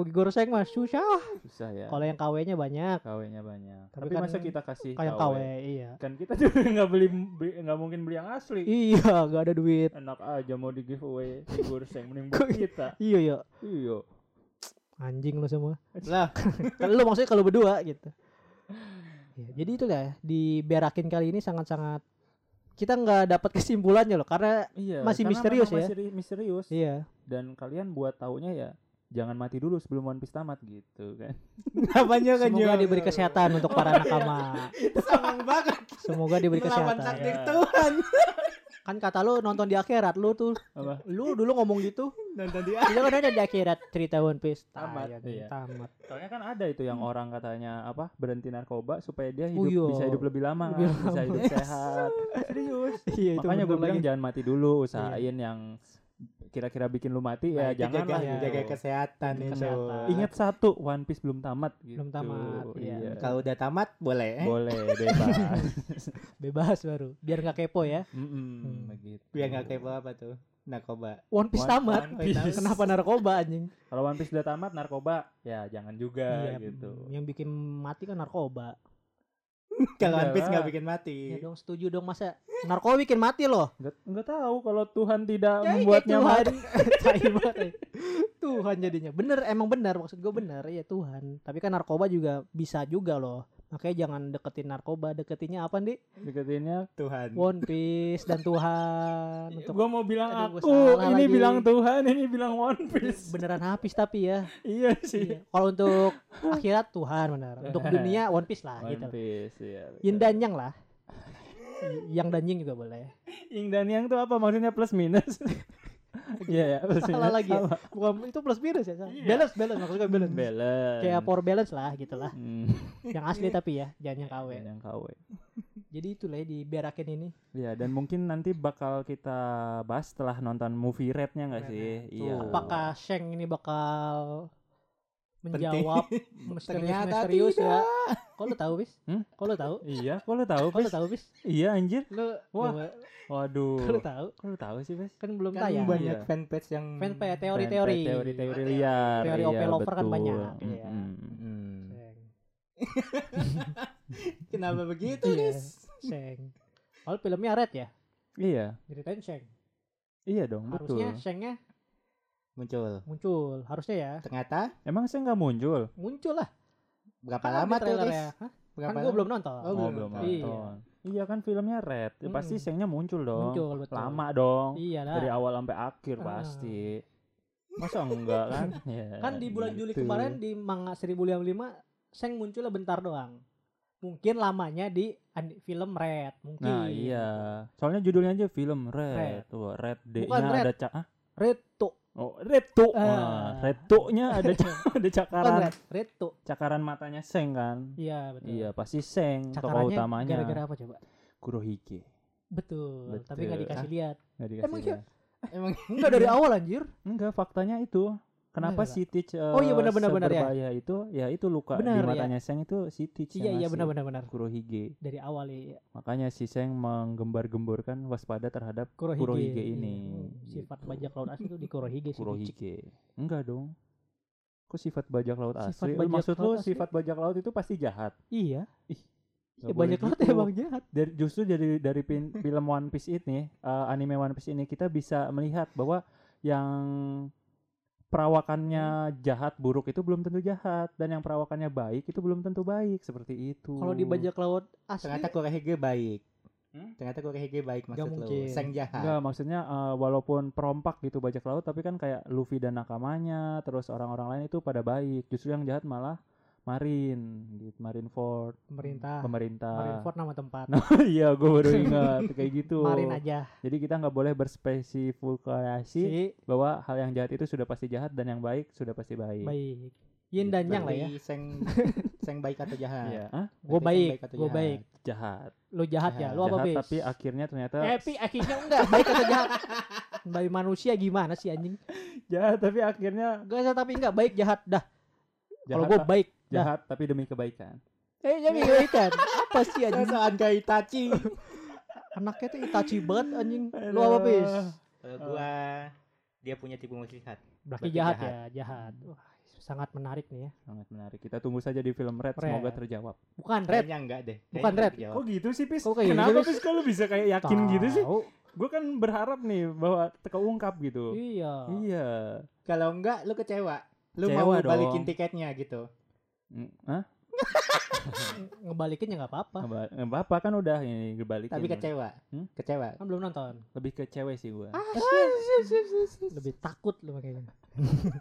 [SPEAKER 1] Figur Sheng mah susah.
[SPEAKER 2] susah ya.
[SPEAKER 1] Kalau yang KW-nya banyak,
[SPEAKER 2] KW-nya banyak.
[SPEAKER 1] Tapi
[SPEAKER 2] Tapi,
[SPEAKER 1] kan
[SPEAKER 2] masa kita kasih
[SPEAKER 1] kayak KW, iya.
[SPEAKER 2] Kan kita juga nggak beli beli- nggak mungkin beli yang asli.
[SPEAKER 1] Iya, nggak ada duit.
[SPEAKER 2] Enak aja mau di giveaway figur yang mending
[SPEAKER 1] Kok-
[SPEAKER 2] buat kita.
[SPEAKER 1] Iya, iya.
[SPEAKER 2] Iya.
[SPEAKER 1] Anjing lu semua.
[SPEAKER 3] lah
[SPEAKER 1] Kalau lu maksudnya kalau berdua gitu. Ya, jadi itu ya, di berakin kali ini sangat-sangat kita nggak dapat kesimpulannya loh karena
[SPEAKER 2] Iya.
[SPEAKER 1] Masih
[SPEAKER 2] karena
[SPEAKER 1] misterius
[SPEAKER 2] memang
[SPEAKER 1] ya?
[SPEAKER 2] Masih ri- misterius.
[SPEAKER 1] iya
[SPEAKER 2] Dan kalian buat taunya ya jangan mati dulu sebelum One Piece tamat gitu kan.
[SPEAKER 3] namanya kan
[SPEAKER 1] Semoga diberi kesehatan untuk para nakama.
[SPEAKER 3] Sombong banget
[SPEAKER 1] Semoga diberi
[SPEAKER 3] melawan
[SPEAKER 1] kesehatan.
[SPEAKER 3] takdir
[SPEAKER 2] Iya.
[SPEAKER 3] Tuhan
[SPEAKER 1] Kan kata lu nonton di akhirat lu tuh.
[SPEAKER 2] Apa?
[SPEAKER 1] Lu dulu ngomong gitu.
[SPEAKER 3] nonton dia
[SPEAKER 1] Kita kan ada di akhirat cerita One Piece.
[SPEAKER 2] Tamat,
[SPEAKER 1] Tayang,
[SPEAKER 2] iya.
[SPEAKER 1] Tamat.
[SPEAKER 2] Soalnya kan ada itu yang orang katanya apa berhenti narkoba supaya dia
[SPEAKER 1] Hmm. Oh
[SPEAKER 2] hidup
[SPEAKER 1] iya.
[SPEAKER 2] bisa hidup lebih lama,
[SPEAKER 1] Lebih
[SPEAKER 2] kan, bisa
[SPEAKER 1] lama.
[SPEAKER 2] hidup sehat. Serius.
[SPEAKER 1] Iya
[SPEAKER 2] Makanya gue
[SPEAKER 1] bener
[SPEAKER 2] bilang
[SPEAKER 1] lagi.
[SPEAKER 2] jangan mati dulu, usahain yang kira-kira bikin lu mati ya
[SPEAKER 3] Nah, itu
[SPEAKER 2] jangan
[SPEAKER 3] jaga,
[SPEAKER 2] lah. gitu.
[SPEAKER 3] jaga kesehatan
[SPEAKER 1] Jaga
[SPEAKER 3] itu
[SPEAKER 1] kesehatan.
[SPEAKER 2] Ingat satu, One Piece belum tamat gitu.
[SPEAKER 1] Belum tamat, iya.
[SPEAKER 3] kalau udah tamat boleh eh?
[SPEAKER 2] Boleh bebas.
[SPEAKER 1] bebas baru. Biar nggak kepo ya.
[SPEAKER 2] Mm-mm,
[SPEAKER 1] Hmm.
[SPEAKER 2] begitu.
[SPEAKER 3] biar nggak kepo apa tuh narkoba
[SPEAKER 1] One Piece
[SPEAKER 2] One-
[SPEAKER 1] tamat.
[SPEAKER 2] One Piece.
[SPEAKER 1] Kenapa narkoba anjing?
[SPEAKER 2] Kalau One Piece udah tamat narkoba, ya jangan juga
[SPEAKER 1] Iya,
[SPEAKER 2] gitu.
[SPEAKER 1] Yang bikin mati kan narkoba.
[SPEAKER 2] Enggak
[SPEAKER 3] kalau One Piece nggak
[SPEAKER 2] lah.
[SPEAKER 3] bikin mati
[SPEAKER 1] Ya dong setuju dong masa narkoba bikin mati loh.
[SPEAKER 2] Nggak, nggak tahu kalau Tuhan
[SPEAKER 1] Ya,
[SPEAKER 2] tidak
[SPEAKER 1] iya,
[SPEAKER 2] membuatnya
[SPEAKER 1] Tuhan.
[SPEAKER 2] mati.
[SPEAKER 1] Tai banget, eh. Tuhan jadinya. Bener emang bener maksud gue bener ya Tuhan. Tapi kan narkoba juga bisa juga loh. Makanya jangan deketin narkoba, deketinnya apa nih?
[SPEAKER 2] Deketinnya
[SPEAKER 3] Tuhan
[SPEAKER 1] One Piece dan Tuhan untuk
[SPEAKER 2] Gua mau bilang
[SPEAKER 1] Aduh, gua
[SPEAKER 2] aku,
[SPEAKER 1] salah
[SPEAKER 2] ini
[SPEAKER 1] lagi.
[SPEAKER 2] bilang Tuhan, ini bilang One Piece.
[SPEAKER 1] beneran habis tapi ya.
[SPEAKER 2] iya sih.
[SPEAKER 1] Iya. Kalau untuk akhirat Tuhan benar. Untuk
[SPEAKER 2] Tuhan.
[SPEAKER 1] dunia One Piece lah
[SPEAKER 2] One
[SPEAKER 1] gitu.
[SPEAKER 2] Piece, iya.
[SPEAKER 1] Yin dan yang lah. Y- Yang dan yang juga boleh.
[SPEAKER 2] Ying dan yang tuh apa maksudnya plus minus? Iya ya.
[SPEAKER 1] Salah lagi ya? Bukan itu plus minus ya. salah. Balance balance maksudnya balance.
[SPEAKER 2] Balance.
[SPEAKER 1] Kayak power balance lah gitu lah.
[SPEAKER 2] Hmm,
[SPEAKER 1] Yang asli tapi ya, jangan yang KW.
[SPEAKER 2] yang KW.
[SPEAKER 1] Jadi itulah ya diberakin ini.
[SPEAKER 2] Iya, dan mungkin nanti bakal kita bahas setelah nonton movie rate-nya nggak
[SPEAKER 1] Nah,
[SPEAKER 2] sih?
[SPEAKER 3] nah.
[SPEAKER 2] Iya.
[SPEAKER 3] Tuh.
[SPEAKER 1] Apakah Sheng ini bakal
[SPEAKER 3] Penting.
[SPEAKER 1] menjawab misterius-misterius ya? Kok lu tahu, Bis?
[SPEAKER 2] Hmm?
[SPEAKER 1] Kok lu tahu?
[SPEAKER 2] Iya, kok lu tahu?
[SPEAKER 1] Kok lu
[SPEAKER 2] Pis?
[SPEAKER 1] tahu, Bis?
[SPEAKER 2] Iya anjir.
[SPEAKER 1] Lu
[SPEAKER 2] Wah.
[SPEAKER 1] lu-
[SPEAKER 2] Waduh.
[SPEAKER 1] kok lu tahu?
[SPEAKER 2] Kok lu tahu sih, Bes?
[SPEAKER 1] Kan belum
[SPEAKER 3] Kan Hmm,
[SPEAKER 1] tayang.
[SPEAKER 3] banyak
[SPEAKER 2] Iya.
[SPEAKER 3] fanpage yang
[SPEAKER 1] Fanpage teori-teori.
[SPEAKER 2] Teori-teori liar.
[SPEAKER 1] Teori
[SPEAKER 2] iya,
[SPEAKER 1] OP lover kan
[SPEAKER 2] betul.
[SPEAKER 1] banyak,
[SPEAKER 2] Mm,
[SPEAKER 1] iya.
[SPEAKER 2] mm.
[SPEAKER 3] Hmm.
[SPEAKER 1] Sheng.
[SPEAKER 3] Kenapa begitu,
[SPEAKER 1] Iya.
[SPEAKER 3] Guys?
[SPEAKER 1] Sheng. Kalau filmnya Red ya,
[SPEAKER 2] Iya.
[SPEAKER 1] ceritain Sheng.
[SPEAKER 2] Iya dong, betul.
[SPEAKER 1] Harusnya Shengnya
[SPEAKER 3] Muncul.
[SPEAKER 1] muncul, harusnya ya.
[SPEAKER 3] Ternyata
[SPEAKER 2] Emang saya nggak muncul.
[SPEAKER 1] Muncul lah.
[SPEAKER 3] berapa
[SPEAKER 1] Kan ada
[SPEAKER 3] lama tuh,
[SPEAKER 1] trailernya.
[SPEAKER 3] Guys?
[SPEAKER 1] Hah? Kan
[SPEAKER 3] Berapa
[SPEAKER 1] gue
[SPEAKER 3] lama?
[SPEAKER 1] belum nonton.
[SPEAKER 3] Oh,
[SPEAKER 2] Oh,
[SPEAKER 3] belum
[SPEAKER 2] belum
[SPEAKER 1] nonton. Iya.
[SPEAKER 2] nonton. Iya kan filmnya red, ya pasti
[SPEAKER 1] Mm-mm.
[SPEAKER 2] sengnya muncul dong.
[SPEAKER 1] Muncul betul.
[SPEAKER 2] Lama dong.
[SPEAKER 1] Iya lah.
[SPEAKER 2] Dari awal sampai akhir
[SPEAKER 1] Ah.
[SPEAKER 2] pasti. Masa enggak kan? Ya,
[SPEAKER 1] Kan di bulan Juli
[SPEAKER 2] gitu.
[SPEAKER 1] kemarin di manga 1005 Seng munculnya bentar doang. Mungkin lamanya di an- film Red mungkin.
[SPEAKER 2] Nah, iya. Soalnya judulnya aja film
[SPEAKER 1] Red.
[SPEAKER 2] Red. Tuh, Red D-nya
[SPEAKER 1] Bukan Red.
[SPEAKER 2] ada cak ah?
[SPEAKER 1] Reto.
[SPEAKER 2] Oh, Red tuh.
[SPEAKER 1] Ah.
[SPEAKER 2] Red tuh-nya Nah, ada ca- ada
[SPEAKER 1] Bukan
[SPEAKER 2] cakaran.
[SPEAKER 1] Red, Reto.
[SPEAKER 2] Cakaran matanya seng kan?
[SPEAKER 1] Iya, betul.
[SPEAKER 2] Iya, pasti seng tokoh
[SPEAKER 1] Cakarannya
[SPEAKER 2] utamanya.
[SPEAKER 1] gara-gara apa coba?
[SPEAKER 2] Kurohiki.
[SPEAKER 1] Betul, tapi nggak
[SPEAKER 2] Betul.
[SPEAKER 1] dikasih
[SPEAKER 2] Ah.
[SPEAKER 1] lihat.
[SPEAKER 2] Nggak dikasih
[SPEAKER 1] Emang iya?
[SPEAKER 2] lihat.
[SPEAKER 3] Emang
[SPEAKER 1] Enggak dari awal anjir.
[SPEAKER 2] Enggak, faktanya itu. Kenapa
[SPEAKER 1] Enggak,
[SPEAKER 2] si Teach eh,
[SPEAKER 1] Oh, iya, benar, benar, benar, ya.
[SPEAKER 2] seberbahaya itu? Ya itu luka
[SPEAKER 1] Benar,
[SPEAKER 2] di
[SPEAKER 1] ya.
[SPEAKER 2] matanya Seng itu si Teach
[SPEAKER 1] Iya,
[SPEAKER 2] yang
[SPEAKER 1] iya
[SPEAKER 2] ngasih
[SPEAKER 1] benar benar benar.
[SPEAKER 2] Kurohige.
[SPEAKER 1] Dari awal ya.
[SPEAKER 2] Makanya si Seng menggembar-gemborkan waspada terhadap
[SPEAKER 1] Kurohige,
[SPEAKER 2] Kurohige
[SPEAKER 1] iya.
[SPEAKER 2] ini.
[SPEAKER 1] Hmm, Sifat
[SPEAKER 2] Gitu.
[SPEAKER 1] bajak laut asli itu di Kurohige sih. Kucing.
[SPEAKER 2] Kurohige. Enggak dong. Kok sifat bajak laut
[SPEAKER 1] Sifat
[SPEAKER 2] asli? Eh,
[SPEAKER 1] bajak
[SPEAKER 2] Maksud
[SPEAKER 1] laut
[SPEAKER 2] lu
[SPEAKER 1] asli?
[SPEAKER 2] sifat bajak laut itu pasti jahat.
[SPEAKER 1] Iya,
[SPEAKER 2] Nggak
[SPEAKER 1] ya,
[SPEAKER 2] boleh
[SPEAKER 1] bajak laut
[SPEAKER 2] gitu.
[SPEAKER 1] emang jahat.
[SPEAKER 2] Dari, justru dari dari pin- film One Piece ini, eh, anime One Piece ini kita bisa melihat bahwa yang perawakannya jahat buruk itu belum tentu jahat dan yang perawakannya baik itu belum tentu baik seperti itu.
[SPEAKER 1] Kalau di bajak laut asli
[SPEAKER 3] ternyata Kurehige baik.
[SPEAKER 2] Hmm?
[SPEAKER 3] Ternyata Kurehige baik maksud lu.
[SPEAKER 1] mungkin.
[SPEAKER 3] Sang jahat.
[SPEAKER 2] Enggak, maksudnya eh, walaupun perompak gitu bajak laut tapi kan kayak Luffy dan nakamanya terus orang-orang lain itu pada baik. Justru yang jahat malah Marin, gitu, Marineford,
[SPEAKER 1] pemerintah.
[SPEAKER 2] pemerintah.
[SPEAKER 1] Marineford nama tempat.
[SPEAKER 2] Nah, iya, gue baru ingat kayak gitu.
[SPEAKER 1] Marin aja
[SPEAKER 2] Jadi kita nggak boleh berspesifikasi
[SPEAKER 1] sih.
[SPEAKER 2] bahwa hal yang jahat itu sudah pasti jahat dan yang baik sudah pasti
[SPEAKER 1] Iya.
[SPEAKER 2] baik.
[SPEAKER 1] Baik. Yin dan
[SPEAKER 2] Gitu.
[SPEAKER 1] yang lah ya.
[SPEAKER 3] Berarti Sang sang baik atau jahat?
[SPEAKER 2] Iya, ah,
[SPEAKER 1] Gue
[SPEAKER 3] Berarti yang
[SPEAKER 1] kan baik,
[SPEAKER 3] baik atau
[SPEAKER 1] gue
[SPEAKER 3] jahat?
[SPEAKER 1] baik.
[SPEAKER 2] jahat.
[SPEAKER 1] Lo jahat ya,
[SPEAKER 3] Jahat.
[SPEAKER 1] lo apa
[SPEAKER 2] jahat
[SPEAKER 1] bis?
[SPEAKER 2] tapi akhirnya ternyata
[SPEAKER 1] Eh, pi, akhirnya enggak baik atau jahat? Dari manusia gimana sih anjing?
[SPEAKER 2] jahat tapi akhirnya
[SPEAKER 1] Gak usah tapi enggak baik jahat dah. Kalau Nah.
[SPEAKER 2] jahat,
[SPEAKER 1] gue
[SPEAKER 2] ta-
[SPEAKER 1] baik. dah.
[SPEAKER 2] jahat tapi demi kebaikan.
[SPEAKER 1] Eh, jadi kebaikan. Apa sih anjing?
[SPEAKER 3] Perasaan kayak Itachi.
[SPEAKER 1] Anaknya tuh Itachi banget anjing. Lo apa bis?
[SPEAKER 3] Kalau Eh, gua dia punya tipu muslihat.
[SPEAKER 1] Berarti
[SPEAKER 3] Berarti
[SPEAKER 1] jahat,
[SPEAKER 3] jahat.
[SPEAKER 1] ya, jahat. Wah, sangat menarik nih ya.
[SPEAKER 2] Sangat menarik. Kita tunggu saja di film Red,
[SPEAKER 1] Red.
[SPEAKER 2] semoga terjawab.
[SPEAKER 1] Bukan red.
[SPEAKER 3] Kayaknya enggak deh.
[SPEAKER 1] Bukan
[SPEAKER 3] Kayaknya
[SPEAKER 1] red.
[SPEAKER 3] terjawab.
[SPEAKER 2] Kok gitu sih, Pis?
[SPEAKER 1] Kok kayak gitu,
[SPEAKER 2] Kenapa,
[SPEAKER 1] Pis?
[SPEAKER 2] Pis? Kok lu bisa kayak yakin gitu sih?
[SPEAKER 1] Tahu.
[SPEAKER 2] Gue kan berharap nih bahwa terungkap gitu.
[SPEAKER 1] Iya.
[SPEAKER 2] Iya.
[SPEAKER 3] Kalau enggak lu kecewa. Lu
[SPEAKER 2] Kecewa
[SPEAKER 3] mau
[SPEAKER 2] dong.
[SPEAKER 3] balikin tiketnya gitu.
[SPEAKER 2] Mm, Hah?
[SPEAKER 1] Ngebalikin ya nggak apa-apa.
[SPEAKER 2] Nggak apa-apa kan udah ini kebalikin.
[SPEAKER 3] Tapi kecewa.
[SPEAKER 2] Hmm?
[SPEAKER 3] Kecewa.
[SPEAKER 1] Kan belum nonton.
[SPEAKER 2] Lebih ke cewek sih gua.
[SPEAKER 1] Ah, Lebih takut lo makanya.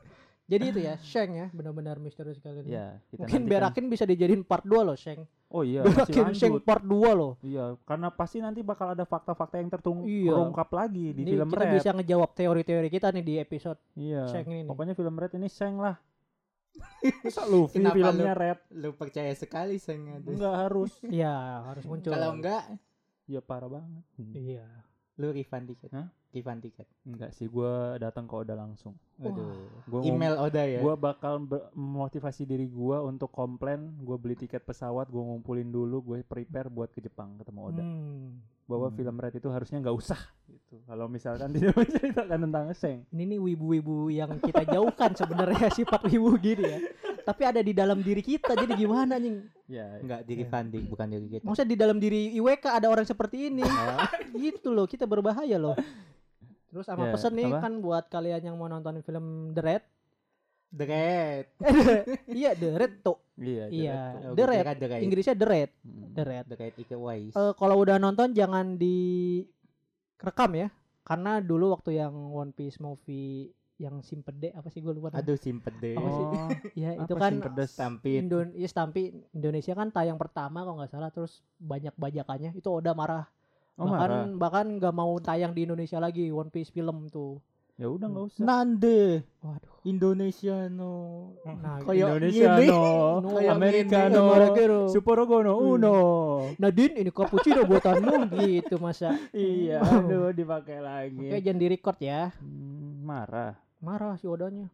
[SPEAKER 1] Jadi itu ya, Sheng ya, benar-benar misterius sekali. ini.
[SPEAKER 2] Iya, kita
[SPEAKER 1] Mungkin
[SPEAKER 2] nantikan.
[SPEAKER 1] berakin bisa dijadiin part 2 loh, Sheng.
[SPEAKER 2] Oh iya, masih
[SPEAKER 1] Berakin Sheng
[SPEAKER 2] lanjut.
[SPEAKER 1] part 2 loh.
[SPEAKER 2] Iya, karena pasti nanti bakal ada fakta-fakta yang tertung
[SPEAKER 1] Iya.
[SPEAKER 2] terungkap lagi di
[SPEAKER 1] Ini
[SPEAKER 2] film
[SPEAKER 1] kita
[SPEAKER 2] Red.
[SPEAKER 1] bisa ngejawab teori-teori kita nih di episode
[SPEAKER 2] Iya.
[SPEAKER 1] Sheng ini. nih.
[SPEAKER 2] Pokoknya film Red ini seng lah. Masa Luffy
[SPEAKER 3] Kenapa
[SPEAKER 2] filmnya Red?
[SPEAKER 3] Lu percaya sekali sang ada.
[SPEAKER 2] Enggak harus.
[SPEAKER 1] Iya, harus muncul.
[SPEAKER 3] Kalau enggak
[SPEAKER 2] Ya parah banget. Hmm.
[SPEAKER 1] Iya.
[SPEAKER 3] lu refund tiket.
[SPEAKER 2] Hah?
[SPEAKER 3] Refund tiket.
[SPEAKER 2] Enggak sih, gua datang kok udah langsung.
[SPEAKER 3] Waduh.
[SPEAKER 2] Gua ngom-
[SPEAKER 3] Email Oda ya.
[SPEAKER 2] Gua bakal ber- memotivasi diri gua untuk komplain, gua beli tiket pesawat, gua ngumpulin dulu, gue prepare buat ke Jepang ketemu Oda.
[SPEAKER 1] Hmm.
[SPEAKER 2] Bahwa
[SPEAKER 3] Hmm.
[SPEAKER 2] film Red itu harusnya nggak usah gitu. Kalau misalkan tidak menceritakan tentang Seng.
[SPEAKER 1] Ini nih wibu-wibu yang kita jauhkan sebenarnya sifat wibu gini ya. Tapi ada di dalam diri kita. Jadi gimana anjing?
[SPEAKER 2] Ya,
[SPEAKER 3] Enggak di refunding, bukan di
[SPEAKER 1] Iya.
[SPEAKER 3] tiket. Oh.
[SPEAKER 1] Maksudnya di dalam diri IWK ada orang seperti ini. gitu loh, kita berbahaya loh. Terus sama
[SPEAKER 2] Ya,
[SPEAKER 1] pesan nih
[SPEAKER 2] apa?
[SPEAKER 1] kan buat kalian yang mau nonton film The Red.
[SPEAKER 3] Dret.
[SPEAKER 1] iya, The Red tuh.
[SPEAKER 2] Iya.
[SPEAKER 1] Iya,
[SPEAKER 3] Oh,
[SPEAKER 1] The
[SPEAKER 3] gua
[SPEAKER 1] Red.
[SPEAKER 3] kira Dret.
[SPEAKER 1] Inggrisnya The Red,
[SPEAKER 2] Hmm.
[SPEAKER 1] The Red.
[SPEAKER 3] Dret Ike Wise.
[SPEAKER 1] Eh, kalau udah nonton jangan di rekam ya. Karena dulu waktu yang One Piece movie yang simpede apa sih gue lupa. namanya.
[SPEAKER 3] Aduh simpede.
[SPEAKER 1] Apa sih?
[SPEAKER 2] Oh,
[SPEAKER 1] Ya,
[SPEAKER 2] apa
[SPEAKER 1] itu
[SPEAKER 2] sih
[SPEAKER 1] kan
[SPEAKER 2] yang pedas?
[SPEAKER 3] Stampede.
[SPEAKER 1] Indon yes, tapi Indonesia kan tayang pertama kalau nggak salah terus banyak bajakannya itu Oda marah
[SPEAKER 2] Oh,
[SPEAKER 1] bahkan
[SPEAKER 2] marah.
[SPEAKER 1] bahkan nggak mau tayang di Indonesia lagi One Piece film tuh
[SPEAKER 2] ya udah nggak usah
[SPEAKER 3] Nah, Nande
[SPEAKER 1] Waduh.
[SPEAKER 3] Indonesia no
[SPEAKER 1] Nah,
[SPEAKER 3] Kayak
[SPEAKER 2] Indonesia
[SPEAKER 3] gini.
[SPEAKER 2] no
[SPEAKER 1] No,
[SPEAKER 2] Amerika
[SPEAKER 1] gini,
[SPEAKER 2] no
[SPEAKER 1] Americano.
[SPEAKER 2] Suporogono
[SPEAKER 1] Hmm.
[SPEAKER 2] uno
[SPEAKER 1] Nadine ini cappuccino buatanmu gitu masa.
[SPEAKER 2] iya
[SPEAKER 1] Wow.
[SPEAKER 2] aduh dipakai lagi
[SPEAKER 1] Oke jangan direcord ya.
[SPEAKER 2] Hmm, marah
[SPEAKER 1] Marah si Odanya.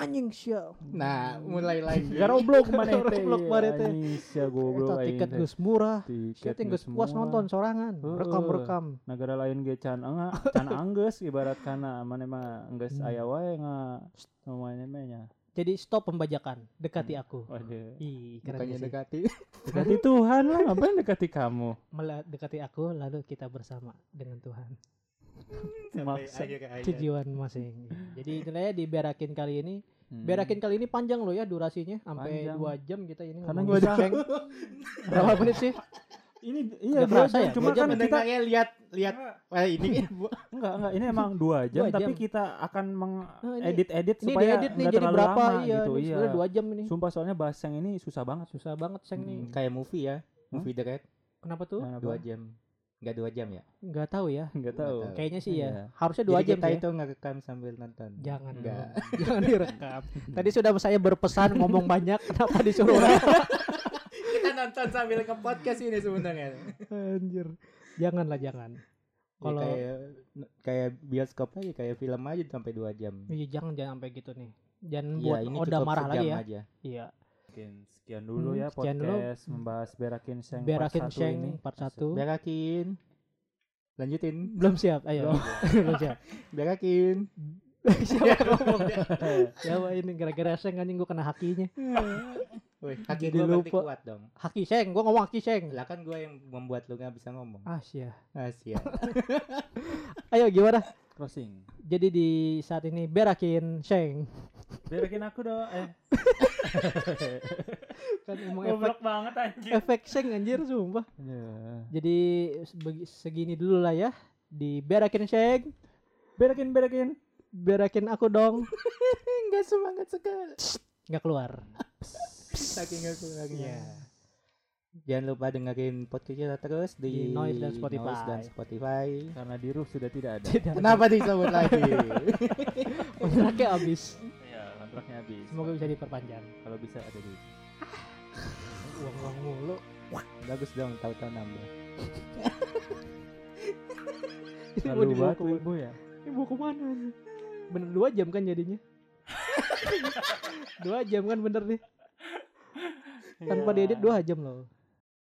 [SPEAKER 1] Anjing sia.
[SPEAKER 3] Nah mulai lagi
[SPEAKER 2] Garoblok mana teh
[SPEAKER 1] Garoblok
[SPEAKER 2] iya,
[SPEAKER 1] mana teh.
[SPEAKER 2] Indonesia
[SPEAKER 1] Eta
[SPEAKER 2] goblok aing
[SPEAKER 1] tiket
[SPEAKER 2] teh.
[SPEAKER 1] geus murah. Sia
[SPEAKER 2] tiket
[SPEAKER 1] teh geus
[SPEAKER 2] geus
[SPEAKER 1] puas
[SPEAKER 2] semua.
[SPEAKER 1] nonton sorangan. Rekam-rekam.
[SPEAKER 2] negara lain ge can enggak can anggeus ibarat kana mana mah geus
[SPEAKER 1] Hmm.
[SPEAKER 2] aya wae nga namanya mah nya
[SPEAKER 1] Jadi stop pembajakan. Dekati
[SPEAKER 2] Hmm.
[SPEAKER 1] aku.
[SPEAKER 2] waduh
[SPEAKER 1] Ih, keren gak
[SPEAKER 3] Bukannya
[SPEAKER 1] sih?
[SPEAKER 3] dekati
[SPEAKER 2] dekati Tuhan lah ngapain dekati kamu
[SPEAKER 1] Mela- dekati aku lalu kita bersama dengan Tuhan.
[SPEAKER 2] Maksa.
[SPEAKER 1] Tujuan masing. Jadi itulah ya di berakin kali ini.
[SPEAKER 2] Hmm.
[SPEAKER 1] Berakin kali ini panjang loh ya durasinya sampai
[SPEAKER 2] Panjang.
[SPEAKER 1] 2 jam kita ini
[SPEAKER 2] Karena
[SPEAKER 1] ngomongin
[SPEAKER 2] kita-
[SPEAKER 1] Sheng. Berapa menit sih?
[SPEAKER 2] ini iya
[SPEAKER 1] Nggak kerasa
[SPEAKER 2] dua jam,
[SPEAKER 1] ya?
[SPEAKER 2] cuma
[SPEAKER 1] Dua jam
[SPEAKER 2] kan kita
[SPEAKER 3] Mendengarnya lihat Lihat Wah ini
[SPEAKER 2] enggak enggak ini emang dua jam
[SPEAKER 1] Dua
[SPEAKER 2] tapi
[SPEAKER 1] jam.
[SPEAKER 2] kita akan
[SPEAKER 1] Nah, ini-
[SPEAKER 2] mengedit edit
[SPEAKER 1] Ini
[SPEAKER 2] supaya
[SPEAKER 1] diedit nih
[SPEAKER 2] nggak
[SPEAKER 1] jadi
[SPEAKER 2] terlalu
[SPEAKER 1] berapa
[SPEAKER 2] lama
[SPEAKER 1] iya
[SPEAKER 2] gitu
[SPEAKER 1] ini
[SPEAKER 2] iya
[SPEAKER 1] sebenarnya 2 jam ini.
[SPEAKER 2] sumpah soalnya bahas yang ini susah banget
[SPEAKER 1] Susah banget Sheng nih.
[SPEAKER 2] Hmm.
[SPEAKER 3] Kayak movie ya Movie direct
[SPEAKER 1] Kenapa tuh?
[SPEAKER 2] Nah,
[SPEAKER 3] Dua
[SPEAKER 2] apa?
[SPEAKER 3] jam Enggak dua jam ya
[SPEAKER 1] Enggak tahu ya.
[SPEAKER 2] nggak tahu
[SPEAKER 3] Nggak tahu.
[SPEAKER 1] Kayaknya sih ya.
[SPEAKER 2] Iya.
[SPEAKER 1] Harusnya 2
[SPEAKER 3] Jadi
[SPEAKER 1] jam
[SPEAKER 3] kita
[SPEAKER 1] sih ya.
[SPEAKER 3] itu ngerekam sambil nonton
[SPEAKER 1] Jangan
[SPEAKER 3] Nggak.
[SPEAKER 1] dong. Jangan direkam. Tadi sudah saya berpesan ngomong banyak, kenapa disuruh rekam?
[SPEAKER 3] Kita nonton sambil ke podcast ini sebenarnya
[SPEAKER 1] Anjir. Janganlah jangan. Kalau
[SPEAKER 3] Kalau kayak kayak bioskop lagi kayak film aja sampai 2 jam.
[SPEAKER 1] Iya, jangan jangan sampai gitu nih. Jangan
[SPEAKER 3] Iya,
[SPEAKER 1] buat Oda
[SPEAKER 3] cukup
[SPEAKER 1] marah lagi
[SPEAKER 3] sejam
[SPEAKER 1] ya.
[SPEAKER 3] Aja.
[SPEAKER 1] Iya.
[SPEAKER 2] Mungkin sekian dulu
[SPEAKER 1] Hmm,
[SPEAKER 2] ya
[SPEAKER 1] sekian dulu.
[SPEAKER 2] podcast membahas berakin seng
[SPEAKER 1] Berakin
[SPEAKER 2] part satu
[SPEAKER 1] Sheng
[SPEAKER 2] ini
[SPEAKER 1] part 1.
[SPEAKER 3] Berakin. Lanjutin.
[SPEAKER 1] Belum siap. Ayo. Belum siap.
[SPEAKER 3] Berakin.
[SPEAKER 1] Siapa ngomong ya? Siapa ini gara-gara Sheng anjing gua kena hakinya.
[SPEAKER 3] Woi, kaki
[SPEAKER 1] Jadi
[SPEAKER 3] gua berarti
[SPEAKER 1] lupa.
[SPEAKER 3] kuat dong.
[SPEAKER 1] Haki Sheng, gua ngomong haki Sheng.
[SPEAKER 3] Lah kan gua yang membuat lu nggak bisa ngomong.
[SPEAKER 1] Ah, sia.
[SPEAKER 3] Asia.
[SPEAKER 1] Ayo gimana?
[SPEAKER 2] closing
[SPEAKER 1] Jadi di saat ini berakin Sheng.
[SPEAKER 2] berakin aku dong eh
[SPEAKER 1] Kan emang efek Iya.
[SPEAKER 2] goblok banget anjing
[SPEAKER 1] efek Sheng anjir sumpah.
[SPEAKER 2] Ya.
[SPEAKER 1] Jadi sebegi- segini dulu lah ya di berakin Sheng.
[SPEAKER 2] berakin berakin
[SPEAKER 1] Berakin aku dong.
[SPEAKER 3] Enggak semangat sekali.
[SPEAKER 1] nggak keluar.
[SPEAKER 3] Saking nggak semangat.
[SPEAKER 1] Iya.
[SPEAKER 3] Jangan lupa dengerin podcast kita terus
[SPEAKER 1] Di
[SPEAKER 3] di,
[SPEAKER 1] Noise dan
[SPEAKER 3] Noise dan
[SPEAKER 1] Spotify.
[SPEAKER 3] Spotify.
[SPEAKER 2] karena di roof sudah tidak ada
[SPEAKER 1] Tidak.
[SPEAKER 3] Kenapa disebut lagi?
[SPEAKER 1] Kontraknya habis.
[SPEAKER 2] ya kontraknya habis
[SPEAKER 1] Semoga bisa diperpanjang.
[SPEAKER 2] kalau bisa ada di
[SPEAKER 1] Uang-uang mulu.
[SPEAKER 3] Bagus dong tahu-tahu nambah.
[SPEAKER 1] Ini mau
[SPEAKER 2] lalu
[SPEAKER 1] dibawa
[SPEAKER 2] buat
[SPEAKER 1] ke-
[SPEAKER 2] ibu ya
[SPEAKER 1] Ini mau kemana nih? Bener dua jam kan jadinya? dua jam kan bener nih. Tanpa diedit dua jam loh.